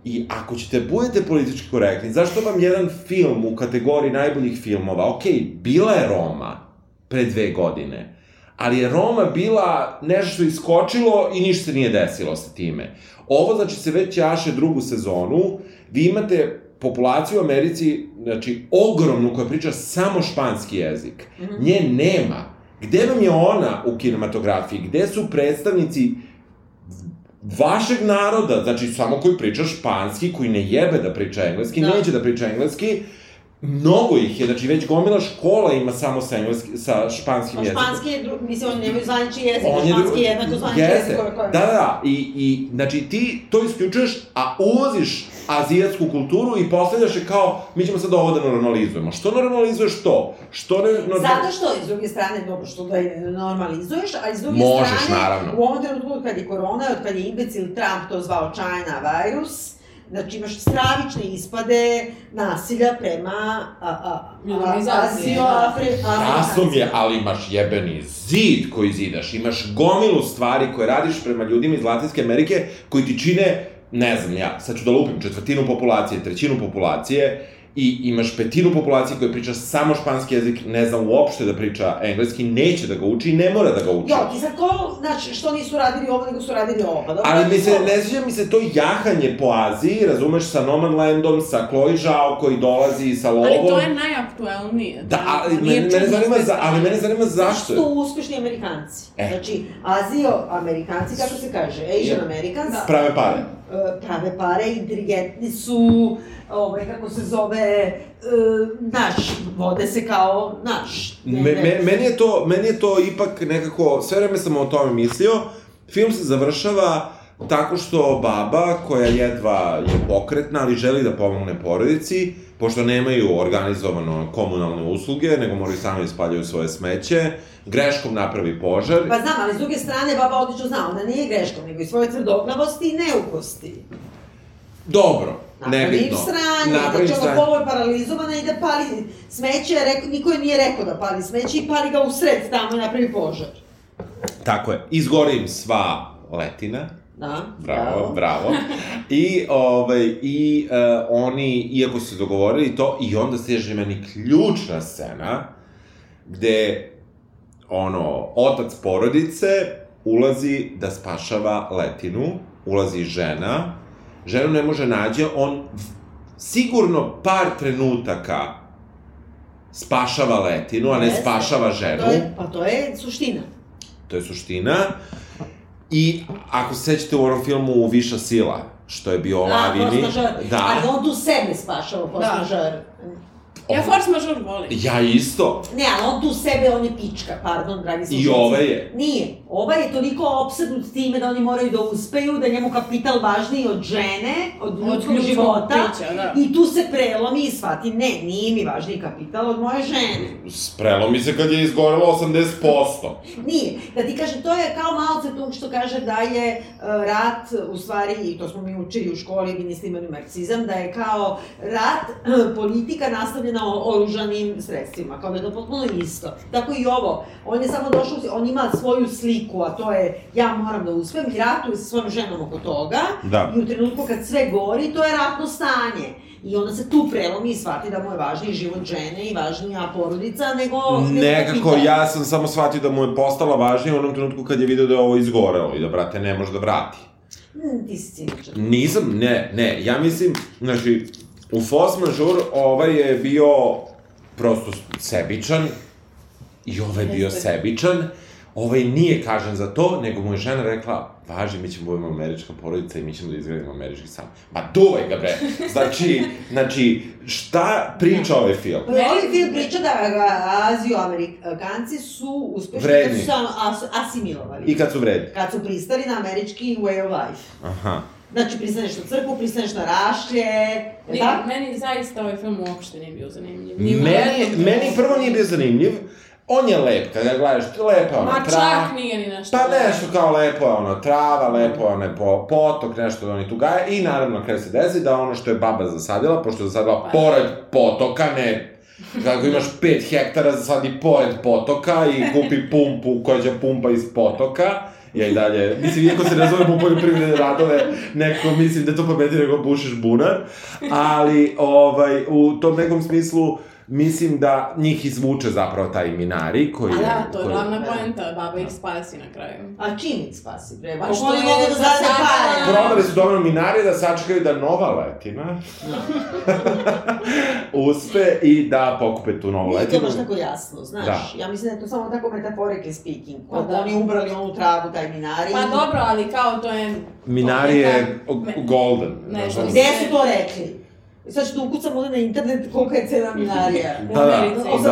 Speaker 1: i ako ćete budete politički korektni, zašto vam jedan film u kategoriji najboljih filmova, ok, bila je Roma pre dve godine, ali je Roma bila nešto što je iskočilo i ništa se nije desilo sa time. Ovo znači se već jaše drugu sezonu, vi imate populaciju u Americi, znači ogromnu koja priča samo španski jezik.
Speaker 2: Mhm.
Speaker 1: Nje nema. Gde vam je ona u kinematografiji? Gde su predstavnici vašeg naroda, znači samo koji priča španski, koji ne jebe da priča engleski, da.
Speaker 2: Da.
Speaker 1: neće da priča engleski, mnogo ih je, znači već gomila škola ima samo sa, engleski, sa španskim
Speaker 2: Pa
Speaker 1: jezikom.
Speaker 2: španski je, dru- mislim, oni nemaju zvanični jezik,
Speaker 1: On je
Speaker 2: španski
Speaker 1: drugi-
Speaker 2: je jednako zvanični
Speaker 1: Jeste,
Speaker 2: jezik koje koje...
Speaker 1: da, da, da, i, i znači ti to isključuješ, a uvoziš azijatsku kulturu i postavljaš je kao, mi ćemo sad ovo da normalizujemo. Što normalizuješ to? Što ne normalizuješ?
Speaker 2: Zato što, iz druge strane, dobro što da je normalizuješ, a iz druge
Speaker 1: Možeš,
Speaker 2: strane,
Speaker 1: naravno.
Speaker 2: u ovom trenutku od kad je korona, od kad je imbecil Trump to zvao China virus, znači imaš stravične ispade nasilja prema a, a, a,
Speaker 4: Minorizaciji,
Speaker 2: Azio,
Speaker 4: da.
Speaker 2: Afri,
Speaker 1: Rasom je, ali imaš jebeni zid koji zidaš, imaš gomilu stvari koje radiš prema ljudima iz Latinske Amerike koji ti čine, ne znam ja, sad ću da lupim, četvrtinu populacije, trećinu populacije i imaš petinu populacije koja priča samo španski jezik, ne zna uopšte da priča engleski, neće da ga uči i ne mora da ga uči.
Speaker 2: Jo, ti sad to, znači, što nisu radili ovo, nego su radili ovo, pa dobro.
Speaker 1: Ali mi se,
Speaker 2: to-
Speaker 1: ne sviđa mi se to jahanje po Aziji, razumeš, sa Nomadlandom, sa Chloe Zhao koji dolazi sa lovom.
Speaker 4: Ali to je najaktuelnije.
Speaker 1: Da, ali
Speaker 4: Nije
Speaker 1: mene, mene
Speaker 4: čudno
Speaker 1: zanima,
Speaker 4: s te
Speaker 1: za, ali mene
Speaker 4: strane.
Speaker 1: zanima zašto je.
Speaker 2: Što uspešni Amerikanci.
Speaker 1: E.
Speaker 2: Znači, Azio-Amerikanci, kako se kaže, Asian Americans, da.
Speaker 1: Prave pare.
Speaker 2: prave pare, inteligentni su, ovaj, kako se zove, e, naš, vode se kao naš.
Speaker 1: Me, me, meni, je to, meni je to ipak nekako, sve vreme sam o tome mislio, film se završava tako što baba, koja jedva je pokretna, ali želi da pomogne porodici, pošto nemaju organizovano komunalne usluge, nego moraju sami ispaljaju svoje smeće, greškom napravi požar.
Speaker 2: Pa znam, ali s druge strane, baba odlično zna, ona nije greškom, nego i svoje tvrdoglavosti i neukosti.
Speaker 1: Dobro,
Speaker 8: Nebitno.
Speaker 2: sranje,
Speaker 8: Napravi
Speaker 2: znači ono
Speaker 8: sranje.
Speaker 2: polu je paralizovana i da pali smeće, reko, niko je nije rekao da pali smeće i pali ga u sred tamo i napravi požar.
Speaker 1: Tako je, izgori im sva letina,
Speaker 2: Da,
Speaker 1: Bravo, bravo. I, ovaj, i e, oni, iako su dogovorili to, i onda stiže meni ključna scena, gde, ono, otac porodice ulazi da spašava letinu, ulazi žena, ženu ne može nađe, on sigurno par trenutaka spašava letinu, a ne
Speaker 2: Jeste.
Speaker 1: spašava ženu.
Speaker 2: To je, pa to je suština.
Speaker 1: To je suština. I ako se sećate u onom filmu Viša sila, što je bio o lavini.
Speaker 2: Da. Ali
Speaker 1: Da.
Speaker 2: on tu sebe spašava
Speaker 3: Da.
Speaker 2: postažar.
Speaker 4: Ja force majeure volim.
Speaker 1: Ja isto.
Speaker 2: Ne, ali on tu sebe, on je pička, pardon, dragi
Speaker 1: I
Speaker 2: slušalci.
Speaker 1: ova je.
Speaker 2: Nije. Ovaj je toliko obsednut s time da oni moraju da uspeju, da je njemu kapital važniji od žene, od ljudskog
Speaker 4: ljudskog
Speaker 2: života.
Speaker 4: bića, da.
Speaker 2: I tu se prelomi i shvati, ne, nije mi važniji kapital od moje žene.
Speaker 1: Sprelo mi se kad je izgorelo 80%.
Speaker 2: Nije. Da ti kažem, to je kao Mao Zedong što kaže da je e, rat, u stvari, i to smo mi učili u školi, mi niste imali marksizam, da je kao rat e, politika nastavljena o- oružanim sredstvima, kao da je to potpuno isto. Tako i ovo, on je samo došao, on ima svoju sliku, a to je ja moram da uspem i ratuje sa svojom ženom oko toga,
Speaker 1: Da.
Speaker 2: I u trenutku kad sve gori, to je ratno stanje. I onda se tu prelomi i shvati da mu je važniji život žene i važnija porodica nego... nego
Speaker 1: Nekako,
Speaker 2: kapital.
Speaker 1: ja sam samo shvatio da mu je postala važnija u onom trenutku kad je video da je ovo izgorelo i da, brate, ne može da vrati.
Speaker 2: Mm, ti si ciničan.
Speaker 1: Nisam, ne, ne, ja mislim, znači, u Force Majeure ovaj je bio prosto sebičan i ovaj je bio sebičan, ovaj nije kažen za to, nego mu je žena rekla, važi, mi ćemo da budemo američka porodica i mi ćemo da izgledamo američki sam. Ma duvaj ga bre! Znači, znači, šta priča ovaj film?
Speaker 2: Pa je ovaj film priča da a, Azioamerikanci su uspešni
Speaker 1: Vredni.
Speaker 2: kad su se as, asimilovali.
Speaker 1: I kad su vredni.
Speaker 2: Kad su pristali na američki way of life.
Speaker 1: Aha.
Speaker 2: Znači, pristaneš na crkvu, pristaneš na rašlje, je
Speaker 4: Nije,
Speaker 2: tako?
Speaker 4: meni zaista ovaj film uopšte nije bio zanimljiv. Ni u
Speaker 1: Meni,
Speaker 4: jednom
Speaker 1: meni
Speaker 4: trenutku.
Speaker 1: prvo nije bio zanimljiv, on je lep, kada ga gledaš, lepa je ona
Speaker 4: Ma čak nije ni nešto. da
Speaker 1: Pa nešto kao lepo je ono trava, lepo je onaj po, potok, nešto da oni tu gaje i naravno na kraju se desi da ono što je baba zasadila, pošto je zasadila
Speaker 4: Pa.
Speaker 1: pored potoka, ne kako imaš 5 hektara zasadi pored potoka i kupi pumpu koja će pumpa iz potoka, ja i dalje, mislim, iako se razumemo u poljoprivredne radove, neko mislim da to pobedi nego bušiš bunar, ali ovaj, u tom nekom smislu mislim da njih izvuče zapravo taj minari koji
Speaker 4: A
Speaker 1: je...
Speaker 4: da, to je
Speaker 1: koji-
Speaker 4: glavna poenta, baba ih spasi na kraju.
Speaker 2: A čim ih spasi, bre? Pa
Speaker 4: Pošto
Speaker 2: što oni
Speaker 4: je
Speaker 2: mogu da zarade
Speaker 4: sada-
Speaker 2: pare?
Speaker 1: Probali su dovoljno minarije da sačekaju da nova letina uspe i da pokupe tu novu
Speaker 2: Nije to
Speaker 1: letinu.
Speaker 2: baš tako jasno, znaš.
Speaker 1: Da.
Speaker 2: Ja mislim da je to samo tako metaforically speaking.
Speaker 4: Pa
Speaker 2: Pa da.
Speaker 4: da.
Speaker 2: Oni ubrali onu travu, taj minari.
Speaker 4: Pa dobro, ali kao to je...
Speaker 1: Minarije
Speaker 4: to je neka-
Speaker 1: golden.
Speaker 4: Nešto.
Speaker 1: znaš.
Speaker 2: Gde su to rekli? Sad ću da ukucam ovde na internet kolika je cena minarija.
Speaker 4: u
Speaker 1: Da, da,
Speaker 4: Americi.
Speaker 1: da.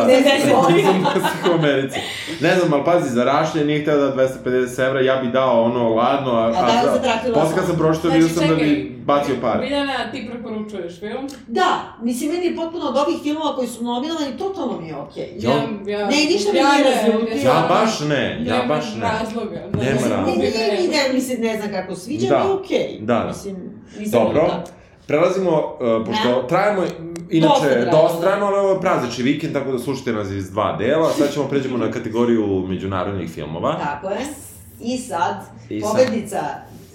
Speaker 1: [LAUGHS]
Speaker 2: 80
Speaker 1: Nisam baš u Americi. Ne znam, ali pazi, za rašlje nije hteo da 250 evra, ja bi dao ono ladno, a,
Speaker 2: A da li se tratila
Speaker 1: posle kad sam pročito vidio sam da bi bacio pare.
Speaker 4: Biljana, ti preporučuješ film?
Speaker 2: Da, mislim, meni je potpuno od ovih filmova koji su nominovani, totalno mi je okej.
Speaker 1: Ja-
Speaker 4: ja,
Speaker 2: Ne, ništa me nije razljutilo.
Speaker 1: Ja baš ne, ja
Speaker 4: Nema
Speaker 1: baš ne.
Speaker 4: razloga.
Speaker 1: Nema
Speaker 4: Mislim,
Speaker 1: razloga.
Speaker 2: Ne,
Speaker 4: bi
Speaker 2: nije mi
Speaker 4: rekla.
Speaker 2: da mi se ne znam kako sviđa,
Speaker 1: Da.
Speaker 2: da. mi je okej.
Speaker 1: Da, da.
Speaker 2: Mislim, nisam
Speaker 1: Dobro.
Speaker 2: bila.
Speaker 1: Prelazimo, uh, pošto trajamo,
Speaker 2: Dosta
Speaker 1: inače,
Speaker 2: trajamo.
Speaker 1: dosta trajamo, ali ovo je praznični vikend, tako da slušajte nas iz dva dela. Sad ćemo pređemo na kategoriju međunarodnih filmova.
Speaker 2: Tako je. I sad,
Speaker 1: I sad.
Speaker 2: pobednica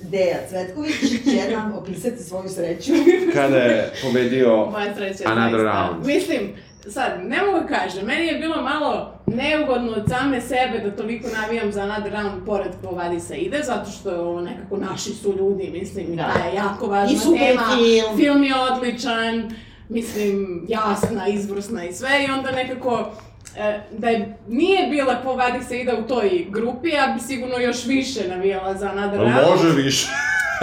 Speaker 2: Deja Cvetković će nam opisati svoju sreću.
Speaker 1: Kada je pobedio...
Speaker 3: Moja sreća.
Speaker 1: Another
Speaker 3: zaista.
Speaker 1: round.
Speaker 3: Mislim, sad, ne mogu da kažem, meni je bilo malo neugodno od same sebe da toliko navijam za Another Round pored Kovadisa ide, zato što je ovo nekako naši su ljudi, mislim, i
Speaker 2: Da.
Speaker 3: ta je jako važna
Speaker 2: I super
Speaker 3: tema.
Speaker 2: film.
Speaker 3: Film je odličan, mislim, jasna, izvrsna i sve, i onda nekako e, da je, nije bila Kovadis ide u toj grupi, ja bi sigurno još više navijala za Another Round.
Speaker 1: Može više.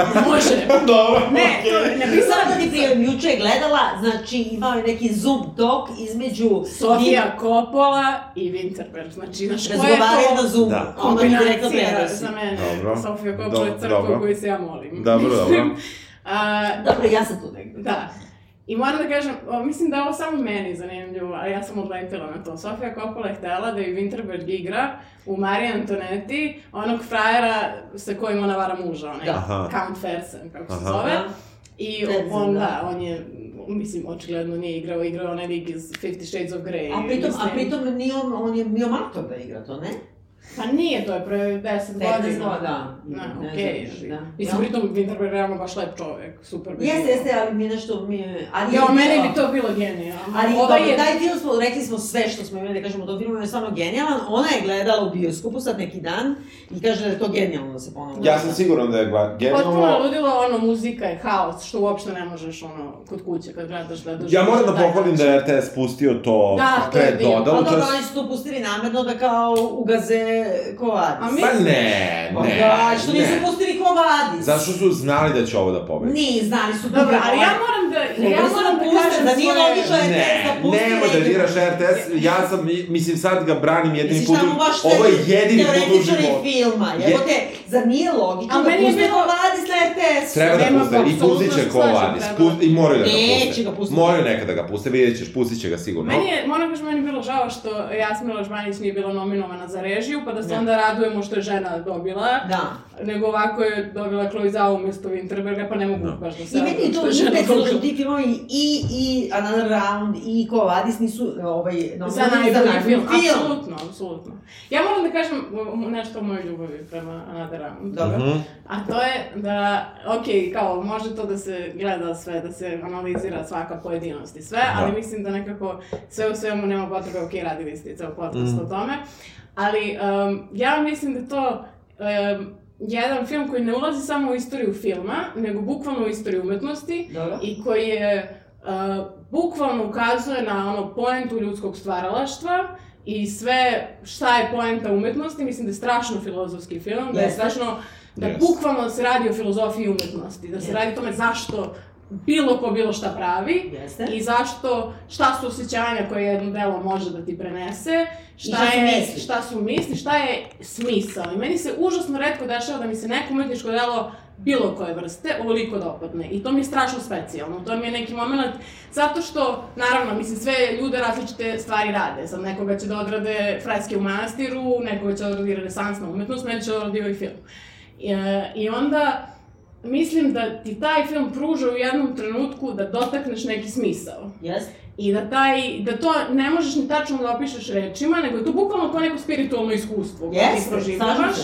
Speaker 1: [LAUGHS]
Speaker 3: Može.
Speaker 2: [LAUGHS]
Speaker 1: Dobro.
Speaker 3: [LAUGHS] Ne, to je napisala
Speaker 2: Samo da ti prijem, juče je gledala, znači imao je neki Zoom talk između
Speaker 3: Sofija Coppola i Winterberg. Znači, znaš, ko je
Speaker 2: Razgovaraju na
Speaker 3: to
Speaker 2: Zoomu,
Speaker 1: Da.
Speaker 2: da. onda mi direktno
Speaker 3: kombinacija da
Speaker 2: prenosi.
Speaker 3: za mene?
Speaker 1: Dobro.
Speaker 3: Sofija
Speaker 1: Do-
Speaker 3: Coppola je crkva
Speaker 1: dobro. Da.
Speaker 3: u koju se ja molim.
Speaker 1: Dobro, dobro.
Speaker 3: A,
Speaker 2: Dobro, ja sam tu negde.
Speaker 3: da. I moram da kažem, o, mislim da je ovo samo meni zanimljivo, a ja sam odletila na to. Sofija Coppola je htela da ju Winterberg igra u Mariji Antonetti, onog frajera sa kojim ona vara muža, onaj
Speaker 2: Da.
Speaker 1: Aha.
Speaker 3: Count Fersen, kako se
Speaker 1: Aha.
Speaker 3: zove.
Speaker 2: Da.
Speaker 4: I
Speaker 2: Ne znam,
Speaker 4: on,
Speaker 2: da.
Speaker 4: da, on je, mislim, očigledno nije igrao, igrao je onaj lik iz Fifty Shades of Grey.
Speaker 2: A pritom, a
Speaker 4: mislim.
Speaker 2: pritom nije on, on je bio mator da igra to, ne?
Speaker 4: Pa nije, to je pre 10
Speaker 2: 15
Speaker 4: godina.
Speaker 2: godina.
Speaker 4: da. Ne,
Speaker 2: Ne znam,
Speaker 4: okej.
Speaker 2: da.
Speaker 4: Mislim,
Speaker 2: Ja.
Speaker 4: pritom Winterberg je realno baš lep čovjek, super. bi
Speaker 2: Jeste,
Speaker 4: bilo.
Speaker 2: jeste, ali mi je nešto... Mi, je- ali
Speaker 4: Ja,
Speaker 2: je-
Speaker 4: meni bi to bilo genijalno.
Speaker 2: Ali
Speaker 4: Ovaj
Speaker 2: dobro,
Speaker 4: je-
Speaker 2: taj film smo, rekli smo sve što smo imali da kažemo o tom filmu, on je stvarno genijalan. Ona je gledala u bioskopu sad neki dan i kaže da je to genijalno da se ponovno.
Speaker 8: Ja sam siguran da je gla-
Speaker 4: Potpuno je
Speaker 8: genijalno.
Speaker 4: ludilo, ono, muzika je haos, što uopšte ne možeš, ono, kod kuće kad gledaš znači. da doživiš
Speaker 8: Ja moram da
Speaker 4: na taj
Speaker 8: pohvalim da
Speaker 4: način.
Speaker 8: je RTS pustio to,
Speaker 4: Da,
Speaker 8: to
Speaker 4: to
Speaker 8: je
Speaker 4: je bilo.
Speaker 2: Pa
Speaker 8: dodalo, to je...
Speaker 2: dobro, oni su to pustili namerno da kao ugaze kovadis.
Speaker 4: A mi-
Speaker 8: Pa ne,
Speaker 2: Pa
Speaker 8: ne,
Speaker 2: da, što nisu
Speaker 8: ne.
Speaker 2: pustili kovadis.
Speaker 8: Zašto su znali da će ovo da pobedi?
Speaker 2: Ni, znali su
Speaker 4: Dobro, ali ja moram da, ja moram da kažem
Speaker 2: da nije
Speaker 4: svoje-
Speaker 2: logično je
Speaker 8: Ne,
Speaker 2: da pusti
Speaker 8: nemoj da
Speaker 2: negdje.
Speaker 8: diraš RTS, ja sam, mislim sad ga branim jedini
Speaker 2: Misliš
Speaker 8: put,
Speaker 2: tamo baš
Speaker 8: u- ovo je
Speaker 2: te
Speaker 8: jedini put u
Speaker 2: teoretičari
Speaker 8: životu.
Speaker 2: filma,
Speaker 8: Je-
Speaker 2: evo te, zar nije logično
Speaker 4: A
Speaker 2: da
Speaker 4: meni je
Speaker 2: puste
Speaker 4: bilo-
Speaker 2: kovadis na RTS-u?
Speaker 8: Treba da
Speaker 4: Nema,
Speaker 8: puste, i
Speaker 4: apsolutno
Speaker 8: pustit će
Speaker 4: se
Speaker 8: ko
Speaker 4: slažem,
Speaker 8: Vladis,
Speaker 4: treba.
Speaker 8: pust- i moraju da ga
Speaker 2: Neće
Speaker 8: puste.
Speaker 2: ga pustiti.
Speaker 8: Moraju nekada da ga puste, vidjet ćeš, pustit će ga sigurno.
Speaker 4: Meni je, moram kažem, meni je bilo žao što Jasmila Ložmanić nije bila nominovana za režiju, pa da se
Speaker 2: Da.
Speaker 4: onda radujemo što je žena dobila,
Speaker 2: Da.
Speaker 4: nego ovako je dobila Chloe Zhao umjesto Winterberga, pa ne mogu
Speaker 8: Da.
Speaker 4: baš da se
Speaker 2: I meni je to
Speaker 4: što je žena
Speaker 2: impecno što
Speaker 4: dobila.
Speaker 2: ti filmovi i, i Another Round i Kovadis nisu ovaj,
Speaker 4: Za
Speaker 2: nominovani
Speaker 4: najbolji film, apsolutno, apsolutno. Ja moram da kažem um, nešto o mojoj ljubavi prema Another Round.
Speaker 2: Dobro.
Speaker 8: Mhm.
Speaker 4: A to je da, ok, kao, može to da se gleda sve, da se analizira svaka pojedinost i sve, ali
Speaker 8: Da.
Speaker 4: mislim da nekako sve u svemu nema potrebe, ok, radili ste i ceo podcast
Speaker 8: Mhm.
Speaker 4: o tome. Ali um, ja mislim da je to um, jedan film koji ne ulazi samo u istoriju filma, nego bukvalno u istoriju umetnosti
Speaker 2: Dobro.
Speaker 4: i koji je uh, bukvalno ukazuje na ono poentu ljudskog stvaralaštva i sve šta je poenta umetnosti, mislim da je strašno filozofski film, da je
Speaker 2: Jeste.
Speaker 4: strašno da
Speaker 8: Jeste.
Speaker 4: bukvalno se radi o filozofiji umetnosti, da se
Speaker 2: Jeste.
Speaker 4: radi o tome zašto bilo ko bilo šta pravi
Speaker 2: Jeste.
Speaker 4: i zašto, šta su osjećanja koje jedno delo može da ti prenese, šta,
Speaker 2: šta su
Speaker 4: je,
Speaker 2: misli.
Speaker 4: šta su misli, šta je smisao. I meni se užasno redko dešava da mi se neko umetničko delo bilo koje vrste ovoliko dopadne. I to mi je strašno specijalno. To mi je neki moment Zato što, naravno, mislim, sve ljude različite stvari rade. Sad nekoga će da odrade freske u manastiru, nekoga će da odradi renesansna umetnost, meni će da odradi ovaj film. I, e, I onda, mislim da ti taj film pruža u jednom trenutku da dotakneš neki smisao.
Speaker 2: Jeste.
Speaker 4: I da, taj, da to ne možeš ni tačno da opišeš rečima, nego je to bukvalno to neko spiritualno iskustvo koje ti
Speaker 2: Jeste, slažem
Speaker 4: proživljavaš.
Speaker 2: se.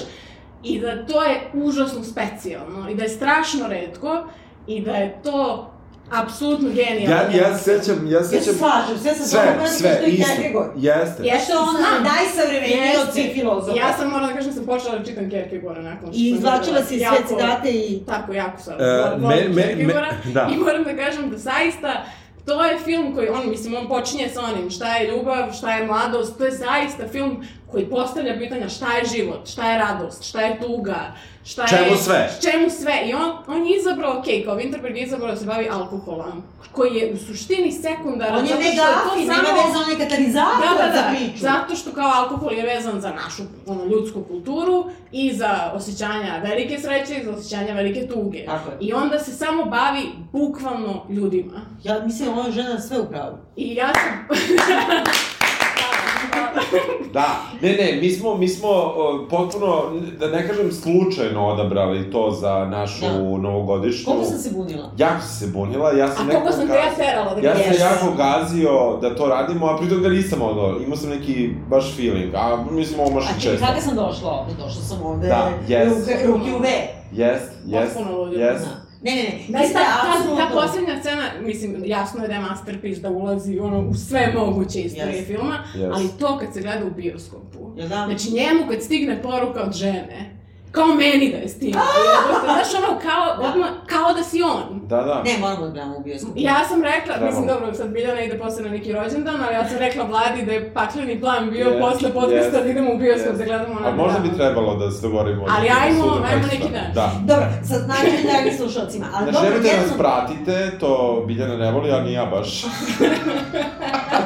Speaker 4: I da to je užasno specijalno, i da je strašno redko, i da je to apsolutno genijalno.
Speaker 8: Ja, ja se sećam, ja se
Speaker 2: Ja se
Speaker 8: sećam,
Speaker 2: slažem, sve sam da
Speaker 8: sve, sve, isto, jeste.
Speaker 4: Ja
Speaker 2: Što je ona da-
Speaker 4: znam.
Speaker 2: najsavremenija od svih filozofa.
Speaker 4: Ja sam morala da kažem da sam počela da čitam Kierkegaara nakon što
Speaker 2: I
Speaker 4: sam
Speaker 2: izvlačila
Speaker 4: videla.
Speaker 2: si sve
Speaker 4: Jako-
Speaker 2: citate i...
Speaker 4: Tako, jako sam.
Speaker 8: E,
Speaker 4: volim
Speaker 8: me- me- me-
Speaker 4: Kierkegaara.
Speaker 8: da.
Speaker 4: [LAUGHS] I moram da kažem da zaista to je film koji, on, mislim, on počinje sa onim šta je ljubav, šta je mladost, to je zaista film koji postavlja pitanja šta je život, šta je radost, šta je tuga, šta je...
Speaker 8: Čemu sve?
Speaker 4: Čemu sve. I on, on je izabrao, okej, kao Winterberg je izabrao da se bavi alkoholom, koji je u suštini sekundaran.
Speaker 2: On je
Speaker 4: zato što to
Speaker 2: negafi, nema
Speaker 4: samo-
Speaker 2: veze, on je katalizator
Speaker 4: da, da,
Speaker 2: za
Speaker 4: da,
Speaker 2: priču.
Speaker 4: zato što kao alkohol je vezan za našu ono, ljudsku kulturu i za osjećanja velike sreće i za osjećanja velike tuge.
Speaker 2: Tako je.
Speaker 4: I onda se samo bavi bukvalno ljudima.
Speaker 2: Ja mislim, ova žena sve u pravu.
Speaker 4: I ja sam... [LAUGHS]
Speaker 2: [LAUGHS]
Speaker 8: Da, ne, ne, mi smo, mi smo o, potpuno, da ne kažem slučajno odabrali to za našu
Speaker 2: Da.
Speaker 8: novogodišnju.
Speaker 2: Koliko sam se bunila?
Speaker 8: Jako si se bunila, ja sam
Speaker 4: A koliko sam te ja
Speaker 8: gazio-
Speaker 4: terala da
Speaker 8: Ja sam
Speaker 2: Jeste.
Speaker 8: jako gazio da to radimo, a pritom ga nisam odao, imao sam neki baš feeling, a mislim ovo možda
Speaker 2: A čekaj,
Speaker 8: često.
Speaker 2: kada sam došla ovde? Došla sam ovde
Speaker 8: Da,
Speaker 2: u,
Speaker 8: yes.
Speaker 2: u, u QV.
Speaker 8: Jest, jest,
Speaker 4: Potpuno ludio.
Speaker 8: jest.
Speaker 2: Ne, ne, ne.
Speaker 4: Da,
Speaker 2: mislim
Speaker 4: i ta, ta, ta
Speaker 2: apsolutno-
Speaker 4: posljednja scena, mislim, jasno je da je masterpiece da ulazi ono, u sve moguće istorije
Speaker 2: Yes.
Speaker 4: filma,
Speaker 8: Yes.
Speaker 4: ali to kad se gleda u bioskopu,
Speaker 2: Jel da?
Speaker 4: Znači njemu kad stigne poruka od žene, kao meni da je stigla. jebote, Znaš ono, kao, odmah, kao da si on.
Speaker 8: Da, da.
Speaker 2: Ne, moramo da gledamo u bioskopu.
Speaker 4: Ja sam rekla,
Speaker 8: Bravo.
Speaker 4: mislim dobro, sad Biljana ide posle na neki rođendan, ali ja sam rekla Vladi da je pakleni plan bio
Speaker 8: Yes,
Speaker 4: posle podcasta
Speaker 8: yes,
Speaker 4: da idemo u bioskop
Speaker 8: yes.
Speaker 4: da gledamo na
Speaker 8: A možda bi trebalo da se dogovorimo.
Speaker 4: Ali
Speaker 8: da ćemo
Speaker 4: ajmo-
Speaker 8: sutra
Speaker 4: ajmo
Speaker 8: nešto.
Speaker 4: neki dan.
Speaker 8: Da.
Speaker 2: Dobro, sa znači dragi slušalcima, ali
Speaker 8: Znači,
Speaker 2: dobro,
Speaker 8: nemojte da
Speaker 2: ja
Speaker 8: nas
Speaker 2: sam...
Speaker 8: pratite, to Biljana ne voli, a ni ja
Speaker 4: [LAUGHS]
Speaker 8: baš.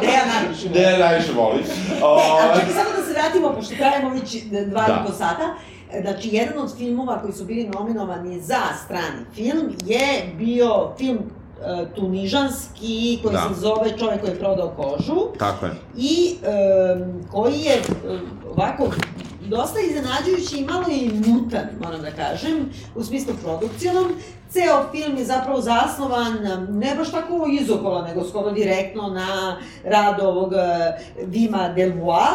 Speaker 2: Gde ja najviše volim.
Speaker 8: Ne, najviše
Speaker 4: [LAUGHS]
Speaker 8: volim.
Speaker 2: E,
Speaker 8: Ovaj,
Speaker 2: ali čekaj samo da se vratimo, pošto trajamo već dva
Speaker 8: Da.
Speaker 2: i po sata. E, Znači, jedan od filmova koji su bili nominovani za strani film je bio film e, tunižanski koji
Speaker 8: Da.
Speaker 2: se zove Čovek koji je prodao kožu
Speaker 8: Tako je.
Speaker 2: i em, koji je em, ovako dosta iznenađujući i malo i mutan, moram da kažem, u smislu produkcionom. Ceo film je zapravo zasnovan, ne baš tako izokola, nego skoro direktno na rad ovog eh, Vima Delvoa,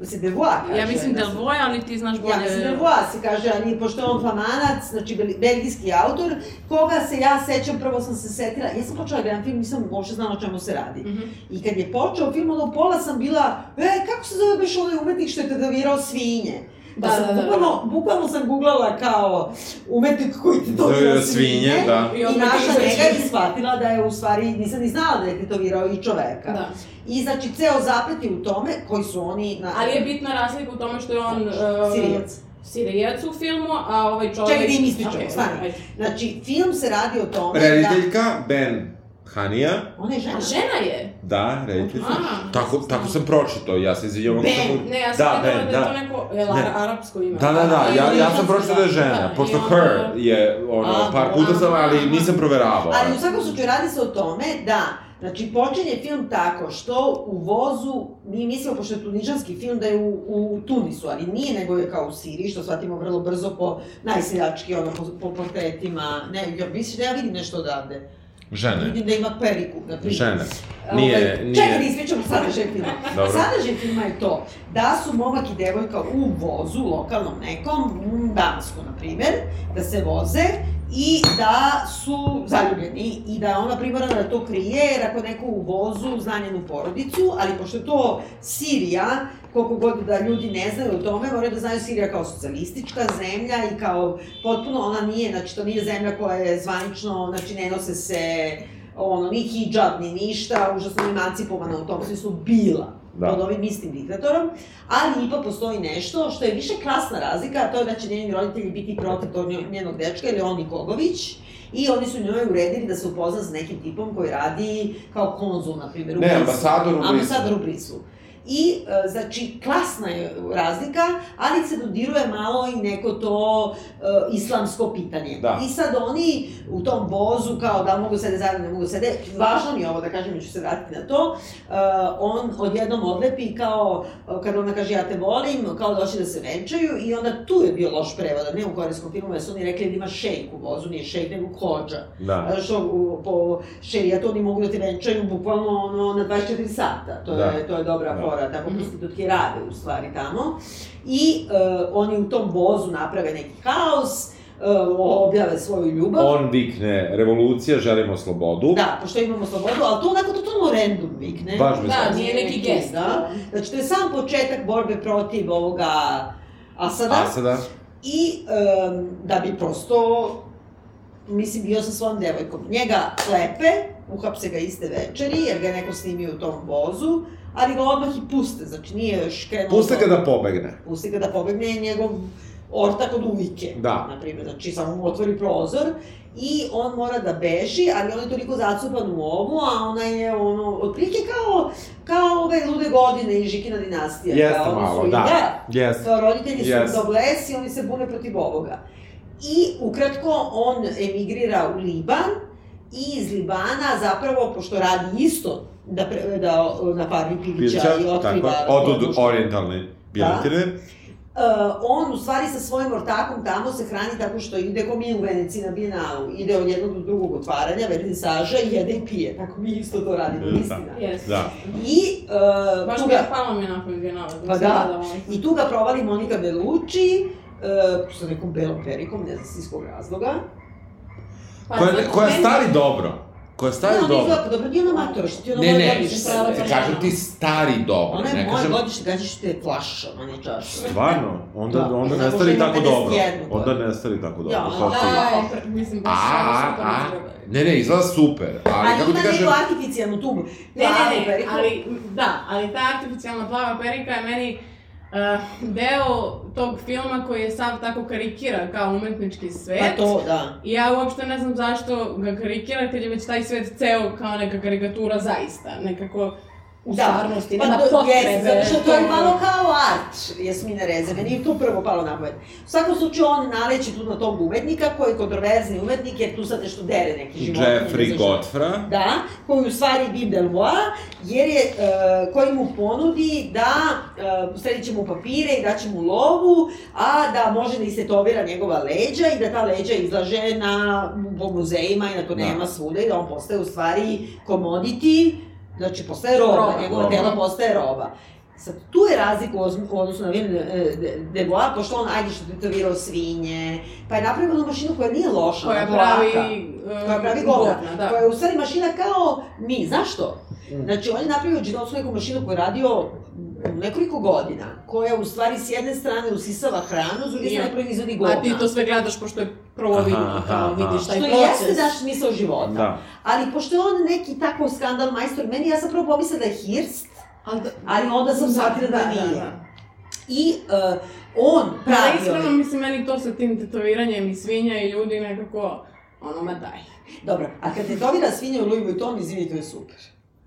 Speaker 2: Mislim, Delvoa kaže.
Speaker 9: Ja mislim
Speaker 2: da se-
Speaker 9: Delvoja, ali ti znaš bolje...
Speaker 2: Ja mislim da Boa se kaže, ali pošto je on famanac, znači bel- belgijski autor, koga se ja sećam, prvo sam se setila, ja sam počela da gledam film, nisam uopšte znala o čemu se radi.
Speaker 3: Mhm.
Speaker 2: I kad je počeo film, ono pola sam bila, e, kako se zove beš onaj umetnik što je tetovirao svinje? Pa
Speaker 3: Da,
Speaker 2: sam
Speaker 3: da, da, da.
Speaker 2: bukvalno, bukvalno sam googlala kao umetnik koji
Speaker 8: Zove
Speaker 2: tetovirao svinje,
Speaker 8: svinje, da.
Speaker 2: i
Speaker 3: onda
Speaker 2: našla
Speaker 3: ti
Speaker 2: njega
Speaker 3: izreći.
Speaker 2: i shvatila da je u stvari, nisam ni znala da je tetovirao i čoveka.
Speaker 3: Da.
Speaker 2: I znači, ceo zaplet je u tome koji su oni... Na...
Speaker 4: Ali je bitna razlika u tome što je on... uh,
Speaker 2: Sirijac.
Speaker 4: Sirijac u filmu, a ovaj čovjek...
Speaker 2: Čekaj, da im ispričamo,
Speaker 4: Okej,
Speaker 2: stani.
Speaker 4: ajde.
Speaker 2: Znači, film se radi o tome da...
Speaker 8: Rediteljka Ben Hanija,
Speaker 2: Ona je žena.
Speaker 4: A žena je?
Speaker 8: da, rediteljka.
Speaker 4: Aha.
Speaker 8: Tako, tako sam pročitao, ja se izvinjavam. ako sam-
Speaker 4: Ne, ja sam
Speaker 8: Da,
Speaker 4: da,
Speaker 8: Ben,
Speaker 4: da, je to
Speaker 8: da.
Speaker 4: neko, jel,
Speaker 8: Ne.
Speaker 4: ne. arapsko ime.
Speaker 8: Da, da, da, ja, ja sam
Speaker 4: Arapsko,
Speaker 8: pročitao da je žena,
Speaker 4: i
Speaker 8: pošto
Speaker 4: onda-
Speaker 8: her je, ono,
Speaker 2: A,
Speaker 8: par puta sam, ali nisam proveravao.
Speaker 2: Ali u svakom slučaju radi se o tome da, znači počinje film tako što u vozu, mi mislimo, pošto je tunižanski film, da je u, u Tunisu, ali nije, nego je kao u Siriji, što shvatimo vrlo brzo po najseljački, ono, po, po portretima, ne, ja, misliš da ja vidim nešto odavde,
Speaker 8: Žene,
Speaker 2: vidim da ima periku, na primjer.
Speaker 8: žene. Nije,
Speaker 2: Ovaj, Čekaj da
Speaker 8: nije.
Speaker 2: ispričam sadržaj filma.
Speaker 8: Dobro.
Speaker 2: Sadržaj filma je to da su momak i devojka u vozu, lokalnom nekom, u Dansku, na primer, da se voze i da su zaljubljeni i da je ona primorana da to krije, jer ako neko u vozu zna njenu porodicu, ali pošto je to Sirija, koliko god da ljudi ne znaju o tome, moraju da znaju Sirija kao socijalistička zemlja i kao potpuno ona nije, znači to nije zemlja koja je zvanično, znači ne nose se ono, ni hijab, ni ništa, užasno emancipovana u tom smislu bila
Speaker 8: Da.
Speaker 2: da. pod ovim istim diktatorom, ali ipak postoji nešto što je više klasna razlika, a to je da će njeni roditelji biti protiv tog nje- njenog dečka ili on Nikogović, i oni su njoj uredili da se upozna s nekim tipom koji radi kao konzul, na primjer, u
Speaker 8: Ne,
Speaker 2: Briselu.
Speaker 8: ambasador u Briselu.
Speaker 2: Ambasador u Briselu. I, e, znači, klasna je razlika, ali se dodiruje malo i neko to e, islamsko pitanje.
Speaker 8: Da.
Speaker 2: I sad oni u tom vozu kao da mogu sede zajedno, ne mogu sede, važno mi je ovo da kažem, ja ću se vratiti na to, e, on odjednom odlepi kao, e, kad ona kaže ja te volim, kao doći da se venčaju i onda tu je bio loš prevod, ne u korejskom filmu, jer su oni rekli da ima šejk u vozu, nije šejk, nego kođa.
Speaker 8: Da,
Speaker 2: Zato što u, po šerijatu oni mogu da te venčaju bukvalno ono, na 24 sata. To,
Speaker 8: Da.
Speaker 2: je, to je dobra
Speaker 8: Da.
Speaker 2: fora, tako prostitutke rade u stvari tamo. I e, oni u tom vozu naprave neki haos, e, objave svoju ljubav.
Speaker 8: on vikne, revolucija, želimo slobodu.
Speaker 2: Da, pošto imamo slobodu, ali to onako totalno random vikne.
Speaker 8: Baš bez
Speaker 4: Da,
Speaker 8: veze.
Speaker 4: nije neki gest.
Speaker 2: Da. Znači, to je sam početak borbe protiv ovoga Asada.
Speaker 8: A sada?
Speaker 2: I um, da bi prosto, mislim, bio sa svojom devojkom. Njega klepe, uhapse ga iste večeri, jer ga je neko snimio u tom vozu, ali ga odmah i puste, znači nije još krenuo...
Speaker 8: Puste ga
Speaker 2: to-
Speaker 8: da pobegne.
Speaker 2: Puste ga da pobegne je njegov ortak od ujke,
Speaker 8: Da.
Speaker 2: na primjer, znači samo mu otvori prozor i on mora da beži, ali on je toliko zacupan u ovo, a ona je ono, otprilike kao, kao ove lude godine i Žikina dinastija.
Speaker 8: Jeste
Speaker 2: kao ono
Speaker 8: malo,
Speaker 2: su i-
Speaker 8: da.
Speaker 4: Pa,
Speaker 8: Jeste.
Speaker 2: Yes. Roditelji su
Speaker 8: Yes.
Speaker 2: yes. i oni se bune protiv ovoga. I ukratko, on emigrira u Liban i iz Libana zapravo, pošto radi isto da, pre, da na farmi pilića
Speaker 8: Pilića,
Speaker 2: i
Speaker 8: tako,
Speaker 2: otkriva...
Speaker 8: od, od orientalne piletine.
Speaker 4: Da.
Speaker 2: Uh, on u stvari sa svojim ortakom tamo se hrani tako što ide ko mi u Veneciji na Bienalu, ide od jednog do drugog otvaranja, vernisaža i jede i pije. Tako mi isto to radimo,
Speaker 8: Da.
Speaker 2: istina.
Speaker 4: Jes.
Speaker 8: Da.
Speaker 2: I, uh,
Speaker 4: Baš
Speaker 2: tu
Speaker 4: mi
Speaker 2: ga-
Speaker 4: je palo mi nakon Bienala.
Speaker 2: Pa da. I tu ga provali Monika Bellucci, uh, sa nekom belom perikom, ne znam iz kog razloga. pa
Speaker 4: Pa,
Speaker 8: Koja, koja stari dobro. Koja stari
Speaker 2: ne, ona
Speaker 8: dobro.
Speaker 2: izgleda, dobro, ti ona matora, što ti ona da
Speaker 8: Ne,
Speaker 2: moja
Speaker 8: ne,
Speaker 2: godište.
Speaker 4: prava
Speaker 8: ti
Speaker 4: žena.
Speaker 8: kažem ti stari dobro.
Speaker 2: Ona je
Speaker 8: ne
Speaker 2: moja
Speaker 8: kažem...
Speaker 2: godište, kažeš što je flaša, ona je čaša.
Speaker 8: Stvarno? Onda,
Speaker 2: Da.
Speaker 8: onda ne
Speaker 2: Zato
Speaker 8: stari
Speaker 2: što ima
Speaker 8: tako dobro.
Speaker 2: 51
Speaker 8: Onda ne stari tako dobro.
Speaker 2: Ja,
Speaker 8: to
Speaker 2: da.
Speaker 8: stoji.
Speaker 4: Da, mislim,
Speaker 8: A,
Speaker 4: baš
Speaker 8: a,
Speaker 4: što
Speaker 8: a.
Speaker 4: to ne treba.
Speaker 8: Ne, ne, izgleda super. Ali,
Speaker 2: Ali
Speaker 8: kako ti
Speaker 2: da, Pa ima
Speaker 8: kažem...
Speaker 2: neku artificijalnu tu
Speaker 3: Ne,
Speaker 2: plavu
Speaker 3: ne, ne,
Speaker 2: periku.
Speaker 3: Da, ali, da, ali ta artificijalna plava perika je meni eh, deo tog filma koji je sav tako karikira kao umetnički svet.
Speaker 2: Pa to, da.
Speaker 3: I ja uopšte ne znam zašto ga karikira, kad je već taj svet ceo kao neka karikatura zaista, nekako u
Speaker 2: Da,
Speaker 3: stvarnosti,
Speaker 2: pa
Speaker 3: nema
Speaker 2: to-
Speaker 3: potrebe.
Speaker 2: jeste, zato što to je malo kao art. Jasmine Reze, meni je tu prvo palo na pamet. U svakom slučaju on naleće tu na tog umetnika koji je kontroverzni umetnik jer tu sad nešto dere neki životinje. ne znam
Speaker 1: Jeffrey
Speaker 2: šta.
Speaker 1: Godfra.
Speaker 2: Da, koji u stvari Bib Delvoa, jer je, e, koji mu ponudi da e, sredit će mu papire i daće mu lovu, a da može da istetovira njegova leđa i da ta leđa izlaže na, po muzejima i da to
Speaker 1: Da.
Speaker 2: nema svuda i da on postaje u stvari commodity, znači postaje roba,
Speaker 4: Roba,
Speaker 2: njegova
Speaker 1: roba.
Speaker 2: tela postaje roba. Sad, tu je razlika u os- u odnosu na e, Vilne Devoa, pošto on, ajde, što je tetovirao svinje, pa je napravio onu mašinu koja nije loša,
Speaker 4: Koja
Speaker 2: ona
Speaker 4: pravi...
Speaker 2: dlaka
Speaker 3: eh,
Speaker 4: e,
Speaker 2: Koja pravi govna.
Speaker 4: da.
Speaker 2: koja je u stvari mašina kao mi. Zašto?
Speaker 1: Mm.
Speaker 2: Znači, on je napravio džinovsku neku mašinu koju je radio nekoliko godina, koja u stvari s jedne strane usisava hranu, s druge
Speaker 4: Nije.
Speaker 2: strane proizvodi govna.
Speaker 4: A ti to sve gledaš pošto je provodno,
Speaker 1: Aha,
Speaker 4: kao
Speaker 1: aha,
Speaker 4: vidiš taj
Speaker 2: Što
Speaker 4: proces.
Speaker 2: jeste da- daš smisao života.
Speaker 1: Da.
Speaker 2: Ali pošto je on neki tako skandal majstor, meni ja sam prvo pomislila da je Hirst,
Speaker 4: Ali, da-
Speaker 2: ali onda sam shvatila da nije.
Speaker 4: da.
Speaker 2: I e, on
Speaker 4: Ali
Speaker 2: pravi... ovaj-
Speaker 4: iskreno,
Speaker 2: ove-
Speaker 4: mislim, meni to sa tim tetoviranjem i svinja i ljudi nekako, ono, ma daj.
Speaker 2: Dobro, a kad tetovira svinje u Louis Vuitton, izvini, to je super.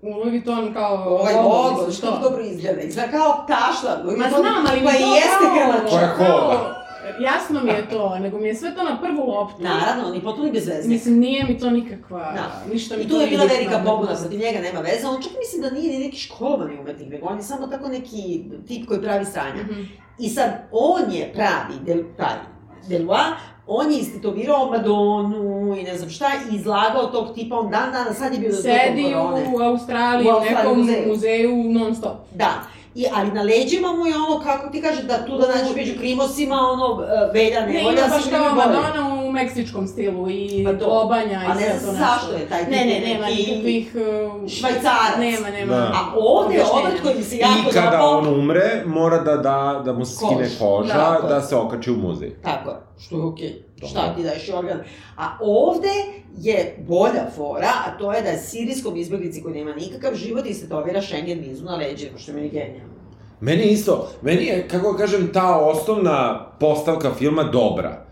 Speaker 4: U Louis Vuitton kao...
Speaker 2: Ovaj
Speaker 4: logo,
Speaker 2: logo,
Speaker 4: mislim,
Speaker 2: što to dobro izgleda. Izgleda kao tašla. Louis
Speaker 4: Ma
Speaker 2: Vuitton,
Speaker 4: znam, ali mi
Speaker 2: pa
Speaker 4: to
Speaker 2: i jeste
Speaker 4: kao-
Speaker 2: grlača.
Speaker 1: Koja
Speaker 4: kao-
Speaker 1: kola?
Speaker 4: Jasno mi je to, nego mi je sve to na prvu loptu.
Speaker 2: Naravno, on je potpuno bez veze.
Speaker 4: Mislim, nije mi to nikakva,
Speaker 2: Da.
Speaker 4: ništa mi
Speaker 2: I
Speaker 4: to
Speaker 2: tu je
Speaker 4: nije
Speaker 2: bila
Speaker 4: bitno.
Speaker 2: velika pobuna, sad i njega nema veze, on čak mislim da nije ni neki školovani umetnik, nego on je samo tako neki tip koji pravi sranja.
Speaker 4: Mhm.
Speaker 2: I sad, on je pravi, del, pravi, Delois, on je istetovirao Madonu i ne znam šta, i izlagao tog tipa, on dan dana, sad je bio za
Speaker 4: Sedi u Australiji,
Speaker 2: U
Speaker 4: u
Speaker 2: Australiji,
Speaker 4: nekom
Speaker 2: muzeju.
Speaker 4: muzeju non stop.
Speaker 2: Da, I, ali na leđima mu je ono, kako ti kaže, da tu da nađeš među krimosima, ono, e, velja
Speaker 4: Ne,
Speaker 2: nevolja,
Speaker 4: ima baš
Speaker 2: svi
Speaker 4: kao
Speaker 2: ljudi vole.
Speaker 4: Madonna u meksičkom stilu i
Speaker 2: Pa to.
Speaker 4: lobanja
Speaker 2: A
Speaker 4: i
Speaker 2: ne
Speaker 4: sve to
Speaker 2: znam
Speaker 4: nešto.
Speaker 2: zašto je taj tip
Speaker 4: Ne, ne, nema
Speaker 2: neki
Speaker 4: nikakvih... uh,
Speaker 2: švajcarac.
Speaker 4: Nema, nema.
Speaker 1: Da.
Speaker 2: A ovde je
Speaker 4: Objašnjenja.
Speaker 2: obrat koji mi se jako
Speaker 1: I kada
Speaker 2: dopao.
Speaker 1: on umre, mora da, da, da mu se skine
Speaker 2: Kož.
Speaker 1: koža,
Speaker 2: Da,
Speaker 1: da,
Speaker 2: kož.
Speaker 1: se okači u muzej.
Speaker 2: Tako je, što je okej.
Speaker 1: Dobro.
Speaker 2: Šta ti daješ i organ? A ovde je bolja fora, a to je da sirijskom izbjeglici koji nema nikakav život i se tovira Schengen vizu na leđima, što je meni genijalno.
Speaker 1: Meni je isto, meni je, kako kažem, ta osnovna postavka filma dobra.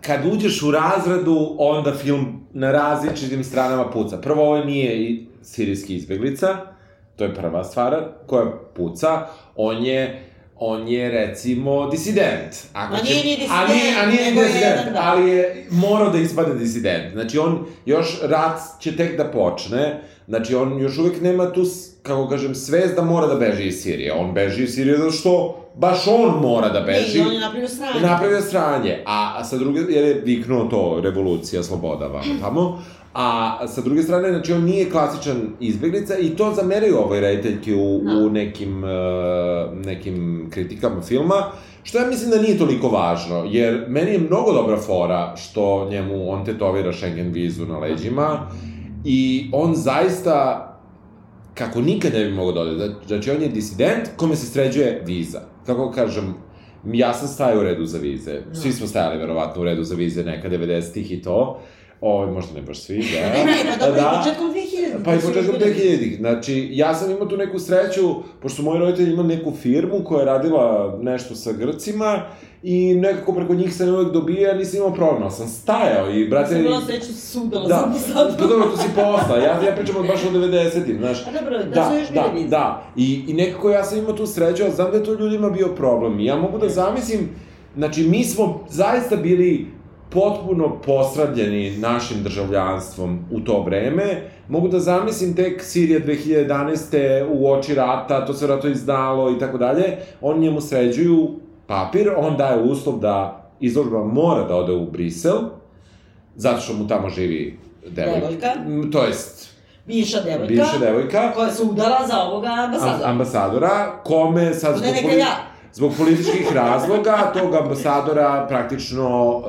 Speaker 1: Kad uđeš u razradu, onda film na različitim stranama puca. Prvo, ovo nije i sirijski izbeglica, to je prva stvar koja puca. On je, on je recimo disident. Ako
Speaker 2: Ma nije ni disident,
Speaker 1: ali, a nije
Speaker 2: nego
Speaker 1: ni
Speaker 2: je
Speaker 1: disident,
Speaker 2: jedan, da.
Speaker 1: ali je morao da ispada disident. Znači on još rat će tek da počne, znači on još uvek nema tu, s- kako kažem, svest da mora da beži iz Sirije. On beži iz Sirije zato što baš on mora da beži.
Speaker 2: Ne, i on je napravio sranje.
Speaker 1: Napravio sranje, a, a sa druge, jer je viknuo to, revolucija, sloboda, vamo
Speaker 2: [CLEARS THROAT]
Speaker 1: tamo, a sa druge strane, znači on nije klasičan izbjeglica i to zameraju ovoj rediteljki u,
Speaker 2: Da.
Speaker 1: u nekim, e, nekim kritikama filma, što ja mislim da nije toliko važno, jer meni je mnogo dobra fora što njemu on tetovira Schengen vizu na leđima
Speaker 2: Da.
Speaker 1: i on zaista kako nikad ne bi mogao da ode. Znači, on je disident kome se sređuje viza. Kako kažem, ja sam stajao u redu za vize.
Speaker 2: Da.
Speaker 1: Svi smo stajali, verovatno, u redu za vize neka 90-ih i to. Ovo, možda ne baš svi,
Speaker 2: [LAUGHS] Ne,
Speaker 1: da.
Speaker 2: ne, pa dobro,
Speaker 1: Da.
Speaker 2: i početkom 2000.
Speaker 1: Pa i početkom 2000-ih. Znači, ja sam imao tu neku sreću, pošto moj roditelj ima neku firmu koja je radila nešto sa Grcima i nekako preko njih sam uvek dobija, nisam imao problem, ali sam stajao i, brate...
Speaker 2: Sam bila sreću sudala
Speaker 1: Da,
Speaker 2: sam ti sad.
Speaker 1: pa dobro, tu si posla, ja, ja pričam od baš o 90-im, znaš,
Speaker 2: A dobro, da,
Speaker 1: da,
Speaker 2: su još
Speaker 1: da,
Speaker 2: bile vize.
Speaker 1: da. I, I nekako ja sam imao tu sreću, ali znam da je to ljudima bio problem. I ja mogu da zamislim, znači mi smo zaista bili potpuno posradljeni našim državljanstvom u to vreme. Mogu da zamislim tek Sirija 2011. u oči rata, to se vratno izdalo i tako dalje. Oni njemu sređuju papir, on daje uslov da izložba mora da ode u Brisel, zato što mu tamo živi devojka.
Speaker 2: Devojka. Da.
Speaker 1: M, To jest,
Speaker 2: Bivša devojka.
Speaker 1: bivša devojka
Speaker 2: Koja se udala za ovoga
Speaker 1: am-
Speaker 2: ambasadora.
Speaker 1: ambasadora, kome sad
Speaker 2: Ne,
Speaker 1: zbog,
Speaker 2: neka
Speaker 1: poli-
Speaker 2: ja.
Speaker 1: zbog
Speaker 2: [LAUGHS]
Speaker 1: političkih razloga tog ambasadora praktično uh,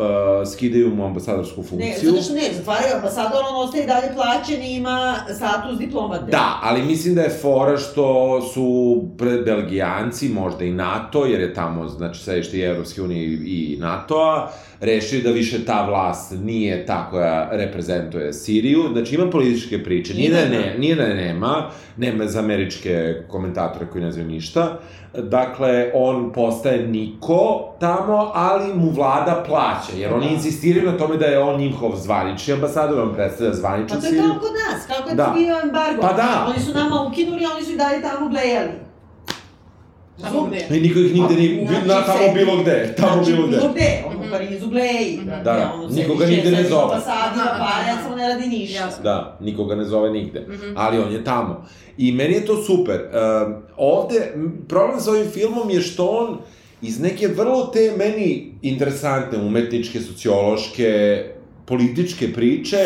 Speaker 1: skidaju mu ambasadorsku
Speaker 2: Ne,
Speaker 1: funkciju.
Speaker 2: zato što ne, zatvaraju ambasador, on ostaje i dalje plaćen i ima status diplomate.
Speaker 1: Da, ali mislim da je fora što su pre- Belgijanci, možda i NATO, jer je tamo, znači, sedište i Evropske unije i i NATO-a, rešili da više ta vlast nije ta koja reprezentuje Siriju. Znači, ima političke priče, nije da, je ne, nije da je nema, nema za američke komentatore koji ne znaju ništa. Dakle, on postaje niko tamo, ali mu vlada plaća, jer oni insistiraju na tome da je on njihov zvanični ambasador, on predstavlja
Speaker 2: Pa
Speaker 1: zvaničnu
Speaker 2: to je
Speaker 1: Siriju.
Speaker 2: kao kod nas, kako je
Speaker 1: Da.
Speaker 2: da. bio embargo.
Speaker 1: Pa da.
Speaker 2: tá Oni su nama ukinuli, a oni su i dalje tamo blejali.
Speaker 4: Tá
Speaker 10: Samo gde?
Speaker 1: I niko ih nigde nije,
Speaker 2: Znači
Speaker 1: na tamo
Speaker 2: se-
Speaker 1: bilo gde, tamo
Speaker 2: znači,
Speaker 1: bilo gde.
Speaker 2: Bilo gde, ono, u Parizu, Bleji.
Speaker 10: Da,
Speaker 1: da, nikoga nigde ne zove.
Speaker 2: Fasadi,
Speaker 10: Aha,
Speaker 2: napalja,
Speaker 10: aha.
Speaker 2: samo ne radi ništa.
Speaker 10: Jasno.
Speaker 1: Da, nikoga ne zove nigde.
Speaker 10: Mhm.
Speaker 1: Ali on je tamo. I meni je to super. Um, ovde, m, problem sa ovim filmom je što on iz neke vrlo te meni interesantne umetničke, sociološke, političke priče,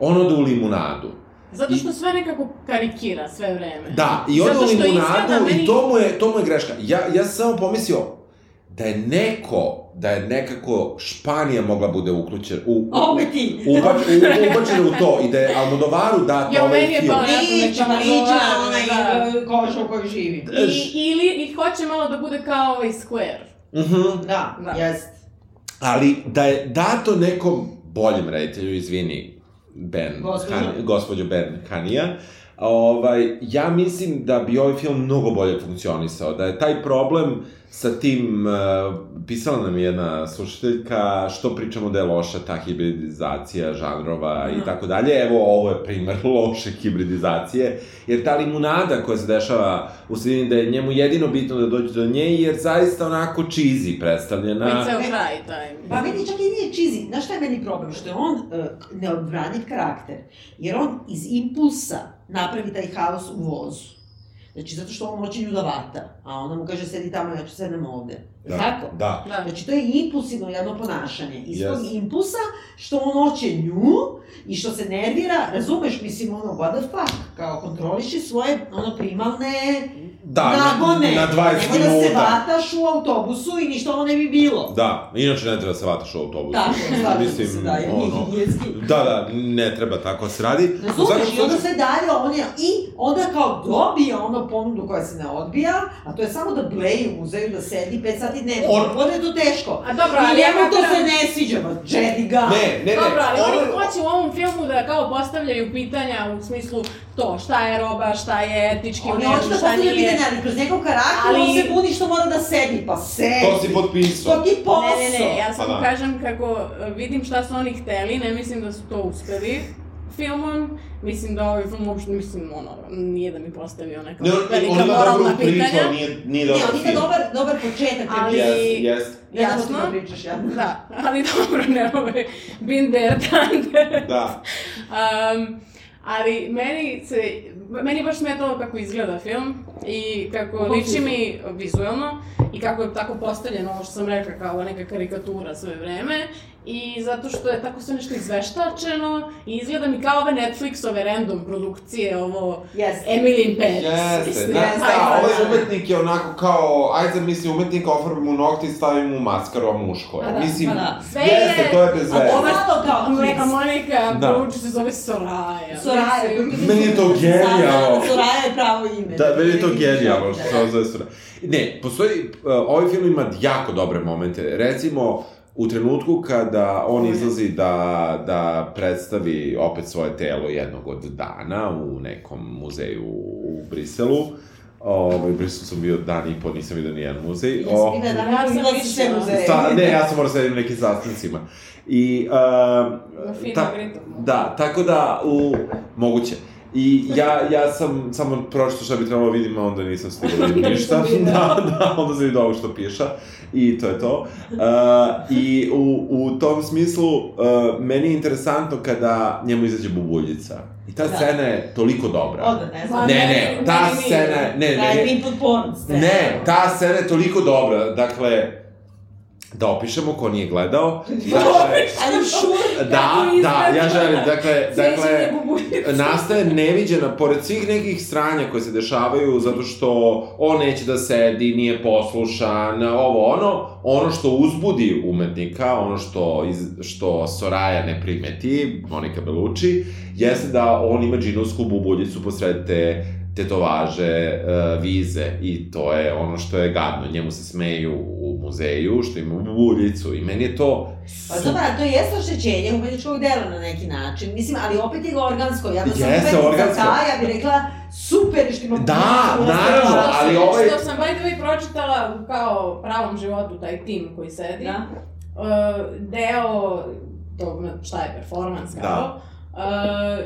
Speaker 1: on ode u limunadu.
Speaker 4: Zato što sve nekako karikira sve vreme.
Speaker 1: Da, i ode
Speaker 4: Zato
Speaker 1: u
Speaker 4: što izgleda
Speaker 1: limunadu
Speaker 4: meni-
Speaker 1: i to mu, je, to mu je greška. Ja, ja sam samo pomislio da je neko, da je nekako Španija mogla bude uključena, u, u,
Speaker 2: Opet ti!
Speaker 1: ubač, u, ubačena u to i da je Almodovaru dat
Speaker 4: Jo,
Speaker 1: ovaj
Speaker 4: Ja, meni je
Speaker 1: film.
Speaker 4: pao
Speaker 2: Liča,
Speaker 4: Tamo
Speaker 2: liča,
Speaker 4: dolazi,
Speaker 2: onaj
Speaker 4: da.
Speaker 2: e, koža u kojoj živi.
Speaker 4: I, ili, i hoće malo da bude kao ovaj Square.
Speaker 1: Mhm.
Speaker 2: Da,
Speaker 4: Da.
Speaker 2: jest.
Speaker 1: Ali da je dato nekom boljem reditelju, izvini, Ben,
Speaker 2: Gospođo.
Speaker 1: Kan, gospođo Ben Kanija, ovaj, ja mislim da bi ovaj film mnogo bolje funkcionisao, da je taj problem sa tim, eh, pisala nam je jedna slušateljka, što pričamo da je loša ta hibridizacija žanrova i tako dalje, evo ovo je primer [LAUGHS] loše hibridizacije, jer ta limunada koja se dešava u sredini da je njemu jedino bitno da dođe do nje, jer zaista onako cheesy predstavljena.
Speaker 4: Već ceo kraj taj.
Speaker 2: Pa meni čak i nije čizi. Znaš šta je meni problem? Što je on uh, neodbraniv karakter. Jer on iz impulsa napravi taj haos u vozu. Znači, zato što on hoće nju da vata. A ona mu kaže, sedi tamo, ja ću sedem ovde.
Speaker 1: Да,
Speaker 2: Da. Tako?
Speaker 1: Da.
Speaker 4: Da.
Speaker 2: Znači, to je impulsivno jedno ponašanje. Iz yes. tog
Speaker 1: Yes.
Speaker 2: impulsa što on hoće nju i što se nervira, razumeš, mislim, ono, what the fuck, kao kontroliši svoje, ono, primalne
Speaker 1: Da,
Speaker 2: nagone.
Speaker 1: na, na 20
Speaker 2: Nemoj da se
Speaker 1: minuta.
Speaker 2: vataš u autobusu i ništa ovo ne bi bilo.
Speaker 1: Da, inače ne treba se vataš u autobusu.
Speaker 2: Tako, slažem se, da, je
Speaker 1: ono,
Speaker 2: higijenski.
Speaker 1: da, da, ne treba tako da se radi. U svakom
Speaker 2: Razumeš, i onda
Speaker 1: slučaju-
Speaker 2: sve dalje, on je, i onda kao dobija ono ponudu koja se ne odbija, a to je samo da bleji u muzeju, da sedi 5 sati dnevno.
Speaker 1: On-
Speaker 2: Onda je to teško.
Speaker 4: A dobro,
Speaker 2: I
Speaker 4: ali ja
Speaker 2: njemu to
Speaker 4: moram-
Speaker 2: se ne sviđa, ma Jedi ga.
Speaker 1: Ne, ne, ne.
Speaker 4: Dobro, ali oni
Speaker 1: ono-
Speaker 4: hoće u ovom filmu da kao postavljaju pitanja u smislu to šta je roba, šta je etički
Speaker 2: On je
Speaker 4: vredno,
Speaker 2: hoće da
Speaker 4: šta
Speaker 2: postavlja
Speaker 4: nije.
Speaker 2: pitanja, ali kroz njegov karakter
Speaker 4: Ali-
Speaker 2: on se budi što mora da sedi, pa sedi.
Speaker 1: To si potpisao.
Speaker 2: To ti je posao.
Speaker 4: Ne, ne, ne, ja samo
Speaker 1: Pa da.
Speaker 4: kažem kako e, vidim šta su oni hteli, ne mislim da su to uspeli filmom. Mislim da ovaj film uopšte, mislim, ono, nije da mi postavio neka
Speaker 1: Ne, on
Speaker 4: velika
Speaker 1: ima
Speaker 4: moralna
Speaker 1: dobru priču,
Speaker 4: pitanja.
Speaker 1: ali nije, nije
Speaker 2: Ne,
Speaker 1: dobar
Speaker 2: on ima
Speaker 1: film.
Speaker 2: dobar, dobar početak.
Speaker 4: Ali-
Speaker 2: ja,
Speaker 1: Jest, jest.
Speaker 2: ja,
Speaker 4: jasno.
Speaker 2: ja, pričaš, ja.
Speaker 4: Da, ali dobro, ne ovaj, been there, done there.
Speaker 1: Da.
Speaker 4: Um, ali meni se, meni je baš smetalo kako izgleda film i kako
Speaker 2: kom
Speaker 4: liči
Speaker 2: smislu?
Speaker 4: mi vizuelno i kako je tako postavljeno ovo što sam rekla kao neka karikatura sve vreme i zato što je tako sve nešto izveštačeno i izgleda mi kao ove Netflixove random produkcije, ovo
Speaker 2: Jeste.
Speaker 4: Emily in Paris.
Speaker 1: Jeste,
Speaker 4: mislim,
Speaker 1: da,
Speaker 2: Jeste,
Speaker 1: da,
Speaker 2: ajde,
Speaker 1: ovaj
Speaker 2: ajde.
Speaker 1: umetnik je onako kao, ajde zamisli umetnika, ofarbim mu nokti i stavim mu maskaru, a muško je.
Speaker 4: Pa da,
Speaker 1: Mislim,
Speaker 4: pa da. Sve
Speaker 1: jeste,
Speaker 4: je-
Speaker 1: to je bez
Speaker 2: A
Speaker 1: veze.
Speaker 2: ovo je to kao
Speaker 4: Neka Monika
Speaker 1: Da.
Speaker 4: da. se zove Soraya.
Speaker 2: Soraja.
Speaker 4: Mislim,
Speaker 1: Meni je to genijalno.
Speaker 2: Soraja je pravo ime.
Speaker 1: Da, meni je to genijalno
Speaker 2: Da.
Speaker 1: što se ovo zove sura. Ne, postoji, uh, ovaj film ima jako dobre momente. Recimo, u trenutku kada on izlazi da, da predstavi opet svoje telo jednog od dana u nekom muzeju u Briselu, Ovaj, u Briselu sam bio dan i po, nisam vidio nijedan muzej.
Speaker 2: Ja sam bila
Speaker 4: Ja
Speaker 2: da
Speaker 4: sam
Speaker 2: bila si sve
Speaker 4: išla.
Speaker 2: muzeje.
Speaker 1: Sta, ne, ja sam morao da sedim na nekim sastancima. I,
Speaker 4: Na
Speaker 1: uh,
Speaker 4: fino
Speaker 1: ta,
Speaker 4: gritu.
Speaker 1: da, tako da, u, moguće. I ja, ja sam samo pročito šta bi trebalo vidim, a onda nisam stigao [LAUGHS] da vidim ništa. da, da, onda sam vidio ovo što piša. I to je to. Uh, I u, u tom smislu, uh, meni je interesantno kada njemu izađe bubuljica. I ta
Speaker 2: Da.
Speaker 1: scena je toliko dobra.
Speaker 2: Onda, ne znam.
Speaker 4: Ma,
Speaker 1: Ne, Pa ne, ta
Speaker 4: meni-
Speaker 1: scena, je- ne,
Speaker 2: Da je
Speaker 1: ne,
Speaker 2: Pimple Porn.
Speaker 1: Ne, da. ta scena je toliko dobra, dakle, da opišemo ko nije [LAUGHS] gledao. Dakle,
Speaker 2: Ali šur.
Speaker 1: da, da, ja želim, dakle, dakle,
Speaker 4: Sjećanje bubuljice.
Speaker 1: nastaje neviđena, pored svih nekih sranja koje se dešavaju, zato što on neće da sedi, nije poslušan, ovo ono, ono što uzbudi umetnika, ono što, iz, što Soraja ne primeti, Monika Bellucci, jeste da on ima džinovsku bubuljicu posred te tetovaže, e, vize i to je ono što je gadno. Njemu se smeju u muzeju što ima bubuljicu i meni je to
Speaker 2: Pa dobro, a to jeste oštećenje umetničkog dela na neki način. Mislim, ali opet je organsko. Ja da sam
Speaker 1: Jeste
Speaker 2: umetnica
Speaker 1: organsko.
Speaker 2: ta, ja bih rekla, super što imam...
Speaker 1: Da,
Speaker 2: priliku da
Speaker 1: naravno,
Speaker 2: se
Speaker 4: Što
Speaker 2: bavim.
Speaker 4: sam-
Speaker 1: ali ovaj-
Speaker 4: Što sam by the way pročitala u kao pravom životu, taj tim koji sedi, e,
Speaker 2: Da.
Speaker 4: uh, deo tog, na- šta je performans kao,
Speaker 1: Da.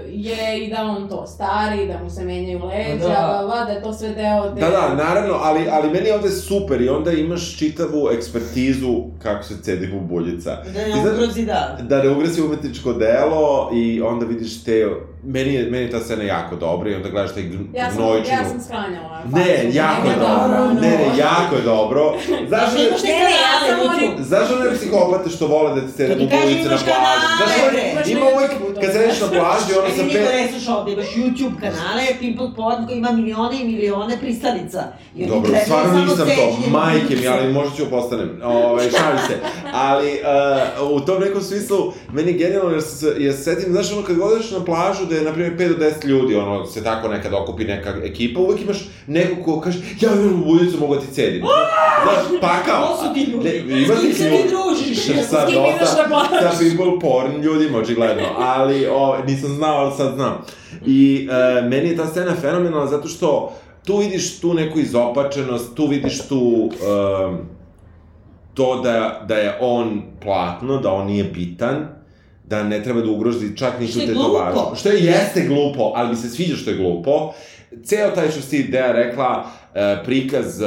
Speaker 4: je i da on to stari, da mu se menjaju
Speaker 11: Da.
Speaker 4: leđa, da, da, da je to sve deo te...
Speaker 1: Da, da, naravno, ali, ali meni je ovde super i onda imaš čitavu ekspertizu kako se cedi bubuljica.
Speaker 2: Da
Speaker 1: I
Speaker 2: ne
Speaker 1: zato-
Speaker 2: ugrozi, da.
Speaker 1: Da ne ugrasi umetničko delo i onda vidiš te... Meni je, meni je ta scena jako dobra i onda gledaš taj gn-
Speaker 4: Ja sam,
Speaker 1: gnojčinu.
Speaker 4: ja sam sklanjala.
Speaker 1: Ne, jako je
Speaker 4: je
Speaker 1: dobro. Ne, ne, jako je dobro. Znaš,
Speaker 2: Zašto imaš te
Speaker 4: Ne, ne, ja sam
Speaker 2: kanale,
Speaker 4: onim-
Speaker 2: Vuču?
Speaker 1: Znaš one psihopate što vole da ti se
Speaker 2: To ti
Speaker 1: redu
Speaker 2: kažem,
Speaker 1: ulice na
Speaker 2: imaš
Speaker 1: plaži?
Speaker 2: kanale,
Speaker 1: Znaš
Speaker 2: bre.
Speaker 1: one,
Speaker 4: Imaš
Speaker 1: ima
Speaker 4: na
Speaker 1: uvijek,
Speaker 4: YouTubeu,
Speaker 1: kad
Speaker 4: da.
Speaker 1: sedeš na plaži, ono
Speaker 2: Ajde,
Speaker 1: sa
Speaker 2: niko
Speaker 1: pet...
Speaker 2: ne sluša ovde, imaš YouTube kanale, Pimple Pod koji ima milione i milione pristanica. I oni
Speaker 1: Dobro,
Speaker 2: gledaju
Speaker 1: stvarno
Speaker 2: samo
Speaker 1: nisam to,
Speaker 2: sećanje.
Speaker 1: majke mi, ali možda ću postanem, Ovaj, šalim se. Ali, uh, u tom nekom smislu, meni je genijalno, jer se, jer se setim, znaš, ono, kad odeš na plažu, da je, na primjer, 5 do 10 ljudi, ono, se tako nekad okupi neka ekipa, uvek imaš nekog ko kaže, ja imam budicu, mogu da ti cedim. Znaš, pa pakao.
Speaker 2: Ko su ti ljudi?
Speaker 1: Ne, ima
Speaker 2: S kim
Speaker 1: tih
Speaker 2: se
Speaker 1: ljudi.
Speaker 2: ti družiš?
Speaker 1: Sa, sa,
Speaker 4: S kim ideš
Speaker 1: dosta,
Speaker 4: na plažu?
Speaker 1: sa people porn ljudima, očigledno. Ali, o, nisam znao, ali sad znam. I e, meni je ta scena fenomenalna zato što tu vidiš tu neku izopačenost, tu vidiš tu... em, to da, da je on platno, da on nije bitan, da ne treba da ugrozi čak ni tu
Speaker 2: Što je
Speaker 1: tetovažu.
Speaker 2: glupo.
Speaker 1: Što je jeste glupo, ali mi se sviđa što je glupo. Ceo taj što si Dea rekla, e, prikaz e,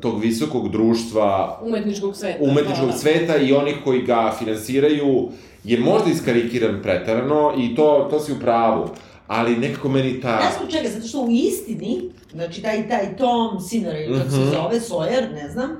Speaker 1: tog visokog društva
Speaker 4: Umetničkog sveta.
Speaker 1: umetničkog
Speaker 4: da, da.
Speaker 1: sveta i onih koji ga finansiraju je možda iskarikiran pretarano i to, to si u pravu. Ali nekako meni ta...
Speaker 2: Znaš zbog čega? Zato što u istini, znači taj, taj Tom Sinner, ili kako se
Speaker 1: Mhm.
Speaker 2: zove, Sawyer, ne znam,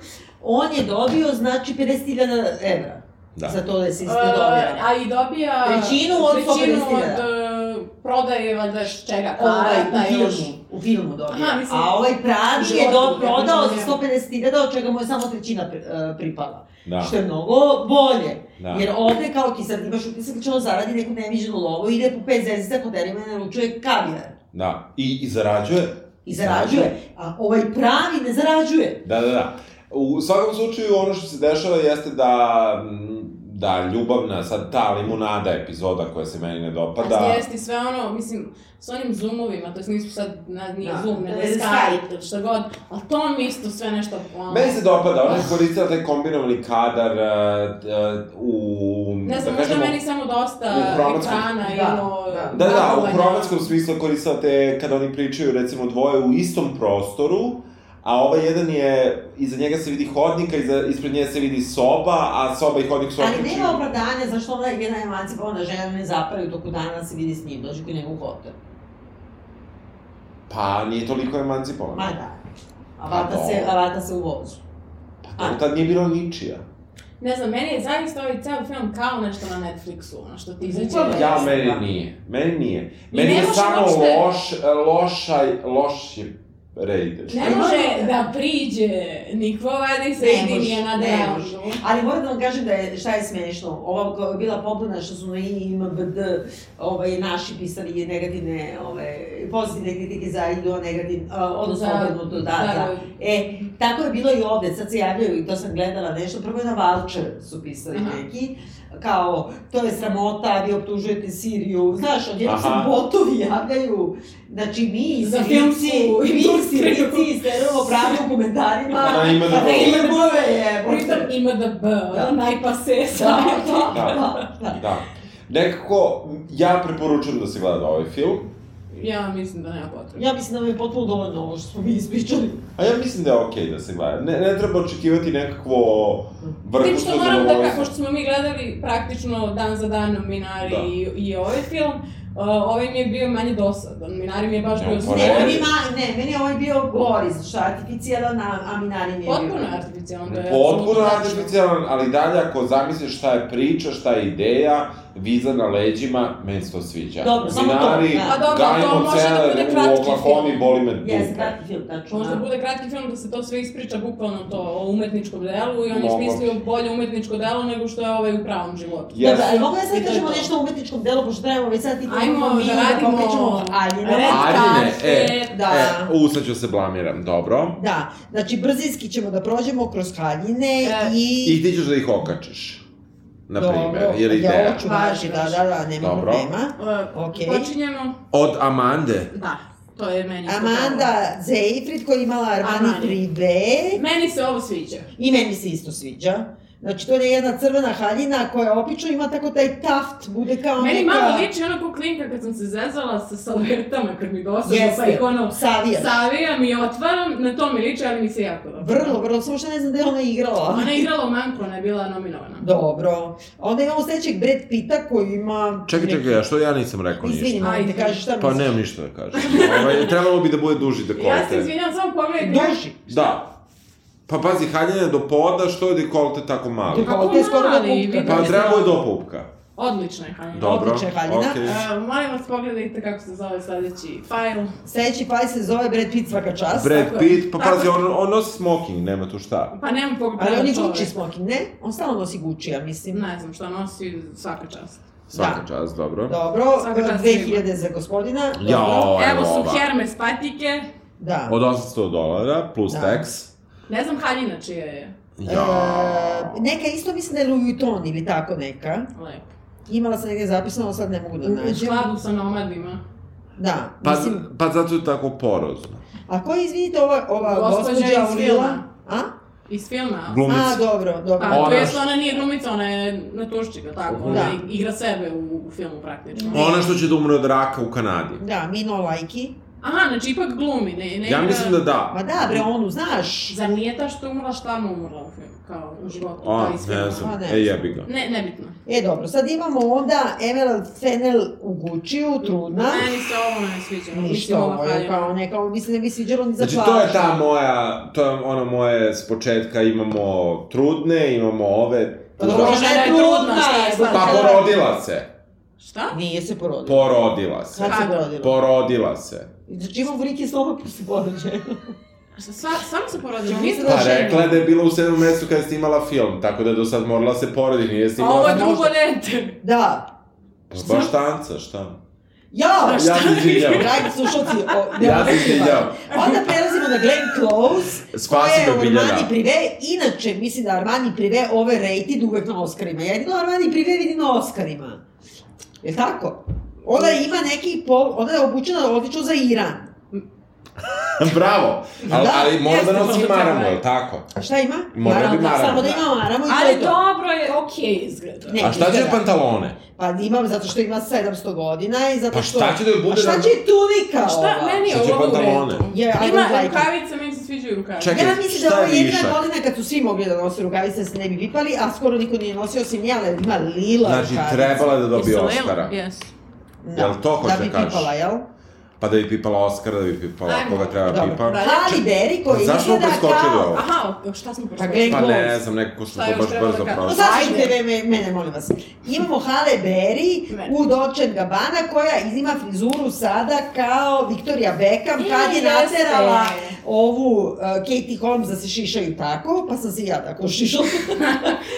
Speaker 2: on je dobio, znači, 50.000 evra.
Speaker 1: Da.
Speaker 2: Za to da se
Speaker 4: Uh,
Speaker 2: istidovira.
Speaker 4: a i dobija
Speaker 2: Trećinu od 150
Speaker 4: trećinu od uh, prodaje, valjda još čega,
Speaker 2: Ovaj,
Speaker 4: karata
Speaker 2: u
Speaker 4: još.
Speaker 2: filmu, u filmu dobio.
Speaker 4: Aha, mislim,
Speaker 2: a ovaj pravi
Speaker 4: u
Speaker 2: je
Speaker 4: životu,
Speaker 2: do,
Speaker 4: ja
Speaker 2: prodao
Speaker 4: mislim,
Speaker 2: za 150.000, od čega mu je samo trećina pri- e, pripala.
Speaker 1: Da,
Speaker 2: Što je mnogo bolje.
Speaker 1: da.
Speaker 2: Jer ovde, kao ti sad imaš utisak da će on zaradi neku neviđenu lovu, ide po pet zvezdica kod Erima i naručuje kavijar.
Speaker 1: da. I, I zarađuje.
Speaker 2: I zarađuje. A ovaj pravi ne zarađuje.
Speaker 1: Da, da, da. U svakom slučaju, ono što se dešava jeste da mm, da ljubavna, sad ta limunada epizoda koja se meni ne
Speaker 4: Pa
Speaker 1: dopada.
Speaker 4: da. Jeste i sve ono, mislim, s onim zoomovima, to jest nisu sad, na, nije
Speaker 2: Da.
Speaker 4: da. zoom, nego
Speaker 2: Da,
Speaker 4: je
Speaker 2: Skype.
Speaker 4: Skype ili šta god, ali to mi isto sve nešto... ono, Da.
Speaker 1: Meni se dopada, ona je koristila taj kombinovani kadar uh, d- uh, u...
Speaker 4: Ne znam,
Speaker 1: da
Speaker 4: možda
Speaker 1: kažemo,
Speaker 4: meni samo dosta
Speaker 1: u hromatskom-
Speaker 4: ekrana
Speaker 2: Da,
Speaker 4: i ono...
Speaker 2: da.
Speaker 1: Da, da, u
Speaker 4: nagovaranja.
Speaker 1: hromatskom smislu koristila te, kada oni pričaju, recimo, dvoje u istom prostoru, a ovaj jedan je, iza njega se vidi hodnika, iza, ispred nje se vidi soba, a soba i hodnik su
Speaker 2: Ali nema opravdanja zašto ona jedna emancipovana žena ne zapali u toku dana da se vidi s njim, dođe kod njega u hotel.
Speaker 1: Pa, nije toliko
Speaker 2: Ma
Speaker 1: emancipovana.
Speaker 2: da. A vata
Speaker 1: Pa
Speaker 2: se,
Speaker 1: dobro.
Speaker 2: a vata se u vozu.
Speaker 1: Pa, dobro, tad nije bilo ničija.
Speaker 4: Ne znam, meni je zaista ovaj ceo film kao nešto na Netflixu, ono što ti izađe.
Speaker 2: Upravo.
Speaker 1: Ja,
Speaker 2: Jeste,
Speaker 1: meni
Speaker 2: da.
Speaker 1: nije. Meni nije.
Speaker 4: I
Speaker 1: Meni
Speaker 4: ne
Speaker 1: je
Speaker 4: može
Speaker 1: samo
Speaker 4: uopšte-
Speaker 1: loš, loš, loš je rejdež.
Speaker 4: Ne može da priđe niko, vadi se
Speaker 2: Ne
Speaker 4: i
Speaker 2: može,
Speaker 4: nije na
Speaker 2: ne
Speaker 4: delanžu.
Speaker 2: Ali moram da vam kažem da je, šta je smešno, ova koja je bila pobuna što su na IMBD ovaj, naši pisali negativne, ovaj, pozitivne kritike za idu, a negativ, a, odnosno
Speaker 4: Za-
Speaker 2: obrnuto, da, da. E, tako je bilo i ovde, sad se javljaju i to sam gledala nešto, prvo je na Valčer su pisali
Speaker 4: Aha.
Speaker 2: neki, kao, to je sramota, vi optužujete Siriju, znaš, odjedno se
Speaker 1: Aha.
Speaker 2: botovi javljaju, znači mi
Speaker 4: Za
Speaker 2: Sirijci,
Speaker 4: filmsku
Speaker 2: [LAUGHS] mi
Speaker 4: industriju.
Speaker 2: Sirijci isterujemo pravdu u komentarima,
Speaker 1: Na IMDb.
Speaker 2: pa da ima bove, je,
Speaker 4: Pritom ima da B,
Speaker 2: Da.
Speaker 4: da. najpase
Speaker 2: Da,
Speaker 4: savjeta.
Speaker 2: da, da.
Speaker 1: Da. Nekako, ja preporučujem da se gleda ovaj film.
Speaker 4: [LAUGHS] Ja mislim da nema potrebe.
Speaker 2: Ja mislim da mi je potpuno dovoljno ovo što smo mi ispričali.
Speaker 1: A ja mislim da je okej da se gleda. Ne, ne treba očekivati nekakvo
Speaker 4: Tim
Speaker 1: vrhunsko
Speaker 4: što moram da kažem,
Speaker 1: zadovoljstvo.
Speaker 4: pošto smo mi gledali praktično dan za danom Minari
Speaker 1: Da.
Speaker 4: da. i, i ovaj film, uh, ovaj mi je bio manje dosadan. Minari mi je baš
Speaker 1: Ne,
Speaker 4: bio
Speaker 1: pa
Speaker 2: Ne,
Speaker 1: Ne.
Speaker 2: on ima, ne, meni je ovaj bio gori, zašto je artificijalan, a, a Minari mi je bio.
Speaker 4: Potpuno artificijalan, da je
Speaker 1: Potpuno
Speaker 4: apsolutno tačno.
Speaker 1: artificijalan, ali dalje ako zamisliš šta je priča, šta je ideja, viza na leđima, meni se to sviđa.
Speaker 2: Dobro, samo to, da.
Speaker 4: Pa dobro,
Speaker 1: Gajmo
Speaker 4: to može da bude
Speaker 1: Celer u
Speaker 4: kratki
Speaker 1: Oklahoma,
Speaker 4: film.
Speaker 1: boli me dupe.
Speaker 2: Jeste, kratki film, tačno.
Speaker 4: Znači, Možda
Speaker 2: da.
Speaker 4: bude kratki film da se to sve ispriča bukvalno to o umetničkom delu i on je
Speaker 1: Moguće.
Speaker 4: smislio bolje umetničko delo nego što je ovaj u pravom životu.
Speaker 1: Jeste.
Speaker 2: Dobro, ali mogu ja
Speaker 4: I
Speaker 2: sad
Speaker 4: to je
Speaker 2: kažemo
Speaker 4: to.
Speaker 2: nešto o umetničkom delu, pošto trebamo već sad ti
Speaker 4: Ajmo da radimo
Speaker 2: Aljina.
Speaker 4: Red
Speaker 1: Ajde, e,
Speaker 4: carpet,
Speaker 2: da.
Speaker 1: E, u, sad ću se blamiram, dobro.
Speaker 2: Da, znači brzinski ćemo da prođemo kroz haljine
Speaker 4: E,
Speaker 2: i...
Speaker 1: I ti ćeš da ih okačeš, na primer,
Speaker 2: Dobro,
Speaker 1: ili
Speaker 2: Ja
Speaker 1: ideja.
Speaker 2: ovo ću važi, da, da, da, nema
Speaker 1: Dobro.
Speaker 2: problema.
Speaker 4: Uh,
Speaker 2: Okej.
Speaker 4: Počinjemo.
Speaker 1: Od Amande.
Speaker 4: Da, to je meni. isto pravo.
Speaker 2: Amanda Zeifrid koja je imala Armani
Speaker 4: Armani.
Speaker 2: 3B
Speaker 4: Meni se ovo sviđa.
Speaker 2: i meni se isto sviđa. Znači, to je jedna crvena haljina koja obično ima tako taj taft, bude kao
Speaker 4: Meni
Speaker 2: neka...
Speaker 4: malo liči ono ko klinka kad sam se zezala sa salvetama kad mi dosadno, pa
Speaker 2: Jeste.
Speaker 4: ih ono
Speaker 2: Savijaš.
Speaker 4: savijam i otvaram, na to mi liči, ali mi se jako dobro.
Speaker 2: Vrlo, vrlo, samo što ne znam da je ona igrala.
Speaker 4: Ona je igrala u Manku, ona je bila nominovana.
Speaker 2: Dobro. Onda imamo sledećeg Brad Pita koji ima...
Speaker 1: Čekaj,
Speaker 2: neki-
Speaker 1: čekaj, a što ja nisam rekao
Speaker 2: Izvini,
Speaker 1: ništa?
Speaker 2: molim te
Speaker 4: Ajde.
Speaker 2: kažeš šta
Speaker 1: Pa
Speaker 2: misliš.
Speaker 1: nemam ništa da kažem. Ovaj, trebalo bi da bude duži dekolte.
Speaker 4: Ja se izvinjam, samo pogledajte.
Speaker 2: Duži.
Speaker 1: Da. Pa pazi, haljene do poda, što je dekolte tako malo?
Speaker 4: Pa
Speaker 2: Pa, ovde je skoro do
Speaker 4: mali,
Speaker 2: pupka.
Speaker 4: vidi.
Speaker 1: Pa trebalo je do pupka.
Speaker 4: Odlično je, Hanja.
Speaker 1: Dobro,
Speaker 2: Odlična je haljina.
Speaker 1: okej.
Speaker 4: A, molim vas, pogledajte kako se zove sledeći fajl.
Speaker 2: Sledeći faj se zove Brad Pitt svaka čast.
Speaker 1: Brad
Speaker 4: tako je.
Speaker 1: Pitt, pa
Speaker 4: Tako
Speaker 1: pazi,
Speaker 4: je.
Speaker 1: on, on nosi smoking, nema tu šta.
Speaker 4: Pa nemam pogleda.
Speaker 2: Ali on je Gucci smoking, ne? On stalno nosi Gucci, ja mislim.
Speaker 4: Ne znam šta nosi, svaka čast.
Speaker 1: Svaka
Speaker 2: Da.
Speaker 1: čast, dobro.
Speaker 2: Dobro,
Speaker 4: Svaka čast
Speaker 2: 2000 za gospodina. Dobro.
Speaker 1: Jao, evo,
Speaker 4: Evo su
Speaker 1: ova.
Speaker 4: Hermes patike.
Speaker 2: Da.
Speaker 1: Od 800 dolara, plus
Speaker 2: Da.
Speaker 1: tax.
Speaker 4: Ne znam haljina čija je.
Speaker 1: Ja.
Speaker 2: E, neka isto mislim da je Louis Vuitton ili tako neka.
Speaker 4: Lepo.
Speaker 2: Imala sam negde zapisano, ali sad ne mogu da
Speaker 4: U
Speaker 2: nađem.
Speaker 4: skladu sa nomadima.
Speaker 2: Da,
Speaker 1: Pa,
Speaker 2: mislim.
Speaker 1: pa zato je tako porozno.
Speaker 2: A ko je, izvinite, ova, ova
Speaker 4: Gospođa
Speaker 2: gospođa
Speaker 4: iz
Speaker 2: Aurila?
Speaker 4: filma.
Speaker 2: A?
Speaker 4: Iz filma.
Speaker 1: Glumica.
Speaker 2: A, dobro, dobro.
Speaker 4: A, to
Speaker 1: Ona
Speaker 4: je
Speaker 1: što-
Speaker 4: ona nije glumica, ona je natuščika, tako. Ona
Speaker 2: Da.
Speaker 4: igra sebe u, u filmu praktično.
Speaker 1: Ona što će da umre od raka u Kanadi.
Speaker 2: Da, Mino Lajki.
Speaker 4: Aha, znači ipak glumi, ne, ne
Speaker 1: Ja
Speaker 4: igra-
Speaker 1: mislim da
Speaker 2: Ma
Speaker 1: da.
Speaker 2: da, bre, onu, znaš.
Speaker 4: Zar nije ta što je umrla štamma umrla u filmu, kao u životu,
Speaker 1: A,
Speaker 4: ta iz filma?
Speaker 1: ne znam,
Speaker 2: A, da, ne
Speaker 1: e jebi ga.
Speaker 4: Ne, nebitno.
Speaker 2: E, dobro, sad imamo onda Emerald Fennel u Gucci-u, trudna.
Speaker 4: Meni se ovo ne sviđa.
Speaker 2: Ništa ovo je
Speaker 4: kao...
Speaker 2: kao neka, ovo mislim da mi sviđalo ni za
Speaker 1: Znači, to je ta moja, to je ono moje s početka, imamo trudne, imamo ove...
Speaker 2: Pa dobro, ona je trudna,
Speaker 4: šta je
Speaker 2: je, znaš.
Speaker 1: Pa porodila se,
Speaker 4: Šta?
Speaker 2: Nije se porodila.
Speaker 1: porodila se,
Speaker 2: Kad se porodila?
Speaker 1: porodila se.
Speaker 2: Znači imam vrike slova pa se porođe.
Speaker 4: Šta, sva, samo se porodila,
Speaker 2: Čemu
Speaker 4: nisam
Speaker 2: se
Speaker 1: Pa
Speaker 2: Pa žena.
Speaker 1: rekla je da je bila u sedmom mesecu kada je snimala film, tako da je do sad morala se porodi, nije
Speaker 4: A ovo
Speaker 1: snimala
Speaker 4: je
Speaker 1: film.
Speaker 4: drugo dete.
Speaker 2: Da.
Speaker 1: Pa baš tanca, šta?
Speaker 2: Ja!
Speaker 1: Ja se izvinjam.
Speaker 2: Dragi slušalci, o, ne
Speaker 1: Ja se
Speaker 2: mogu
Speaker 1: izvinjam.
Speaker 2: Onda prelazimo na Glenn Close, koja
Speaker 1: Spasi
Speaker 2: je
Speaker 1: me, Biljana.
Speaker 2: Armani Privé. Inače, mislim da Armani Privé overrated uvek na Oscarima. Jedino Armani Privé vidim na Oscarima. Je tako? Ona
Speaker 1: Mm.
Speaker 2: ima neki pol, ona je obučena odlično za Iran.
Speaker 1: [LAUGHS] Bravo! Ali,
Speaker 2: Da,
Speaker 1: ali mora da
Speaker 4: jeste,
Speaker 1: nosi
Speaker 4: možda
Speaker 1: maramu,
Speaker 4: treba.
Speaker 1: je li tako?
Speaker 2: Šta ima?
Speaker 1: Mora da bi maramu.
Speaker 2: Samo da ima maramu i to je to.
Speaker 4: Ali dobro je, okej izgleda.
Speaker 2: Ne,
Speaker 1: A šta će
Speaker 2: izgleda.
Speaker 1: pantalone?
Speaker 2: Pa imam zato što ima 700 godina i zato
Speaker 1: Pa
Speaker 2: što...
Speaker 1: šta će da joj bude
Speaker 2: A šta
Speaker 1: na-
Speaker 2: će tunika
Speaker 4: Šta,
Speaker 2: ova?
Speaker 4: meni je
Speaker 1: Šta će
Speaker 4: ovo u
Speaker 1: pantalone?
Speaker 4: redu.
Speaker 2: Je, I
Speaker 4: Ima
Speaker 2: don't like it.
Speaker 4: rukavice, meni se sviđaju rukavice.
Speaker 1: Čekaj.
Speaker 2: Ja mislim
Speaker 1: šta
Speaker 2: da ovo
Speaker 1: je
Speaker 2: je jedina
Speaker 1: višak?
Speaker 2: godina kad su svi mogli da nose rukavice da se ne bi vipali, a skoro niko nije nosio osim nje, ali ima lila
Speaker 1: Znači,
Speaker 2: rukavice.
Speaker 1: trebala je da dobije
Speaker 4: Jesu li?
Speaker 1: Oscara.
Speaker 4: Jesu.
Speaker 2: Da,
Speaker 1: Jel to hoće
Speaker 2: da bi
Speaker 1: da kažeš?
Speaker 2: pipala, jel?
Speaker 1: Pa da bi pipala Oscara, da bi pipala
Speaker 4: Ajmo,
Speaker 1: koga treba
Speaker 2: Dobro.
Speaker 1: pipa.
Speaker 2: Halle Berry koji
Speaker 1: Zašto smo
Speaker 2: izgleda
Speaker 1: preskočili
Speaker 2: kao...
Speaker 1: ovo?
Speaker 4: Aha, o- šta smo
Speaker 2: Pa
Speaker 4: prošli?
Speaker 2: Glenn
Speaker 1: Pa ne
Speaker 2: Close.
Speaker 1: znam, nekako smo
Speaker 4: Šta
Speaker 1: to
Speaker 4: još
Speaker 1: baš
Speaker 4: treba da
Speaker 1: brzo
Speaker 4: kažem?
Speaker 2: Pa
Speaker 1: prošli.
Speaker 2: zašto
Speaker 4: Ajde.
Speaker 2: te me, mene, molim vas. Imamo Halle Berry
Speaker 4: Ne.
Speaker 2: u Dolce Gabbana koja ima frizuru sada kao Victoria Beckham kad je
Speaker 4: I, jeste.
Speaker 2: naterala ovu uh, Katie Holmes da se šišaju tako, pa sam se i ja tako
Speaker 4: [LAUGHS]
Speaker 2: šišala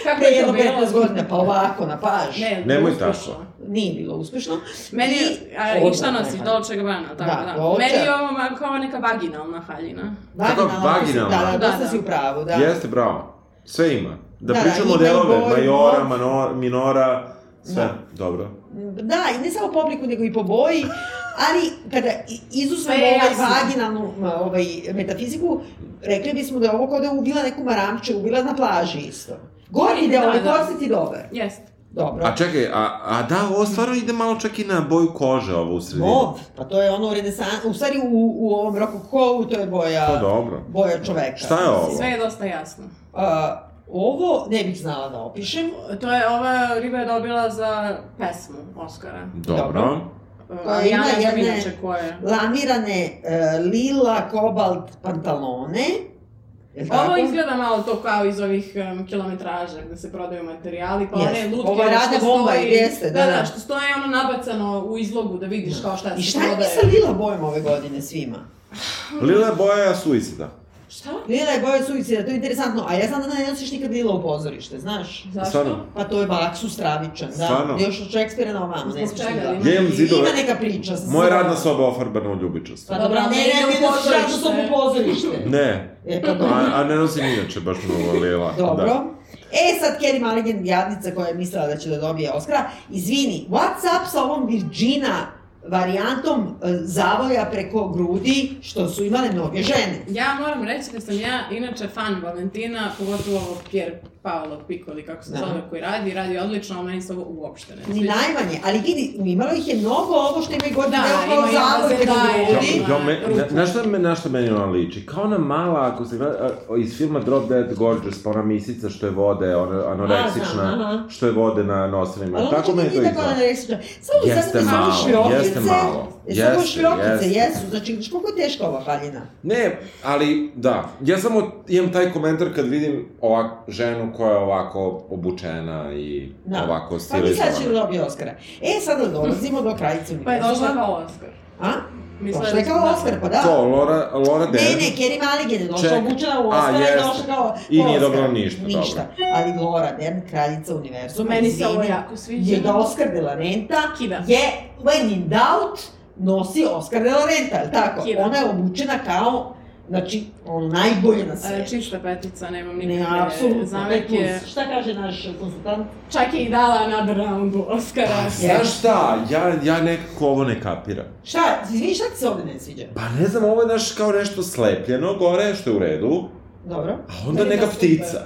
Speaker 4: Kako
Speaker 2: pre
Speaker 4: je to
Speaker 2: jedno 15
Speaker 4: bilo?
Speaker 2: godina, pa ovako, na paž.
Speaker 4: Ne,
Speaker 1: Nemoj
Speaker 4: uspešno.
Speaker 1: tako.
Speaker 2: Nije bilo uspešno.
Speaker 4: Meni,
Speaker 2: I-
Speaker 4: a, i šta nosiš,
Speaker 2: Odvratno je.
Speaker 4: Dolce Gabbana, tako
Speaker 2: Da,
Speaker 4: da.
Speaker 2: Dolce.
Speaker 4: Meni je ovo ma- kao neka vaginalna haljina.
Speaker 2: Vaginalna,
Speaker 1: Kako vaginalna?
Speaker 2: Da, da,
Speaker 4: Da,
Speaker 2: dosta
Speaker 4: da.
Speaker 2: si u pravu, da.
Speaker 1: Jeste, bravo. Sve ima. Da,
Speaker 2: Da,
Speaker 1: pričamo
Speaker 2: ima i
Speaker 1: delove,
Speaker 2: boj,
Speaker 1: majora,
Speaker 2: boj.
Speaker 1: manor, minora, sve.
Speaker 2: Da.
Speaker 1: Dobro.
Speaker 2: Da, i ne samo po obliku, nego i po boji. Ali, kada i- izuzmemo
Speaker 4: Sve je
Speaker 2: ovaj
Speaker 4: jasno.
Speaker 2: vaginalnu m, ovaj, metafiziku, rekli bismo da je ovo kao da je ubila neku maramče, ubila na plaži isto. Gori
Speaker 4: Da,
Speaker 2: deo, ali
Speaker 4: da.
Speaker 2: kositi dobar.
Speaker 4: Jeste.
Speaker 2: Dobro.
Speaker 1: A čekaj, a, a da, ovo stvarno ide malo čak i na boju kože ovo u sredini.
Speaker 2: Mov, pa to je ono u renesansu, u stvari u, u ovom rokokovu, to je
Speaker 1: Pa
Speaker 2: boja,
Speaker 1: dobro.
Speaker 2: boja čoveka.
Speaker 1: Šta je ovo?
Speaker 4: Sve je dosta jasno.
Speaker 2: A, ovo ne bih znala da opišem.
Speaker 4: To je, ova riba je dobila za pesmu Oscara.
Speaker 1: Dobro.
Speaker 2: Pa
Speaker 4: Ali ja
Speaker 2: ima
Speaker 4: ne znam
Speaker 2: jedne-
Speaker 4: inače ko je.
Speaker 2: Lamirane e, lila kobalt pantalone. Jel
Speaker 4: Ovo izgleda malo to kao iz ovih um, kilometraža gde se prodaju materijali, pa
Speaker 2: Jest.
Speaker 4: one lutke
Speaker 2: Ovo je
Speaker 4: ono
Speaker 2: Rade Bombaj, jeste, da,
Speaker 4: da,
Speaker 2: da.
Speaker 4: da, što stoje ono nabacano u izlogu da vidiš kao šta se
Speaker 2: I šta je mi
Speaker 4: prodaje.
Speaker 2: sa lila bojom ove godine svima?
Speaker 1: Lila je boja suicida.
Speaker 4: Šta?
Speaker 2: Lila je boja suicida, to je interesantno. A ja znam da ne nosiš nikad lila u pozorište, znaš?
Speaker 4: Zašto?
Speaker 1: Stvarno?
Speaker 2: Pa to je baksus stravičan, da.
Speaker 1: Stvarno?
Speaker 2: Još od Šekspira na ovamo, ne da
Speaker 4: Zbog
Speaker 2: smiješ
Speaker 4: čega?
Speaker 2: lila.
Speaker 4: Ima
Speaker 1: Ja imam zidove.
Speaker 2: Ima neka priča. sa
Speaker 1: Moja
Speaker 2: sobom.
Speaker 1: radna soba je ofarbana u ljubičastu.
Speaker 2: Pa dobro, ne,
Speaker 4: Dobra,
Speaker 2: ne,
Speaker 4: ne
Speaker 2: ne,
Speaker 4: ide u
Speaker 2: ne, nosiš radnu
Speaker 4: pozorište.
Speaker 2: sobu u pozorište.
Speaker 1: Ne.
Speaker 2: E, pa dobro.
Speaker 1: A, a ne nosim inače baš mnogo lila.
Speaker 2: Dobro.
Speaker 1: Da.
Speaker 2: E, sad Kelly Mulligan, jadnica koja je mislila da će da dobije Oscara. Izvini, what's up sa ovom Virgina varijantom e, zavoja preko grudi, što su imale mnoge žene?
Speaker 4: Ja moram reći da sam ja inače fan Valentina, pogotovo ovog Pierre Paolo Piccoli, kako se
Speaker 2: Da.
Speaker 4: zove, koji radi, radi odlično, a meni se ovo uopšte ne
Speaker 2: Ni
Speaker 4: sviđa.
Speaker 2: najmanje, ali vidi, imalo ih je mnogo ovo što imaju godine
Speaker 4: Da,
Speaker 2: da, kao
Speaker 4: ima i
Speaker 2: zavod
Speaker 4: Zendaya.
Speaker 2: nego ljudi.
Speaker 4: Ja-
Speaker 1: Jo, me, na,
Speaker 4: Ruku.
Speaker 1: na, šta, me- na šta meni ona liči? Kao ona mala, ako se gleda, a, iz filma Drop Dead Gorgeous, pa ona misica što je vode, ona
Speaker 2: A, da,
Speaker 1: anoreksična,
Speaker 2: znam, aha.
Speaker 1: što je vode na nosovima.
Speaker 2: Ali
Speaker 1: Tako
Speaker 2: ono
Speaker 1: meni
Speaker 2: će
Speaker 1: to
Speaker 2: biti tako
Speaker 1: izgleda.
Speaker 2: anoreksična. Samo da jeste
Speaker 1: Jeste
Speaker 2: sad samo
Speaker 1: malo,
Speaker 2: šljokice.
Speaker 1: jeste malo.
Speaker 2: samo
Speaker 1: Jeste,
Speaker 2: šljokice,
Speaker 1: jeste.
Speaker 2: jesu. Znači, vidiš koliko je teška ova haljina. Pa
Speaker 1: Ne, ali da, ja samo imam taj komentar kad vidim ovak, ženu koja je ovako obučena i
Speaker 2: Da.
Speaker 1: ovako
Speaker 2: Pa mi sad će
Speaker 1: stilizovana.
Speaker 2: dobiti Oscara. E, sad dolazimo do kraljice
Speaker 4: Pa je došla
Speaker 2: univerzuma.
Speaker 4: kao Oscar.
Speaker 2: A?
Speaker 4: Mislim
Speaker 2: Došla je kao Oscar, pa da.
Speaker 1: Ko, Laura, Laura
Speaker 2: Ne,
Speaker 1: Dern?
Speaker 2: ne, Kerry Mulligan je došla
Speaker 1: Ček.
Speaker 2: obučena u
Speaker 1: A,
Speaker 2: Oscara i
Speaker 1: jeste.
Speaker 2: došla kao
Speaker 1: I
Speaker 2: kao
Speaker 1: nije
Speaker 2: Oscar.
Speaker 1: dobila ništa, dobro.
Speaker 2: Ništa. Ali Laura Dern, kraljica univerzuma,
Speaker 4: Pa Meni se ovo
Speaker 2: izvini,
Speaker 4: jako sviđa.
Speaker 2: je da Oscar de la Renta
Speaker 4: Kida.
Speaker 2: je when in doubt nosi Oscar de la Renta, je li tako?
Speaker 4: Kida.
Speaker 2: Ona je obučena kao, znači, ono, najbolje na
Speaker 4: E,
Speaker 2: svijetu.
Speaker 4: Čista petica, nemam
Speaker 2: Ne,
Speaker 4: nikakve
Speaker 2: apsolutno,
Speaker 4: zamerke.
Speaker 2: ne plus. Šta kaže naš konsultant?
Speaker 4: Čak je i dala another round Oscara.
Speaker 1: Znaš šta, ja, ja nekako ovo ne kapiram.
Speaker 2: Šta, izvini, šta ti se ovde ne sviđa?
Speaker 1: Pa ne znam, ovo je naš kao nešto slepljeno gore, što je u redu,
Speaker 2: Dobro.
Speaker 1: a onda
Speaker 4: Meni je
Speaker 1: neka
Speaker 4: to super.
Speaker 1: ptica.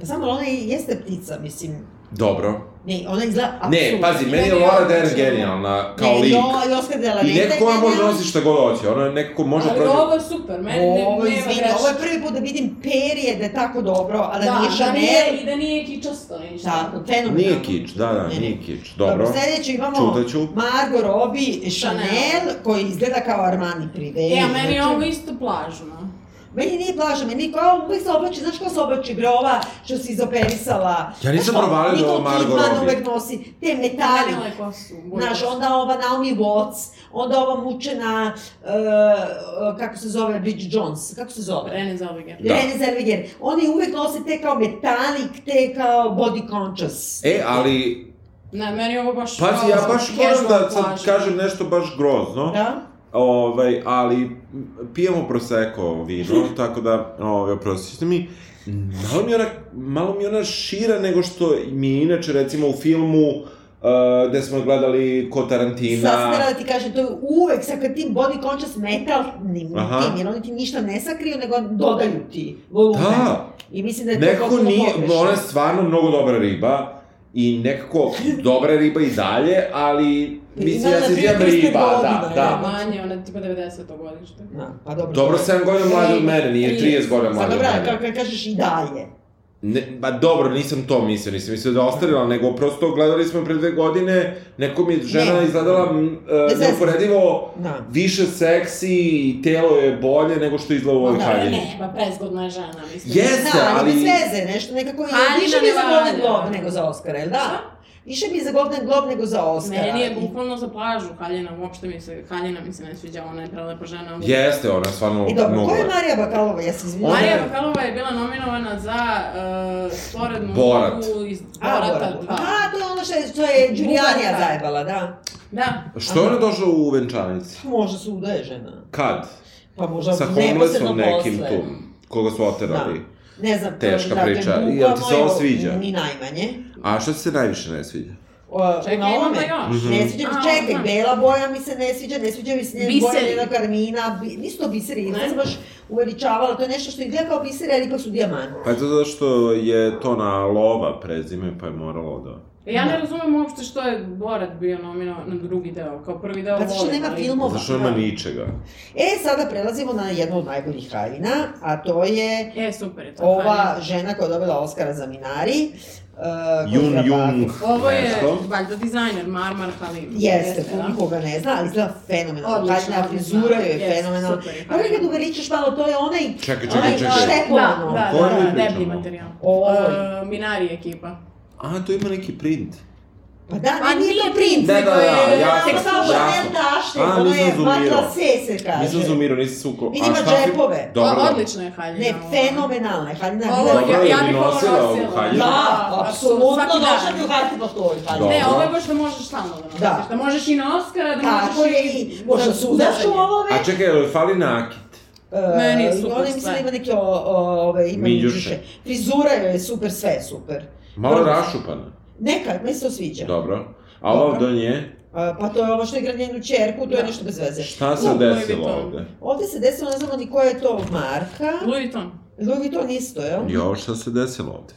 Speaker 2: Pa samo ona i jeste ptica, mislim.
Speaker 1: Dobro.
Speaker 2: Ne, ona izgleda
Speaker 1: Ne,
Speaker 2: apsolutno.
Speaker 1: pazi, meni je Laura Dern genijalna, kao
Speaker 2: Ne,
Speaker 1: lik.
Speaker 2: I ova i Oscar de la Renta
Speaker 1: I nekako ona može
Speaker 2: genijalna.
Speaker 1: nositi šta god hoće, ona nekako može
Speaker 4: Ali
Speaker 1: prođe...
Speaker 4: ovo je super, meni ne,
Speaker 2: Ovo,
Speaker 4: nema
Speaker 2: izvini, ovo je prvi put da vidim perije da je tako dobro, a da, nije
Speaker 4: da
Speaker 2: Chanel. Da,
Speaker 4: nije, i da nije kičasto ništa.
Speaker 2: Tako, fenomenalno.
Speaker 1: Nije kič, da, da,
Speaker 2: Ne.
Speaker 1: nije kič, dobro.
Speaker 2: Sljedeće imamo
Speaker 1: Čutaću.
Speaker 2: Margot Robbie, Chanel,
Speaker 4: Chanel.
Speaker 2: koji izgleda kao Armani Privé.
Speaker 4: E, a meni je
Speaker 2: znači-
Speaker 4: ovo isto plažno.
Speaker 2: Meni nije plaža, meni je kao, uvek se oblači, znaš ko se oblači, bre, ova što si izoperisala.
Speaker 1: Ja nisam
Speaker 2: Znaš,
Speaker 1: provalio da je ovo
Speaker 2: Nicole
Speaker 1: Margot
Speaker 2: Kidman
Speaker 1: Robbie.
Speaker 2: uvek nosi te metali.
Speaker 4: Menjala je kosu. bolje
Speaker 2: Da, Znaš,
Speaker 4: kosu.
Speaker 2: onda ova Naomi Watts, onda ova mučena, e, e, kako se zove, Bridget Jones, kako se zove?
Speaker 4: Rene Zellweger.
Speaker 1: Da.
Speaker 2: Rene Zellweger. Oni uvek nose te kao metalik, te kao body conscious.
Speaker 1: E, ali,
Speaker 4: Ne, meni je ovo baš...
Speaker 1: pazi,
Speaker 4: kao
Speaker 1: ja baš moram
Speaker 4: casual
Speaker 1: da sad
Speaker 4: plažno.
Speaker 1: kažem nešto baš grozno.
Speaker 2: Da?
Speaker 1: Ovaj, ali pijemo proseko vino, tako da, ovaj, oprostite mi. Malo mi, ona, malo mi ona šira nego što mi je inače, recimo, u filmu uh, gde smo gledali ko Tarantina.
Speaker 2: Sad sam htjela da ti kažem, to je uvek sa kad tim body conscious metalnim
Speaker 1: Aha.
Speaker 2: tim, jer oni ti ništa ne sakriju, nego dodaju ti volumen.
Speaker 1: Da,
Speaker 2: I mislim da je to
Speaker 1: nekako
Speaker 2: potpuno
Speaker 1: nije,
Speaker 2: pogrešno.
Speaker 1: ona je stvarno mnogo dobra riba i nekako dobra riba i dalje, ali mislim,
Speaker 2: Ima,
Speaker 1: ja
Speaker 2: na
Speaker 1: se
Speaker 2: primjer,
Speaker 1: izvijem
Speaker 2: 35
Speaker 1: riba, da,
Speaker 2: godina,
Speaker 1: da.
Speaker 4: Manje, ona je tipa 90. godište.
Speaker 2: Da, pa dobro.
Speaker 1: Dobro, 7 godina mlađa od mene, nije 30 godina
Speaker 2: Sad
Speaker 1: mlađa od
Speaker 2: dobra,
Speaker 1: mene.
Speaker 2: kako kažeš i dalje.
Speaker 1: Ne, ba dobro, nisam to mislio, nisam mislio da je ostarila, nego prosto gledali smo pre dve godine, neko mi je žena
Speaker 2: Ne.
Speaker 1: izgledala m, e,
Speaker 2: zezam.
Speaker 1: neuporedivo
Speaker 2: Da.
Speaker 1: više seksi i telo je bolje nego što izgleda u ovoj
Speaker 4: Da,
Speaker 1: haljini.
Speaker 4: ne, pa prezgodna je žena, mislim.
Speaker 1: Jeste,
Speaker 2: Da, ali, bez
Speaker 1: ali-
Speaker 2: veze, nešto nekako je,
Speaker 4: Haljina
Speaker 2: više mi je
Speaker 4: ne
Speaker 2: za Golden
Speaker 4: valja.
Speaker 2: Globe nego za Oscara, jel da? Više mi je za Golden Globe nego za Oscara.
Speaker 4: Meni je
Speaker 2: I-
Speaker 4: bukvalno za plažu haljina, uopšte mi se, haljina mi se ne sviđa, ona je prelepa žena.
Speaker 1: Jeste, ona je stvarno
Speaker 2: I E, dobro,
Speaker 1: mnogo
Speaker 2: ko je
Speaker 1: lepa.
Speaker 2: Marija Bakalova, ja se izvinjam.
Speaker 1: Ona
Speaker 4: Marija
Speaker 1: je-
Speaker 4: Bakalova je bila nominovana za uh, sporednu
Speaker 1: Borat.
Speaker 4: ulogu iz
Speaker 2: A,
Speaker 4: Borata
Speaker 2: Borat.
Speaker 4: 2.
Speaker 2: A, to je ono što je, što je Giulianija
Speaker 4: Bugarska.
Speaker 2: zajebala, da. Pa
Speaker 4: Da,
Speaker 1: Što je ona došla u venčanici?
Speaker 2: Možda se udaje žena.
Speaker 1: Kad?
Speaker 2: Pa možda
Speaker 1: Sa
Speaker 2: neposredno
Speaker 1: homelessom nekim
Speaker 2: posle. Da.
Speaker 1: tu, koga su oterali.
Speaker 2: Ne znam,
Speaker 1: Teška
Speaker 2: dakle,
Speaker 1: priča. Jel ti
Speaker 2: bukvalno
Speaker 1: se ovo
Speaker 2: je o-
Speaker 1: sviđa?
Speaker 2: Ni najmanje.
Speaker 1: A što ti se najviše ne sviđa?
Speaker 2: O,
Speaker 4: Čekaj,
Speaker 2: na
Speaker 4: imamo
Speaker 2: ovome.
Speaker 4: još.
Speaker 1: Mhm.
Speaker 2: Ne sviđa mi,
Speaker 4: A,
Speaker 2: čekaj,
Speaker 4: aha.
Speaker 2: bela boja mi se ne sviđa, ne sviđa mi se ne boja
Speaker 4: Biseri.
Speaker 2: Nena Karmina, bi, nisu to biseri,
Speaker 4: Ne.
Speaker 2: ne sam baš uveličavala, to je nešto što izgleda kao biseri, ali ipak su dijamanti.
Speaker 1: Pa je to zato što je to na lova prezime, pa je moralo da...
Speaker 4: Ja ne razumem uopšte što je Borat bio nominovan na drugi deo, kao prvi deo
Speaker 2: Pa zato što
Speaker 4: volim,
Speaker 2: nema
Speaker 4: ali-
Speaker 2: filmova.
Speaker 1: Zašto nema ničega?
Speaker 2: E, sada prelazimo na jednu od najboljih haljina, a to je
Speaker 4: E, super je to.
Speaker 2: ova žena koja je dobila Oscara za Minari. Uh,
Speaker 1: Jun Jung
Speaker 4: Ovo je,
Speaker 1: nešto.
Speaker 4: valjda, dizajner, Marmar Halim.
Speaker 2: Jeste,
Speaker 4: da.
Speaker 2: puno koga ne zna, ali izgleda fenomenalno.
Speaker 4: Odlično,
Speaker 2: Haljina,
Speaker 4: odlično.
Speaker 2: frizura joj je
Speaker 4: Jeste,
Speaker 2: fenomenalna.
Speaker 4: super je
Speaker 2: Pa vi kad
Speaker 4: haljina.
Speaker 2: uveličaš malo, to je onaj...
Speaker 1: E, Čekaj, čekaj,
Speaker 2: onaj
Speaker 1: čekaj.
Speaker 2: štepo, ono.
Speaker 4: Da,
Speaker 1: O kojoj
Speaker 4: da,
Speaker 1: mi
Speaker 4: da,
Speaker 1: pričamo?
Speaker 4: deblji materijal.
Speaker 2: Oj.
Speaker 4: E, Minari ekipa.
Speaker 1: A, tu ima neki print.
Speaker 2: Pa da,
Speaker 4: Pa
Speaker 2: ne, nije to
Speaker 4: nije
Speaker 2: princ,
Speaker 4: princ, Da, da,
Speaker 2: nego
Speaker 4: da,
Speaker 2: je
Speaker 4: jasno,
Speaker 2: seksualno
Speaker 4: jasno.
Speaker 2: Chanel tašte,
Speaker 1: A,
Speaker 2: ono je
Speaker 1: nisam
Speaker 2: matla
Speaker 1: zoomirao.
Speaker 2: se se kaže.
Speaker 1: Nisam zoomirao, nisam se uko...
Speaker 2: Vidi, ima džepove.
Speaker 1: Dobro,
Speaker 4: O,
Speaker 1: dobro.
Speaker 4: odlična je haljina.
Speaker 2: Ne,
Speaker 4: ovo.
Speaker 2: fenomenalna je haljina.
Speaker 4: Ovo,
Speaker 2: bila-
Speaker 1: Dobro,
Speaker 4: ja,
Speaker 1: je
Speaker 4: ja
Speaker 1: bi
Speaker 4: bih ovo
Speaker 1: nosila
Speaker 4: nosila.
Speaker 1: ovu haljinu.
Speaker 2: Da, apsolutno
Speaker 4: svaki dan.
Speaker 2: došla bi u pa hajte po toj haljini.
Speaker 1: Dobro.
Speaker 4: Ne, ovo je baš da možeš stalno da nosiš.
Speaker 2: Da.
Speaker 4: Da. možeš i na Oscara, da
Speaker 2: Tako
Speaker 4: možeš
Speaker 2: je
Speaker 4: i...
Speaker 2: i možda sudaš u ovome.
Speaker 1: A čekaj, jel fali nakit?
Speaker 2: E,
Speaker 4: Meni je super
Speaker 2: Ona mislim
Speaker 4: sve.
Speaker 2: da ima neke o, o, ove, ima
Speaker 1: Miljuše.
Speaker 2: miljuše. Frizura joj je super, sve je super.
Speaker 1: Malo
Speaker 2: Dobro.
Speaker 1: rašupana.
Speaker 2: Neka, meni se to sviđa.
Speaker 1: Dobro. A ova
Speaker 2: Dobro.
Speaker 1: do nje,
Speaker 2: A, pa to je ovo što igra njenu čerku,
Speaker 1: Da.
Speaker 2: to je nešto bez veze.
Speaker 1: šta se
Speaker 4: Louis
Speaker 1: desilo
Speaker 4: Vuitton.
Speaker 1: ovde?
Speaker 2: Ovde se desilo, ne znamo ni koja je to marka.
Speaker 4: Louis Vuitton.
Speaker 2: Louis Vuitton isto, jel?
Speaker 1: I ovo šta se desilo ovde?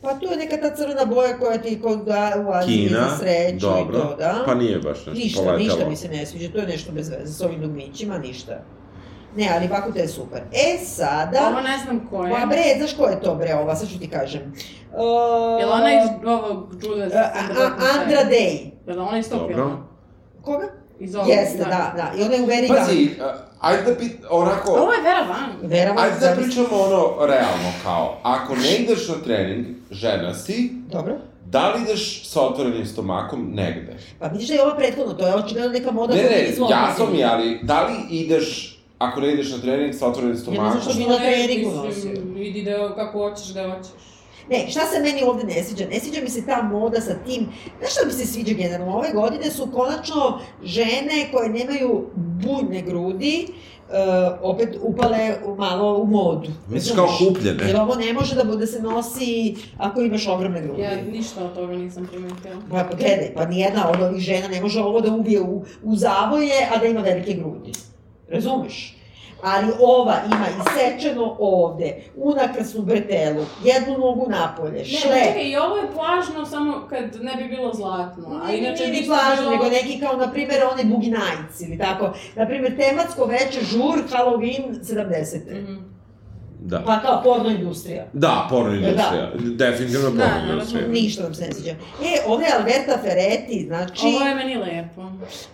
Speaker 2: Pa to je neka ta crvena boja koja ti kod da, u Aziji
Speaker 1: Kina,
Speaker 2: za sreću
Speaker 1: dobro,
Speaker 2: i to, da.
Speaker 1: pa nije baš nešto
Speaker 2: ništa,
Speaker 1: poletelo.
Speaker 2: ništa mi se ne sviđa, to je nešto bez veze, s ovim dugmićima, ništa. Ne, ali Bakute je super. E,
Speaker 4: Ovo
Speaker 2: sada...
Speaker 4: ne znam ko je.
Speaker 2: Pa bre, znaš ko je to bre ova, sad ću ti kažem. Uh,
Speaker 4: Jel ona iz ovog Judas?
Speaker 2: A, a, Andra Day.
Speaker 4: Jel ona iz tog
Speaker 1: Dobro.
Speaker 4: filma?
Speaker 2: Koga?
Speaker 4: Iz ovog,
Speaker 2: Jeste, da, da. I ona je u Veri
Speaker 1: Pazi, a, ajde da pit, onako...
Speaker 4: Ovo je Vera Van.
Speaker 2: Vera Van,
Speaker 1: Ajde da
Speaker 2: zamisli.
Speaker 1: pričamo ono realno kao, ako ne ideš na trening, žena si,
Speaker 2: Dobro.
Speaker 1: da li ideš sa otvorenim stomakom negde?
Speaker 2: Pa vidiš da je ova prethodno, to je očigledno neka moda.
Speaker 1: Ne,
Speaker 2: koju mi
Speaker 1: ne,
Speaker 2: izvolimo.
Speaker 1: jasno mi, je, ali da li ideš, ako ne ideš na trening sa otvorenim stomakom?
Speaker 2: što bi na treningu nosio.
Speaker 12: Vidi da kako hoćeš da hoćeš.
Speaker 2: Ne, šta se meni ovde ne sviđa? Ne sviđa mi se ta moda sa tim... Znaš šta mi se sviđa generalno? Ove godine su konačno žene koje nemaju bujne grudi, uh, opet upale u- malo u modu.
Speaker 1: Misliš kao kupljene?
Speaker 2: Jer ovo ne može da bude se nosi ako imaš ogromne grudi.
Speaker 12: Ja ništa od toga nisam primetila.
Speaker 2: Pa pa gledaj, pa nijedna od ovih žena ne može ovo da ubije u, u zavoje, a da ima velike grudi. Razumeš? Ali ova ima isečeno ovde, unakrasnu bretelu, jednu nogu napolje,
Speaker 12: Ne,
Speaker 2: šlep.
Speaker 12: čekaj, i ovo je plažno samo kad ne bi bilo zlatno. A inače
Speaker 2: nije ni
Speaker 12: ništa
Speaker 2: plaža,
Speaker 12: bilo-
Speaker 2: nego neki kao, na primjer, one buginajci ili tako. Na primjer, tematsko veče, žur, Halloween, 70.
Speaker 12: Mhm.
Speaker 1: Da.
Speaker 2: Pa kao porno industrija.
Speaker 1: Da, porno industrija. Definitivno
Speaker 4: Da,
Speaker 1: porno
Speaker 4: naravno.
Speaker 1: industrija.
Speaker 2: Ništa nam se ne sviđa. E, ovde je Alberta Ferretti, znači...
Speaker 12: Ovo je meni lepo.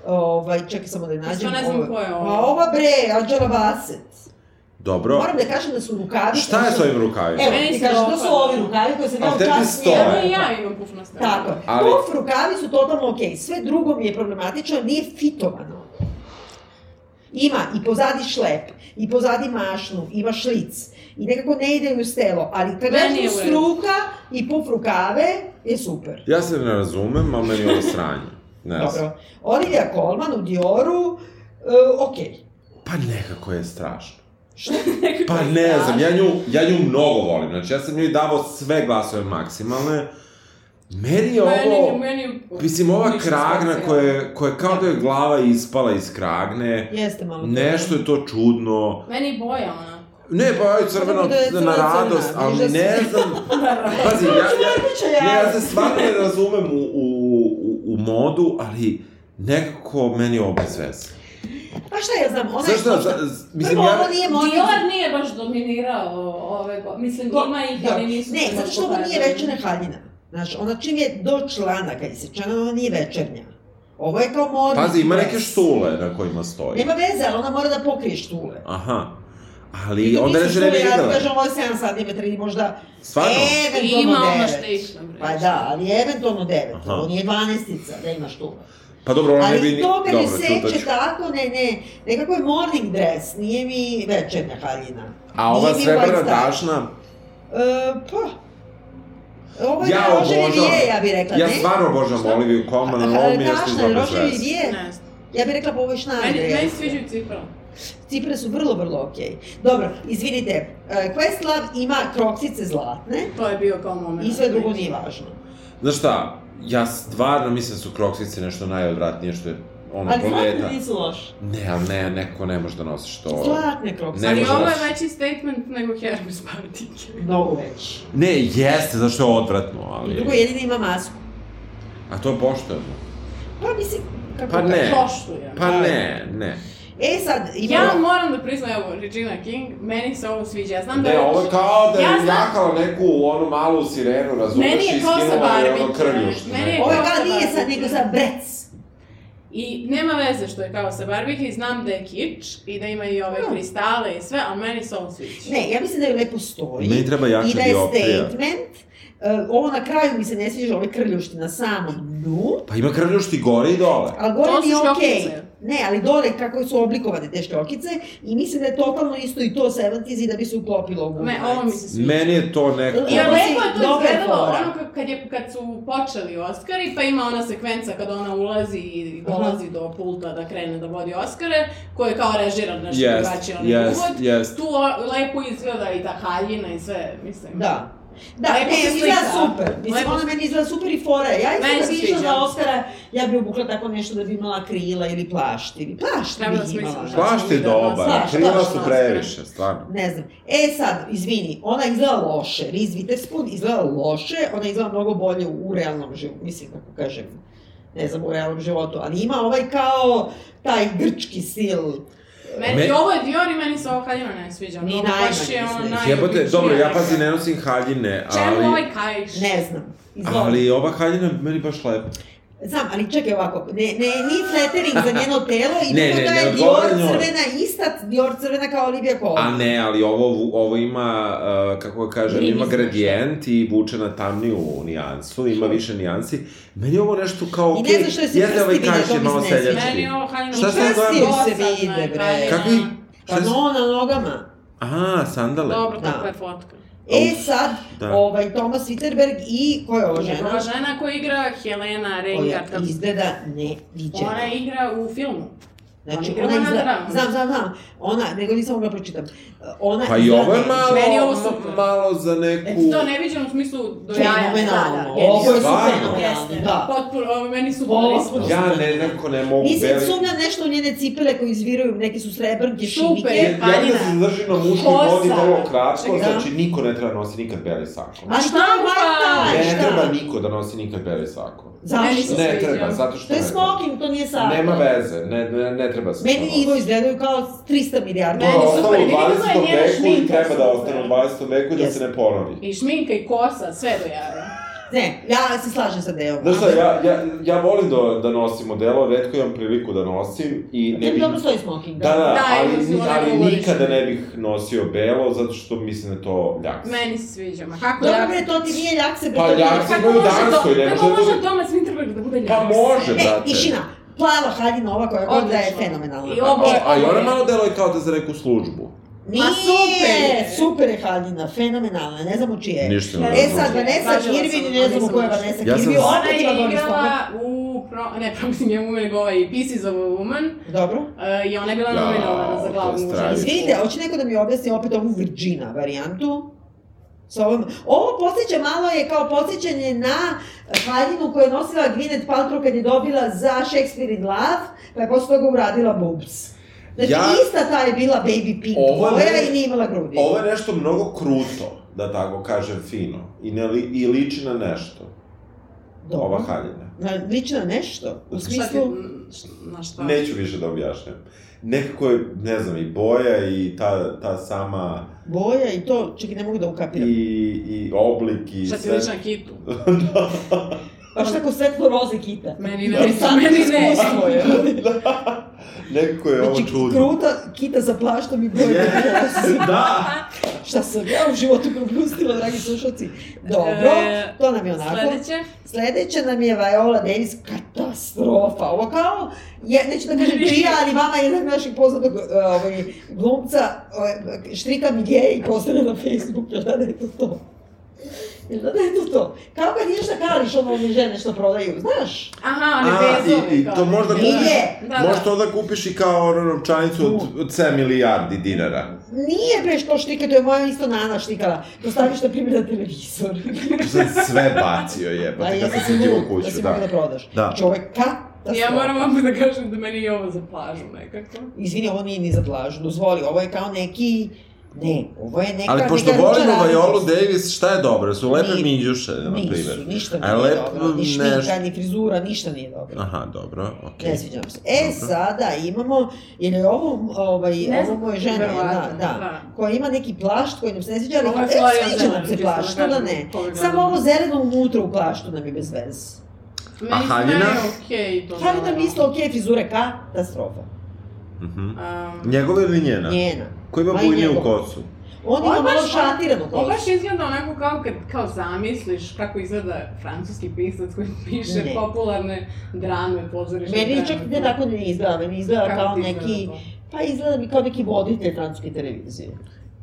Speaker 2: Ovaj, čekaj samo da je nađem.
Speaker 12: Isto ne znam
Speaker 2: ovo.
Speaker 12: ko je ovo.
Speaker 2: Pa ova bre, Angela Bassett.
Speaker 1: Dobro.
Speaker 2: Moram da kažem da su rukavi...
Speaker 1: Šta je s ovim rukavima?
Speaker 2: Evo,
Speaker 12: Meni
Speaker 2: ti
Speaker 12: se
Speaker 2: kažem, to
Speaker 12: dopada.
Speaker 2: su ovi rukavi koji sam ja
Speaker 1: A
Speaker 2: u
Speaker 1: tebi
Speaker 2: čast
Speaker 1: stoje.
Speaker 12: Evo
Speaker 2: njela.
Speaker 12: i ja imam pufna strana. [LAUGHS]
Speaker 2: Tako,
Speaker 1: Ali-
Speaker 2: Ali... puf rukavi su totalno okej, sve drugo mi je problematično, nije fitovano. Ima i pozadi šlep, i pozadi mašnu, ima šlic, i nekako ne ide uz telo, ali
Speaker 12: Meni je u
Speaker 2: trenutno
Speaker 12: redu.
Speaker 2: struka i puf rukave je super.
Speaker 1: Ja se ne razumem, ali meni je ovo sranje. Ne znam.
Speaker 2: Dobro. Olivia Colman u Dioru, e, okej.
Speaker 1: Pa nekako je strašno.
Speaker 2: Što?
Speaker 1: Pa ne znam, ja nju, ja nju mnogo volim. Znači, ja sam njoj davao sve glasove maksimalne. Meni je
Speaker 12: Meni,
Speaker 1: ovo...
Speaker 12: meni...
Speaker 1: Mislim, ova
Speaker 12: ništa
Speaker 1: kragna
Speaker 12: specijalno.
Speaker 1: koja je, koja je kao da je glava ispala iz kragne,
Speaker 2: Jeste malo.
Speaker 1: nešto je to čudno.
Speaker 12: Meni je boja onako.
Speaker 1: Ne, pa je crveno
Speaker 2: Da je crna,
Speaker 1: na radost,
Speaker 2: crna,
Speaker 1: ali
Speaker 2: bliže
Speaker 1: ne
Speaker 2: se.
Speaker 1: znam...
Speaker 2: [LAUGHS]
Speaker 1: Pazi, ja, ja,
Speaker 2: Biće
Speaker 1: Ne, ja
Speaker 2: ja.
Speaker 1: se stvarno ne razumem u, u, u, u modu, ali nekako meni je ovo bez veze.
Speaker 2: Pa šta ja znam, ona je...
Speaker 1: Znaš šta,
Speaker 2: Zašto?
Speaker 1: za, z- mislim, ja...
Speaker 2: ovo nije moda.
Speaker 12: Dior nije baš dominirao ove godine. Mislim,
Speaker 2: To-
Speaker 12: ima ih,
Speaker 2: da.
Speaker 12: ali nisu...
Speaker 2: Ne,
Speaker 12: se
Speaker 2: zato
Speaker 12: baš
Speaker 2: što ovo nije
Speaker 12: pokazali.
Speaker 2: večernja haljina. Znaš, ona čim je do članaka isečena, ona nije večernja. Ovo je kao modni
Speaker 1: Pazi, ima
Speaker 2: dres.
Speaker 1: neke štule na kojima stoji.
Speaker 2: Nema veze, ali ona mora da pokrije štule.
Speaker 1: Aha. Ali onda ne žene
Speaker 2: ne Ja
Speaker 1: videla.
Speaker 2: ti kažem, "E, ovo je 7 cm i možda
Speaker 1: Stvarno?
Speaker 12: I
Speaker 2: eventualno
Speaker 12: ima ono
Speaker 2: 9.
Speaker 12: štejšna, bre.
Speaker 2: Pa da, ali eventualno 9.
Speaker 1: Aha.
Speaker 2: Ovo nije 12-ica da ima štule.
Speaker 1: Pa dobro, ona ne bi...
Speaker 2: Ali
Speaker 1: ni-
Speaker 2: to kad
Speaker 1: Dobro,
Speaker 2: mi seče
Speaker 1: čutaću.
Speaker 2: tako, ne, ne, nekako je morning dress, nije mi večernja haljina.
Speaker 1: A ova
Speaker 2: Nije mi
Speaker 1: srebrna
Speaker 2: white tie.
Speaker 1: dašna,
Speaker 2: E, pa, ovo je
Speaker 1: Ja
Speaker 2: ja roževi
Speaker 1: obožavam.
Speaker 2: vije, ja bih rekla,
Speaker 1: ja
Speaker 2: ne?
Speaker 1: stvarno obožavam
Speaker 2: Šta?
Speaker 1: Oliviju Colman, ali ovo mi je nešto
Speaker 2: Tašna,
Speaker 1: izgleda bez
Speaker 2: roževi
Speaker 1: veze.
Speaker 2: vije,
Speaker 4: Ne znam.
Speaker 2: ja bih rekla po ovoj šnari.
Speaker 4: Meni, meni se sviđaju cipela.
Speaker 2: Cipre su vrlo, vrlo okej. Dobro, izvinite, e, Questlove ima kroksice zlatne
Speaker 4: To je bio kao moment.
Speaker 2: i sve drugo nije važno.
Speaker 1: Znaš šta, ja stvarno mislim da su kroksice nešto najodvratnije što je ono
Speaker 2: Ali
Speaker 1: planeta.
Speaker 2: zlatne nisu loše.
Speaker 1: Ne, ali ne, neko ne može da nosiš to.
Speaker 2: Zlatne kroksice.
Speaker 1: Ne
Speaker 4: Ali
Speaker 1: može
Speaker 4: ovo
Speaker 1: baš.
Speaker 4: je veći statement nego Hermes patike.
Speaker 2: Mnogo već.
Speaker 1: Ne, jeste, zašto je odvratno,
Speaker 2: I
Speaker 1: ali...
Speaker 2: drugo, jedini ima masku.
Speaker 1: A to poštujemo.
Speaker 2: Pa mislim, kako
Speaker 1: Pa ne.
Speaker 4: Poštujem.
Speaker 1: Pa ne, ne.
Speaker 2: E sad, ima...
Speaker 4: Ja moram da priznam, evo, Regina King, meni se ovo sviđa. Ja znam da...
Speaker 1: Ne, ovo je kao da je
Speaker 4: Ja znam-
Speaker 1: jakala neku onu malu sirenu, razumeš,
Speaker 4: Meni je kao sa
Speaker 1: iskinula je ono
Speaker 4: Barbie.
Speaker 1: krvljušte.
Speaker 4: Meni je
Speaker 1: neko.
Speaker 2: Ovo je
Speaker 4: Ovo
Speaker 2: kao
Speaker 4: sad
Speaker 2: nije sad,
Speaker 4: važno.
Speaker 2: nego sad brec.
Speaker 4: I nema veze što je kao sa Barbike i znam da je kič i da ima i ove
Speaker 2: Mm.
Speaker 4: kristale i sve, ali meni se ovo sviđa.
Speaker 2: Ne, ja mislim da ju lepo stoji.
Speaker 1: Meni treba jača
Speaker 2: I da je
Speaker 1: dioptrija.
Speaker 2: statement. E, ovo na kraju mi se ne sviđa, ove krljušti na samom dnu.
Speaker 1: Pa ima krvljušti gore i dole.
Speaker 2: Ali gore
Speaker 4: To
Speaker 2: mi je
Speaker 4: su
Speaker 2: okej.
Speaker 4: šljokice.
Speaker 2: Ne, ali dole kako su oblikovane te šljokice i mislim da je totalno isto i to 70s i da bi se uklopilo u
Speaker 4: Ne, ovo mi se sviđa.
Speaker 1: Meni je to neko...
Speaker 2: Ja,
Speaker 4: Ja
Speaker 2: Ovo
Speaker 4: lepo je
Speaker 2: si-
Speaker 4: to
Speaker 2: dobra je
Speaker 4: izgledalo
Speaker 2: fora.
Speaker 4: ono kad, kad, je, kad su počeli Oscari, pa ima ona sekvenca kada ona ulazi i
Speaker 2: Mhm.
Speaker 4: dolazi do pulta da krene da vodi Oscare, koja je kao režiran nešto yes,
Speaker 1: Jest,
Speaker 4: drugačiji onaj
Speaker 1: jest,
Speaker 4: uvod.
Speaker 1: jest.
Speaker 4: Tu o, lepo izgleda i ta haljina i sve, mislim.
Speaker 2: Da. Da,
Speaker 4: Lepo
Speaker 2: ne,
Speaker 4: se
Speaker 2: izgleda
Speaker 4: slika.
Speaker 2: super. Mislim,
Speaker 4: Lepo
Speaker 2: ona meni izgleda super i fora. je. Ja i
Speaker 4: Meni
Speaker 2: sad kad
Speaker 4: se
Speaker 2: bi išla
Speaker 4: sviđa.
Speaker 2: za Oscara, ja bi obukla tako nešto da bi imala krila ili plašt. Ili plašt
Speaker 4: Treba da
Speaker 2: bi imala.
Speaker 4: smisliš.
Speaker 1: Plašt je dobar,
Speaker 2: Slaš,
Speaker 1: krila
Speaker 2: slaš,
Speaker 1: su
Speaker 2: slaš,
Speaker 1: previše, stvarno.
Speaker 2: Ne znam. E sad, izvini, ona izgleda loše. Reese Witherspoon izgleda loše, ona izgleda mnogo bolje u, u realnom životu, mislim, kako kažem, ne znam, u realnom životu, ali ima ovaj kao taj grčki stil.
Speaker 4: Meni
Speaker 1: Me-
Speaker 4: i ovo je Dior i meni se ovo haljina ne sviđa.
Speaker 2: Ni
Speaker 4: Ni
Speaker 2: najmanje
Speaker 4: baš je
Speaker 2: mi se
Speaker 4: ono
Speaker 2: ne
Speaker 4: naj...
Speaker 2: sviđa.
Speaker 1: Jebote, dobro, ja pazi ne nosim haljine,
Speaker 4: Čemu
Speaker 1: ali...
Speaker 4: ovaj kajš?
Speaker 2: Ne znam. Izvoli.
Speaker 1: Ali ova haljina je meni baš lepa.
Speaker 2: Znam, ali čekaj ovako, ne, ne, ni flattering za njeno telo i
Speaker 1: Ne,
Speaker 2: ne,
Speaker 1: ne,
Speaker 2: drugo da
Speaker 1: ne
Speaker 2: je Dior
Speaker 1: odgovara njoj.
Speaker 2: crvena ista, Dior crvena kao Olivia Colman.
Speaker 1: A ne, ali ovo, ovo ima, uh, kako ga kažem,
Speaker 2: Grimis
Speaker 1: ima
Speaker 2: nešto.
Speaker 1: gradijent i vuče na tamniju nijansu, ima više nijansi. Meni je ovo nešto kao,
Speaker 2: I ne
Speaker 1: okej,
Speaker 2: znaš što je se
Speaker 1: jeste ovaj
Speaker 2: prsti vide,
Speaker 1: kaš
Speaker 2: to
Speaker 1: je
Speaker 2: mi
Speaker 1: malo
Speaker 2: se ne sviđa.
Speaker 1: seljački.
Speaker 4: Meni je ovo haljina...
Speaker 1: Šta se
Speaker 4: Dosadna
Speaker 1: zove?
Speaker 4: je
Speaker 2: Se vide, bre.
Speaker 4: haljina.
Speaker 1: Kakvi?
Speaker 2: Pa
Speaker 1: Šta si-
Speaker 2: no, na nogama.
Speaker 1: Aha, sandale.
Speaker 4: Dobro,
Speaker 2: Da.
Speaker 4: takva je fotka.
Speaker 2: E sad,
Speaker 1: Da.
Speaker 2: ovaj, Thomas Witterberg i ko je ova žena?
Speaker 4: Ova žena koja igra Helena
Speaker 2: Koja
Speaker 4: Reingart, kako se
Speaker 2: izgleda neviđena.
Speaker 4: Ona igra u filmu.
Speaker 2: Znači,
Speaker 4: Ona
Speaker 2: ona
Speaker 4: igra na
Speaker 2: izgleda...
Speaker 4: dramu.
Speaker 2: Znam, znam, znam. Ona, nego nisam mogla pročitam. Ona
Speaker 1: Pa i
Speaker 2: izgleda
Speaker 1: ovo je
Speaker 2: neviđena.
Speaker 4: Meni je ovo
Speaker 1: malo,
Speaker 4: super.
Speaker 1: ma- malo za neku...
Speaker 4: To ne vidim u smislu do jaja.
Speaker 2: Fenomenalno.
Speaker 4: Da, da,
Speaker 2: Ovo je
Speaker 1: Stvarno?
Speaker 2: fenomenalno, da.
Speaker 4: Potpuno, ovo meni su
Speaker 2: Ovo
Speaker 4: boli
Speaker 2: smo-
Speaker 1: Ja ne, nekako ne mogu
Speaker 2: Nisam
Speaker 1: beli-
Speaker 2: sumnja nešto u njene cipele koje izviraju, neke su srebrnke,
Speaker 4: Super.
Speaker 2: šivike.
Speaker 1: Jer ja da se
Speaker 4: Haljina.
Speaker 1: zadrži na muškoj
Speaker 4: Kosa.
Speaker 1: modi vrlo kratko,
Speaker 4: Čekaj,
Speaker 2: da.
Speaker 1: znači niko ne treba nosi nikad beli sako.
Speaker 2: Ali
Speaker 4: Šta
Speaker 2: šta je
Speaker 4: pa?
Speaker 2: valjda?
Speaker 1: Ne
Speaker 2: šta?
Speaker 1: treba niko da nosi nikad beli sako.
Speaker 4: Meni
Speaker 2: Zašto?
Speaker 4: se
Speaker 1: Ne
Speaker 4: sviđa.
Speaker 1: treba, zato što
Speaker 2: To je
Speaker 1: ne treba.
Speaker 2: smoking, to nije sad.
Speaker 1: Nema veze, ne, ne, ne treba se
Speaker 2: Meni
Speaker 1: to
Speaker 2: Ivo
Speaker 1: nositi.
Speaker 2: izgledaju kao 300 milijardi.
Speaker 1: To je
Speaker 4: Meni su
Speaker 1: ostalo u
Speaker 4: super, vidimo da je
Speaker 1: 20.
Speaker 4: njena
Speaker 1: veku i
Speaker 4: šminka
Speaker 1: treba da
Speaker 4: super.
Speaker 1: ostane u 20. veku i da se
Speaker 2: Jeste.
Speaker 1: ne ponovi.
Speaker 4: I šminka i kosa, sve do jaja.
Speaker 2: Ne, ja se slažem sa Deom.
Speaker 1: Znaš šta, Da, ja, ja, ja volim da, da nosim odelo, redko imam priliku da nosim i ne
Speaker 2: Tebi
Speaker 1: bih...
Speaker 2: dobro stoji smoking,
Speaker 1: Da, da,
Speaker 4: Da,
Speaker 1: ali,
Speaker 4: imam
Speaker 1: ni-
Speaker 4: svoje
Speaker 1: ali
Speaker 4: govorište.
Speaker 1: nikada ne bih nosio belo, zato što mislim da je to ljaks.
Speaker 4: Meni se sviđa, ma kako
Speaker 2: Dobro
Speaker 4: ja...
Speaker 2: bre, to ti E, nije ljak
Speaker 1: Pa ljak se
Speaker 4: Kako
Speaker 1: imaju u
Speaker 4: može
Speaker 1: Danskoj,
Speaker 4: to-
Speaker 1: ne
Speaker 4: kako
Speaker 1: može da
Speaker 4: može
Speaker 1: bude...
Speaker 4: Thomas Winterberg da bude
Speaker 1: Pa
Speaker 4: ljaks?
Speaker 1: može,
Speaker 2: Ne,
Speaker 1: brate.
Speaker 2: tišina. Plava haljina ova koja god da je
Speaker 4: Odlično.
Speaker 2: fenomenalna.
Speaker 4: I ovo-
Speaker 1: A, a i ona malo deluje kao da za neku službu.
Speaker 2: Nije,
Speaker 4: Ma, super je.
Speaker 2: super je haljina, fenomenalna, ne znamo čije je.
Speaker 1: Ništa ne
Speaker 2: E
Speaker 1: znam.
Speaker 2: sad, Vanessa
Speaker 4: Pažila sam,
Speaker 2: Kirvin,
Speaker 4: ali
Speaker 2: ne znamo
Speaker 4: nisam
Speaker 2: ko je
Speaker 4: našla.
Speaker 2: Vanessa
Speaker 1: Ja sam-
Speaker 2: Kirvin,
Speaker 4: Ona
Speaker 1: da
Speaker 2: opet ima
Speaker 4: je
Speaker 2: dobri spomen.
Speaker 4: igrala u, pro, ne, Promising Young Woman, nego ovaj Pieces of a Woman,
Speaker 2: Dobro.
Speaker 4: e, i ona je bila
Speaker 1: Jao,
Speaker 4: nominovana
Speaker 1: to
Speaker 4: za
Speaker 1: je
Speaker 4: glavnu
Speaker 1: strašno.
Speaker 4: žensku.
Speaker 2: Izvinite, hoće neko da mi objasni opet ovu Virgina varijantu? Sa ovom... Ovo podsjeća malo je kao podsjećanje na haljinu koju je nosila Gwyneth Paltrow kad je dobila za Shakespeare in Love, pa je posle toga uradila boobs. Znači,
Speaker 1: Ja-
Speaker 2: ista ta je bila baby pink
Speaker 1: Ovo je
Speaker 2: boja
Speaker 1: meni-
Speaker 2: i nije imala grudi.
Speaker 1: Ovo je nešto mnogo kruto, da tako kažem fino, i, ne li, i liči na nešto,
Speaker 2: Dobro.
Speaker 1: ova haljina.
Speaker 2: Na, liči na nešto, u
Speaker 4: Šta ti,
Speaker 2: smislu...
Speaker 4: na šta?
Speaker 1: Neću više da objašnjam. Nekako je, ne znam, i boja i ta, ta sama,
Speaker 2: Boja i to, čekaj, ne mogu da ukapiram.
Speaker 1: i, i oblik i
Speaker 4: Šta ti liči na
Speaker 1: [LAUGHS]
Speaker 4: kitu?
Speaker 2: Baš tako svetlo roze kita.
Speaker 4: Meni ne,
Speaker 2: Interesantno
Speaker 4: meni ne.
Speaker 2: iskustvo
Speaker 1: [LAUGHS]
Speaker 2: je.
Speaker 1: da, nekako je ovo
Speaker 2: Znači,
Speaker 1: čudno.
Speaker 2: kruta kita za plaštom i boja roze.
Speaker 1: [LAUGHS] da!
Speaker 2: Šta sam ja u životu propustila, dragi slušalci? Dobro,
Speaker 4: E,
Speaker 2: to nam je onako.
Speaker 4: Sledeće?
Speaker 2: Sledeća nam je Viola Davis, katastrofa. Ovo kao, je, neću da kažem
Speaker 4: [LAUGHS]
Speaker 2: čija, ali mama je jedan naših poznatog e, ovaj, glumca, ovaj, štrika mi gej i postane na Facebooku, jel da da je to to? Jel da da je to to? Kao kad ideš na kališ ono one žene što prodaju, znaš?
Speaker 4: Aha, one
Speaker 1: A,
Speaker 4: bezove.
Speaker 1: i, i
Speaker 4: kao.
Speaker 1: to možda
Speaker 2: Nije.
Speaker 1: kupiš,
Speaker 4: Da, da.
Speaker 1: možda onda kupiš i kao ono novčanicu od, od 7 milijardi dinara.
Speaker 2: Nije bre što štika, to je moja isto Nana štikala. To staviš na primjer na televizor. Pa
Speaker 1: To sam sve bacio pa jebate, kad sam siđe u
Speaker 2: da
Speaker 1: kuću,
Speaker 2: si mogla da
Speaker 1: da.
Speaker 2: prodaš.
Speaker 1: Da.
Speaker 2: Čovek, katastrofa.
Speaker 4: Ja moram vam da kažem da meni je ovo za plažu nekako.
Speaker 2: Izvini, ovo nije ni za plažu, dozvoli, ovo je kao neki... Ne, ovo je neka...
Speaker 1: Ali pošto
Speaker 2: neka
Speaker 1: volimo
Speaker 2: ručaradica.
Speaker 1: Vajolu Davis, šta je dobro? Su lepe
Speaker 2: Ni-
Speaker 1: minđuše, na primer.
Speaker 2: Nisu, ništa
Speaker 1: A
Speaker 2: nije
Speaker 1: lep-
Speaker 2: dobro, ni šminka,
Speaker 1: nešto.
Speaker 2: ni frizura, ništa nije dobro.
Speaker 1: Aha, dobro, okej.
Speaker 2: Ne sviđa nam se. E,
Speaker 1: Dobro.
Speaker 2: sada imamo, jer je ovo, ovaj,
Speaker 4: Ne
Speaker 2: ovo
Speaker 4: znam,
Speaker 2: moje žene, da,
Speaker 4: verovatno,
Speaker 2: da, koja ima neki plašt koji nam se ne sviđa, ali
Speaker 4: Ovo je
Speaker 2: e,
Speaker 4: Florian
Speaker 2: sviđa nam
Speaker 4: Zeman,
Speaker 2: se
Speaker 4: čisto da
Speaker 2: plašt, što
Speaker 4: kažem,
Speaker 2: da ne.
Speaker 4: to je
Speaker 2: Samo
Speaker 4: glavno.
Speaker 2: ovo zeleno unutra u plaštu nam je bez veze.
Speaker 4: Meni A
Speaker 1: haljina?
Speaker 4: haljina? Okej, to.
Speaker 2: Hvala nam isto, okej, frizure, katastrofa.
Speaker 1: Mhm.
Speaker 4: Um,
Speaker 1: Njegova ili njena?
Speaker 2: Njena.
Speaker 1: Koji ima
Speaker 2: Ma i
Speaker 1: bujniju
Speaker 2: njegov.
Speaker 1: kosu?
Speaker 2: On
Speaker 4: Ovo
Speaker 2: ima
Speaker 4: je baš-
Speaker 2: malo šatiranu
Speaker 4: ovo
Speaker 2: kosu.
Speaker 4: baš izgleda onako kao kad kao zamisliš kako izgleda francuski pisac koji piše
Speaker 2: Ne.
Speaker 4: popularne drame, pozorišne
Speaker 2: Meni
Speaker 4: drame.
Speaker 2: čak ne tako da ne izgleda, meni izgleda
Speaker 4: Kako
Speaker 2: kao
Speaker 4: ti izgleda
Speaker 2: neki...
Speaker 4: to?
Speaker 2: Pa izgleda mi kao neki voditelj francuske televizije.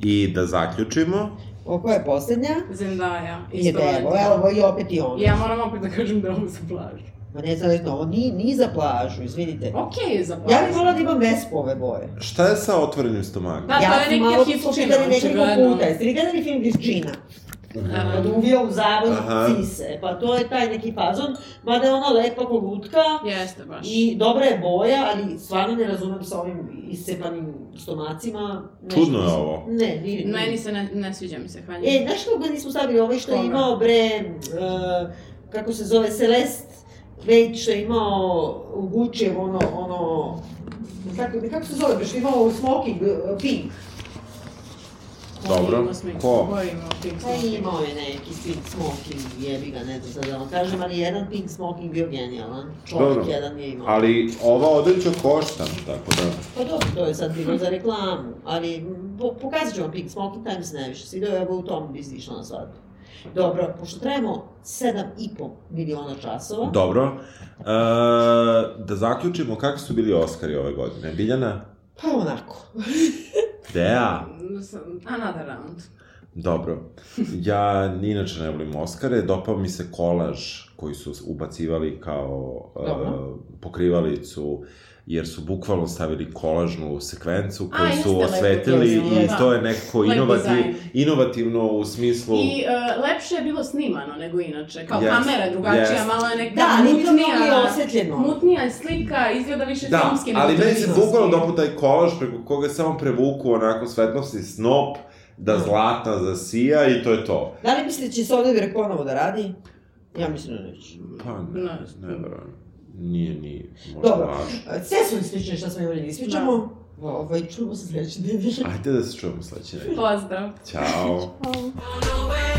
Speaker 1: I da zaključimo,
Speaker 2: O, koja je poslednja?
Speaker 4: Zendaya,
Speaker 2: Je
Speaker 4: isto
Speaker 2: Devo,
Speaker 4: valjda.
Speaker 2: evo i opet i ona.
Speaker 4: Ja moram opet da kažem da je ovo za plažu.
Speaker 2: Ma ne znam, to, ovo ni, ni za plažu, izvinite.
Speaker 4: Okej je za plažu.
Speaker 2: Ja bih volila da imam vespu ove boje.
Speaker 1: šta je sa otvorenim stomakom?
Speaker 4: Da, to
Speaker 2: ja
Speaker 4: je
Speaker 2: sam
Speaker 4: neka
Speaker 2: malo da
Speaker 4: hitčina,
Speaker 2: pitanje nekoliko
Speaker 4: očigledno.
Speaker 2: puta. Jeste li gledali film Virgina? Kad uvija u zavod
Speaker 1: Aha.
Speaker 2: cise. Pa to je taj neki fazon. Mada je ona lepa kolutka
Speaker 4: Jeste baš.
Speaker 2: i dobra je boja, ali stvarno ne razumem sa ovim iscepanim stomacima. Nešto
Speaker 13: Čudno je
Speaker 2: mislim-
Speaker 13: ovo.
Speaker 2: Ne, nije. nije.
Speaker 4: Meni se ne, ne sviđa mi se, hvala.
Speaker 2: E, znaš kako ga nismo stavili ovaj što je
Speaker 14: Koga?
Speaker 2: imao bre, e, kako se zove, Celest, već što je imao u Guccijev ono, ono, kako, kako se zove, bre, što je imao smoking, e, pink.
Speaker 1: Dobro. Ko?
Speaker 2: Pa imao je neki pink smoking, jebi ga, ne znam sad da vam kažem, ali jedan pink smoking bio genijalan. Čovjek
Speaker 1: Dobro.
Speaker 2: jedan je imao.
Speaker 1: Ali ova odeća košta, tako da...
Speaker 2: Pa dobro, to je sad bilo za reklamu, ali m, po, pokazat ću vam Pink Smoking Times najviše. Svidao je ovo u tom bi išla na svadbu. Dobro, pošto trebamo 7,5 miliona časova,
Speaker 1: Dobro. E, da zaključimo, kakvi su bili Oskari ove godine? Biljana?
Speaker 2: pa onako.
Speaker 1: Dea?
Speaker 4: Another round.
Speaker 1: Dobro. Ja ni inače ne volim Oskare, dopao mi se kolaž koji su ubacivali kao e,
Speaker 2: Dobro.
Speaker 1: pokrivalicu jer su bukvalno stavili kolažnu sekvencu
Speaker 14: A,
Speaker 1: koju
Speaker 14: jeste,
Speaker 1: su
Speaker 14: lepo
Speaker 1: osvetili
Speaker 14: je bilo,
Speaker 1: i
Speaker 14: da.
Speaker 1: to je nekako
Speaker 14: Lep
Speaker 1: inovati,
Speaker 14: dizajn.
Speaker 1: inovativno u smislu...
Speaker 4: I e, lepše je bilo snimano nego inače. Kao
Speaker 1: Yes.
Speaker 4: kamera je drugačija,
Speaker 1: Yes.
Speaker 4: malo je neka
Speaker 2: Da, ali to
Speaker 4: mutnija,
Speaker 2: mnogo je osvetljeno.
Speaker 4: mutnija je slika, izgleda više
Speaker 1: Da,
Speaker 4: filmski. nego
Speaker 1: ali meni se
Speaker 4: televizorski.
Speaker 1: bukvalno dopao taj kolaž preko koga je samo prevuku onako svetlosni snop da zlata zasija i to je to.
Speaker 2: Da li mislite da će se Oliver ponovo da radi? Ja mislim da neće.
Speaker 1: Pa ne,
Speaker 4: Ne.
Speaker 1: ne, verujem. Nije, nije, možda
Speaker 2: Dobro.
Speaker 1: važno.
Speaker 2: Sve su ispričane šta smo imali da ispričamo. Ovaj, čujemo se sljedeći nedelje.
Speaker 1: [LAUGHS] Ajde da se čujemo sledeće nedelje.
Speaker 4: Pozdrav.
Speaker 1: Ćao.
Speaker 15: Away.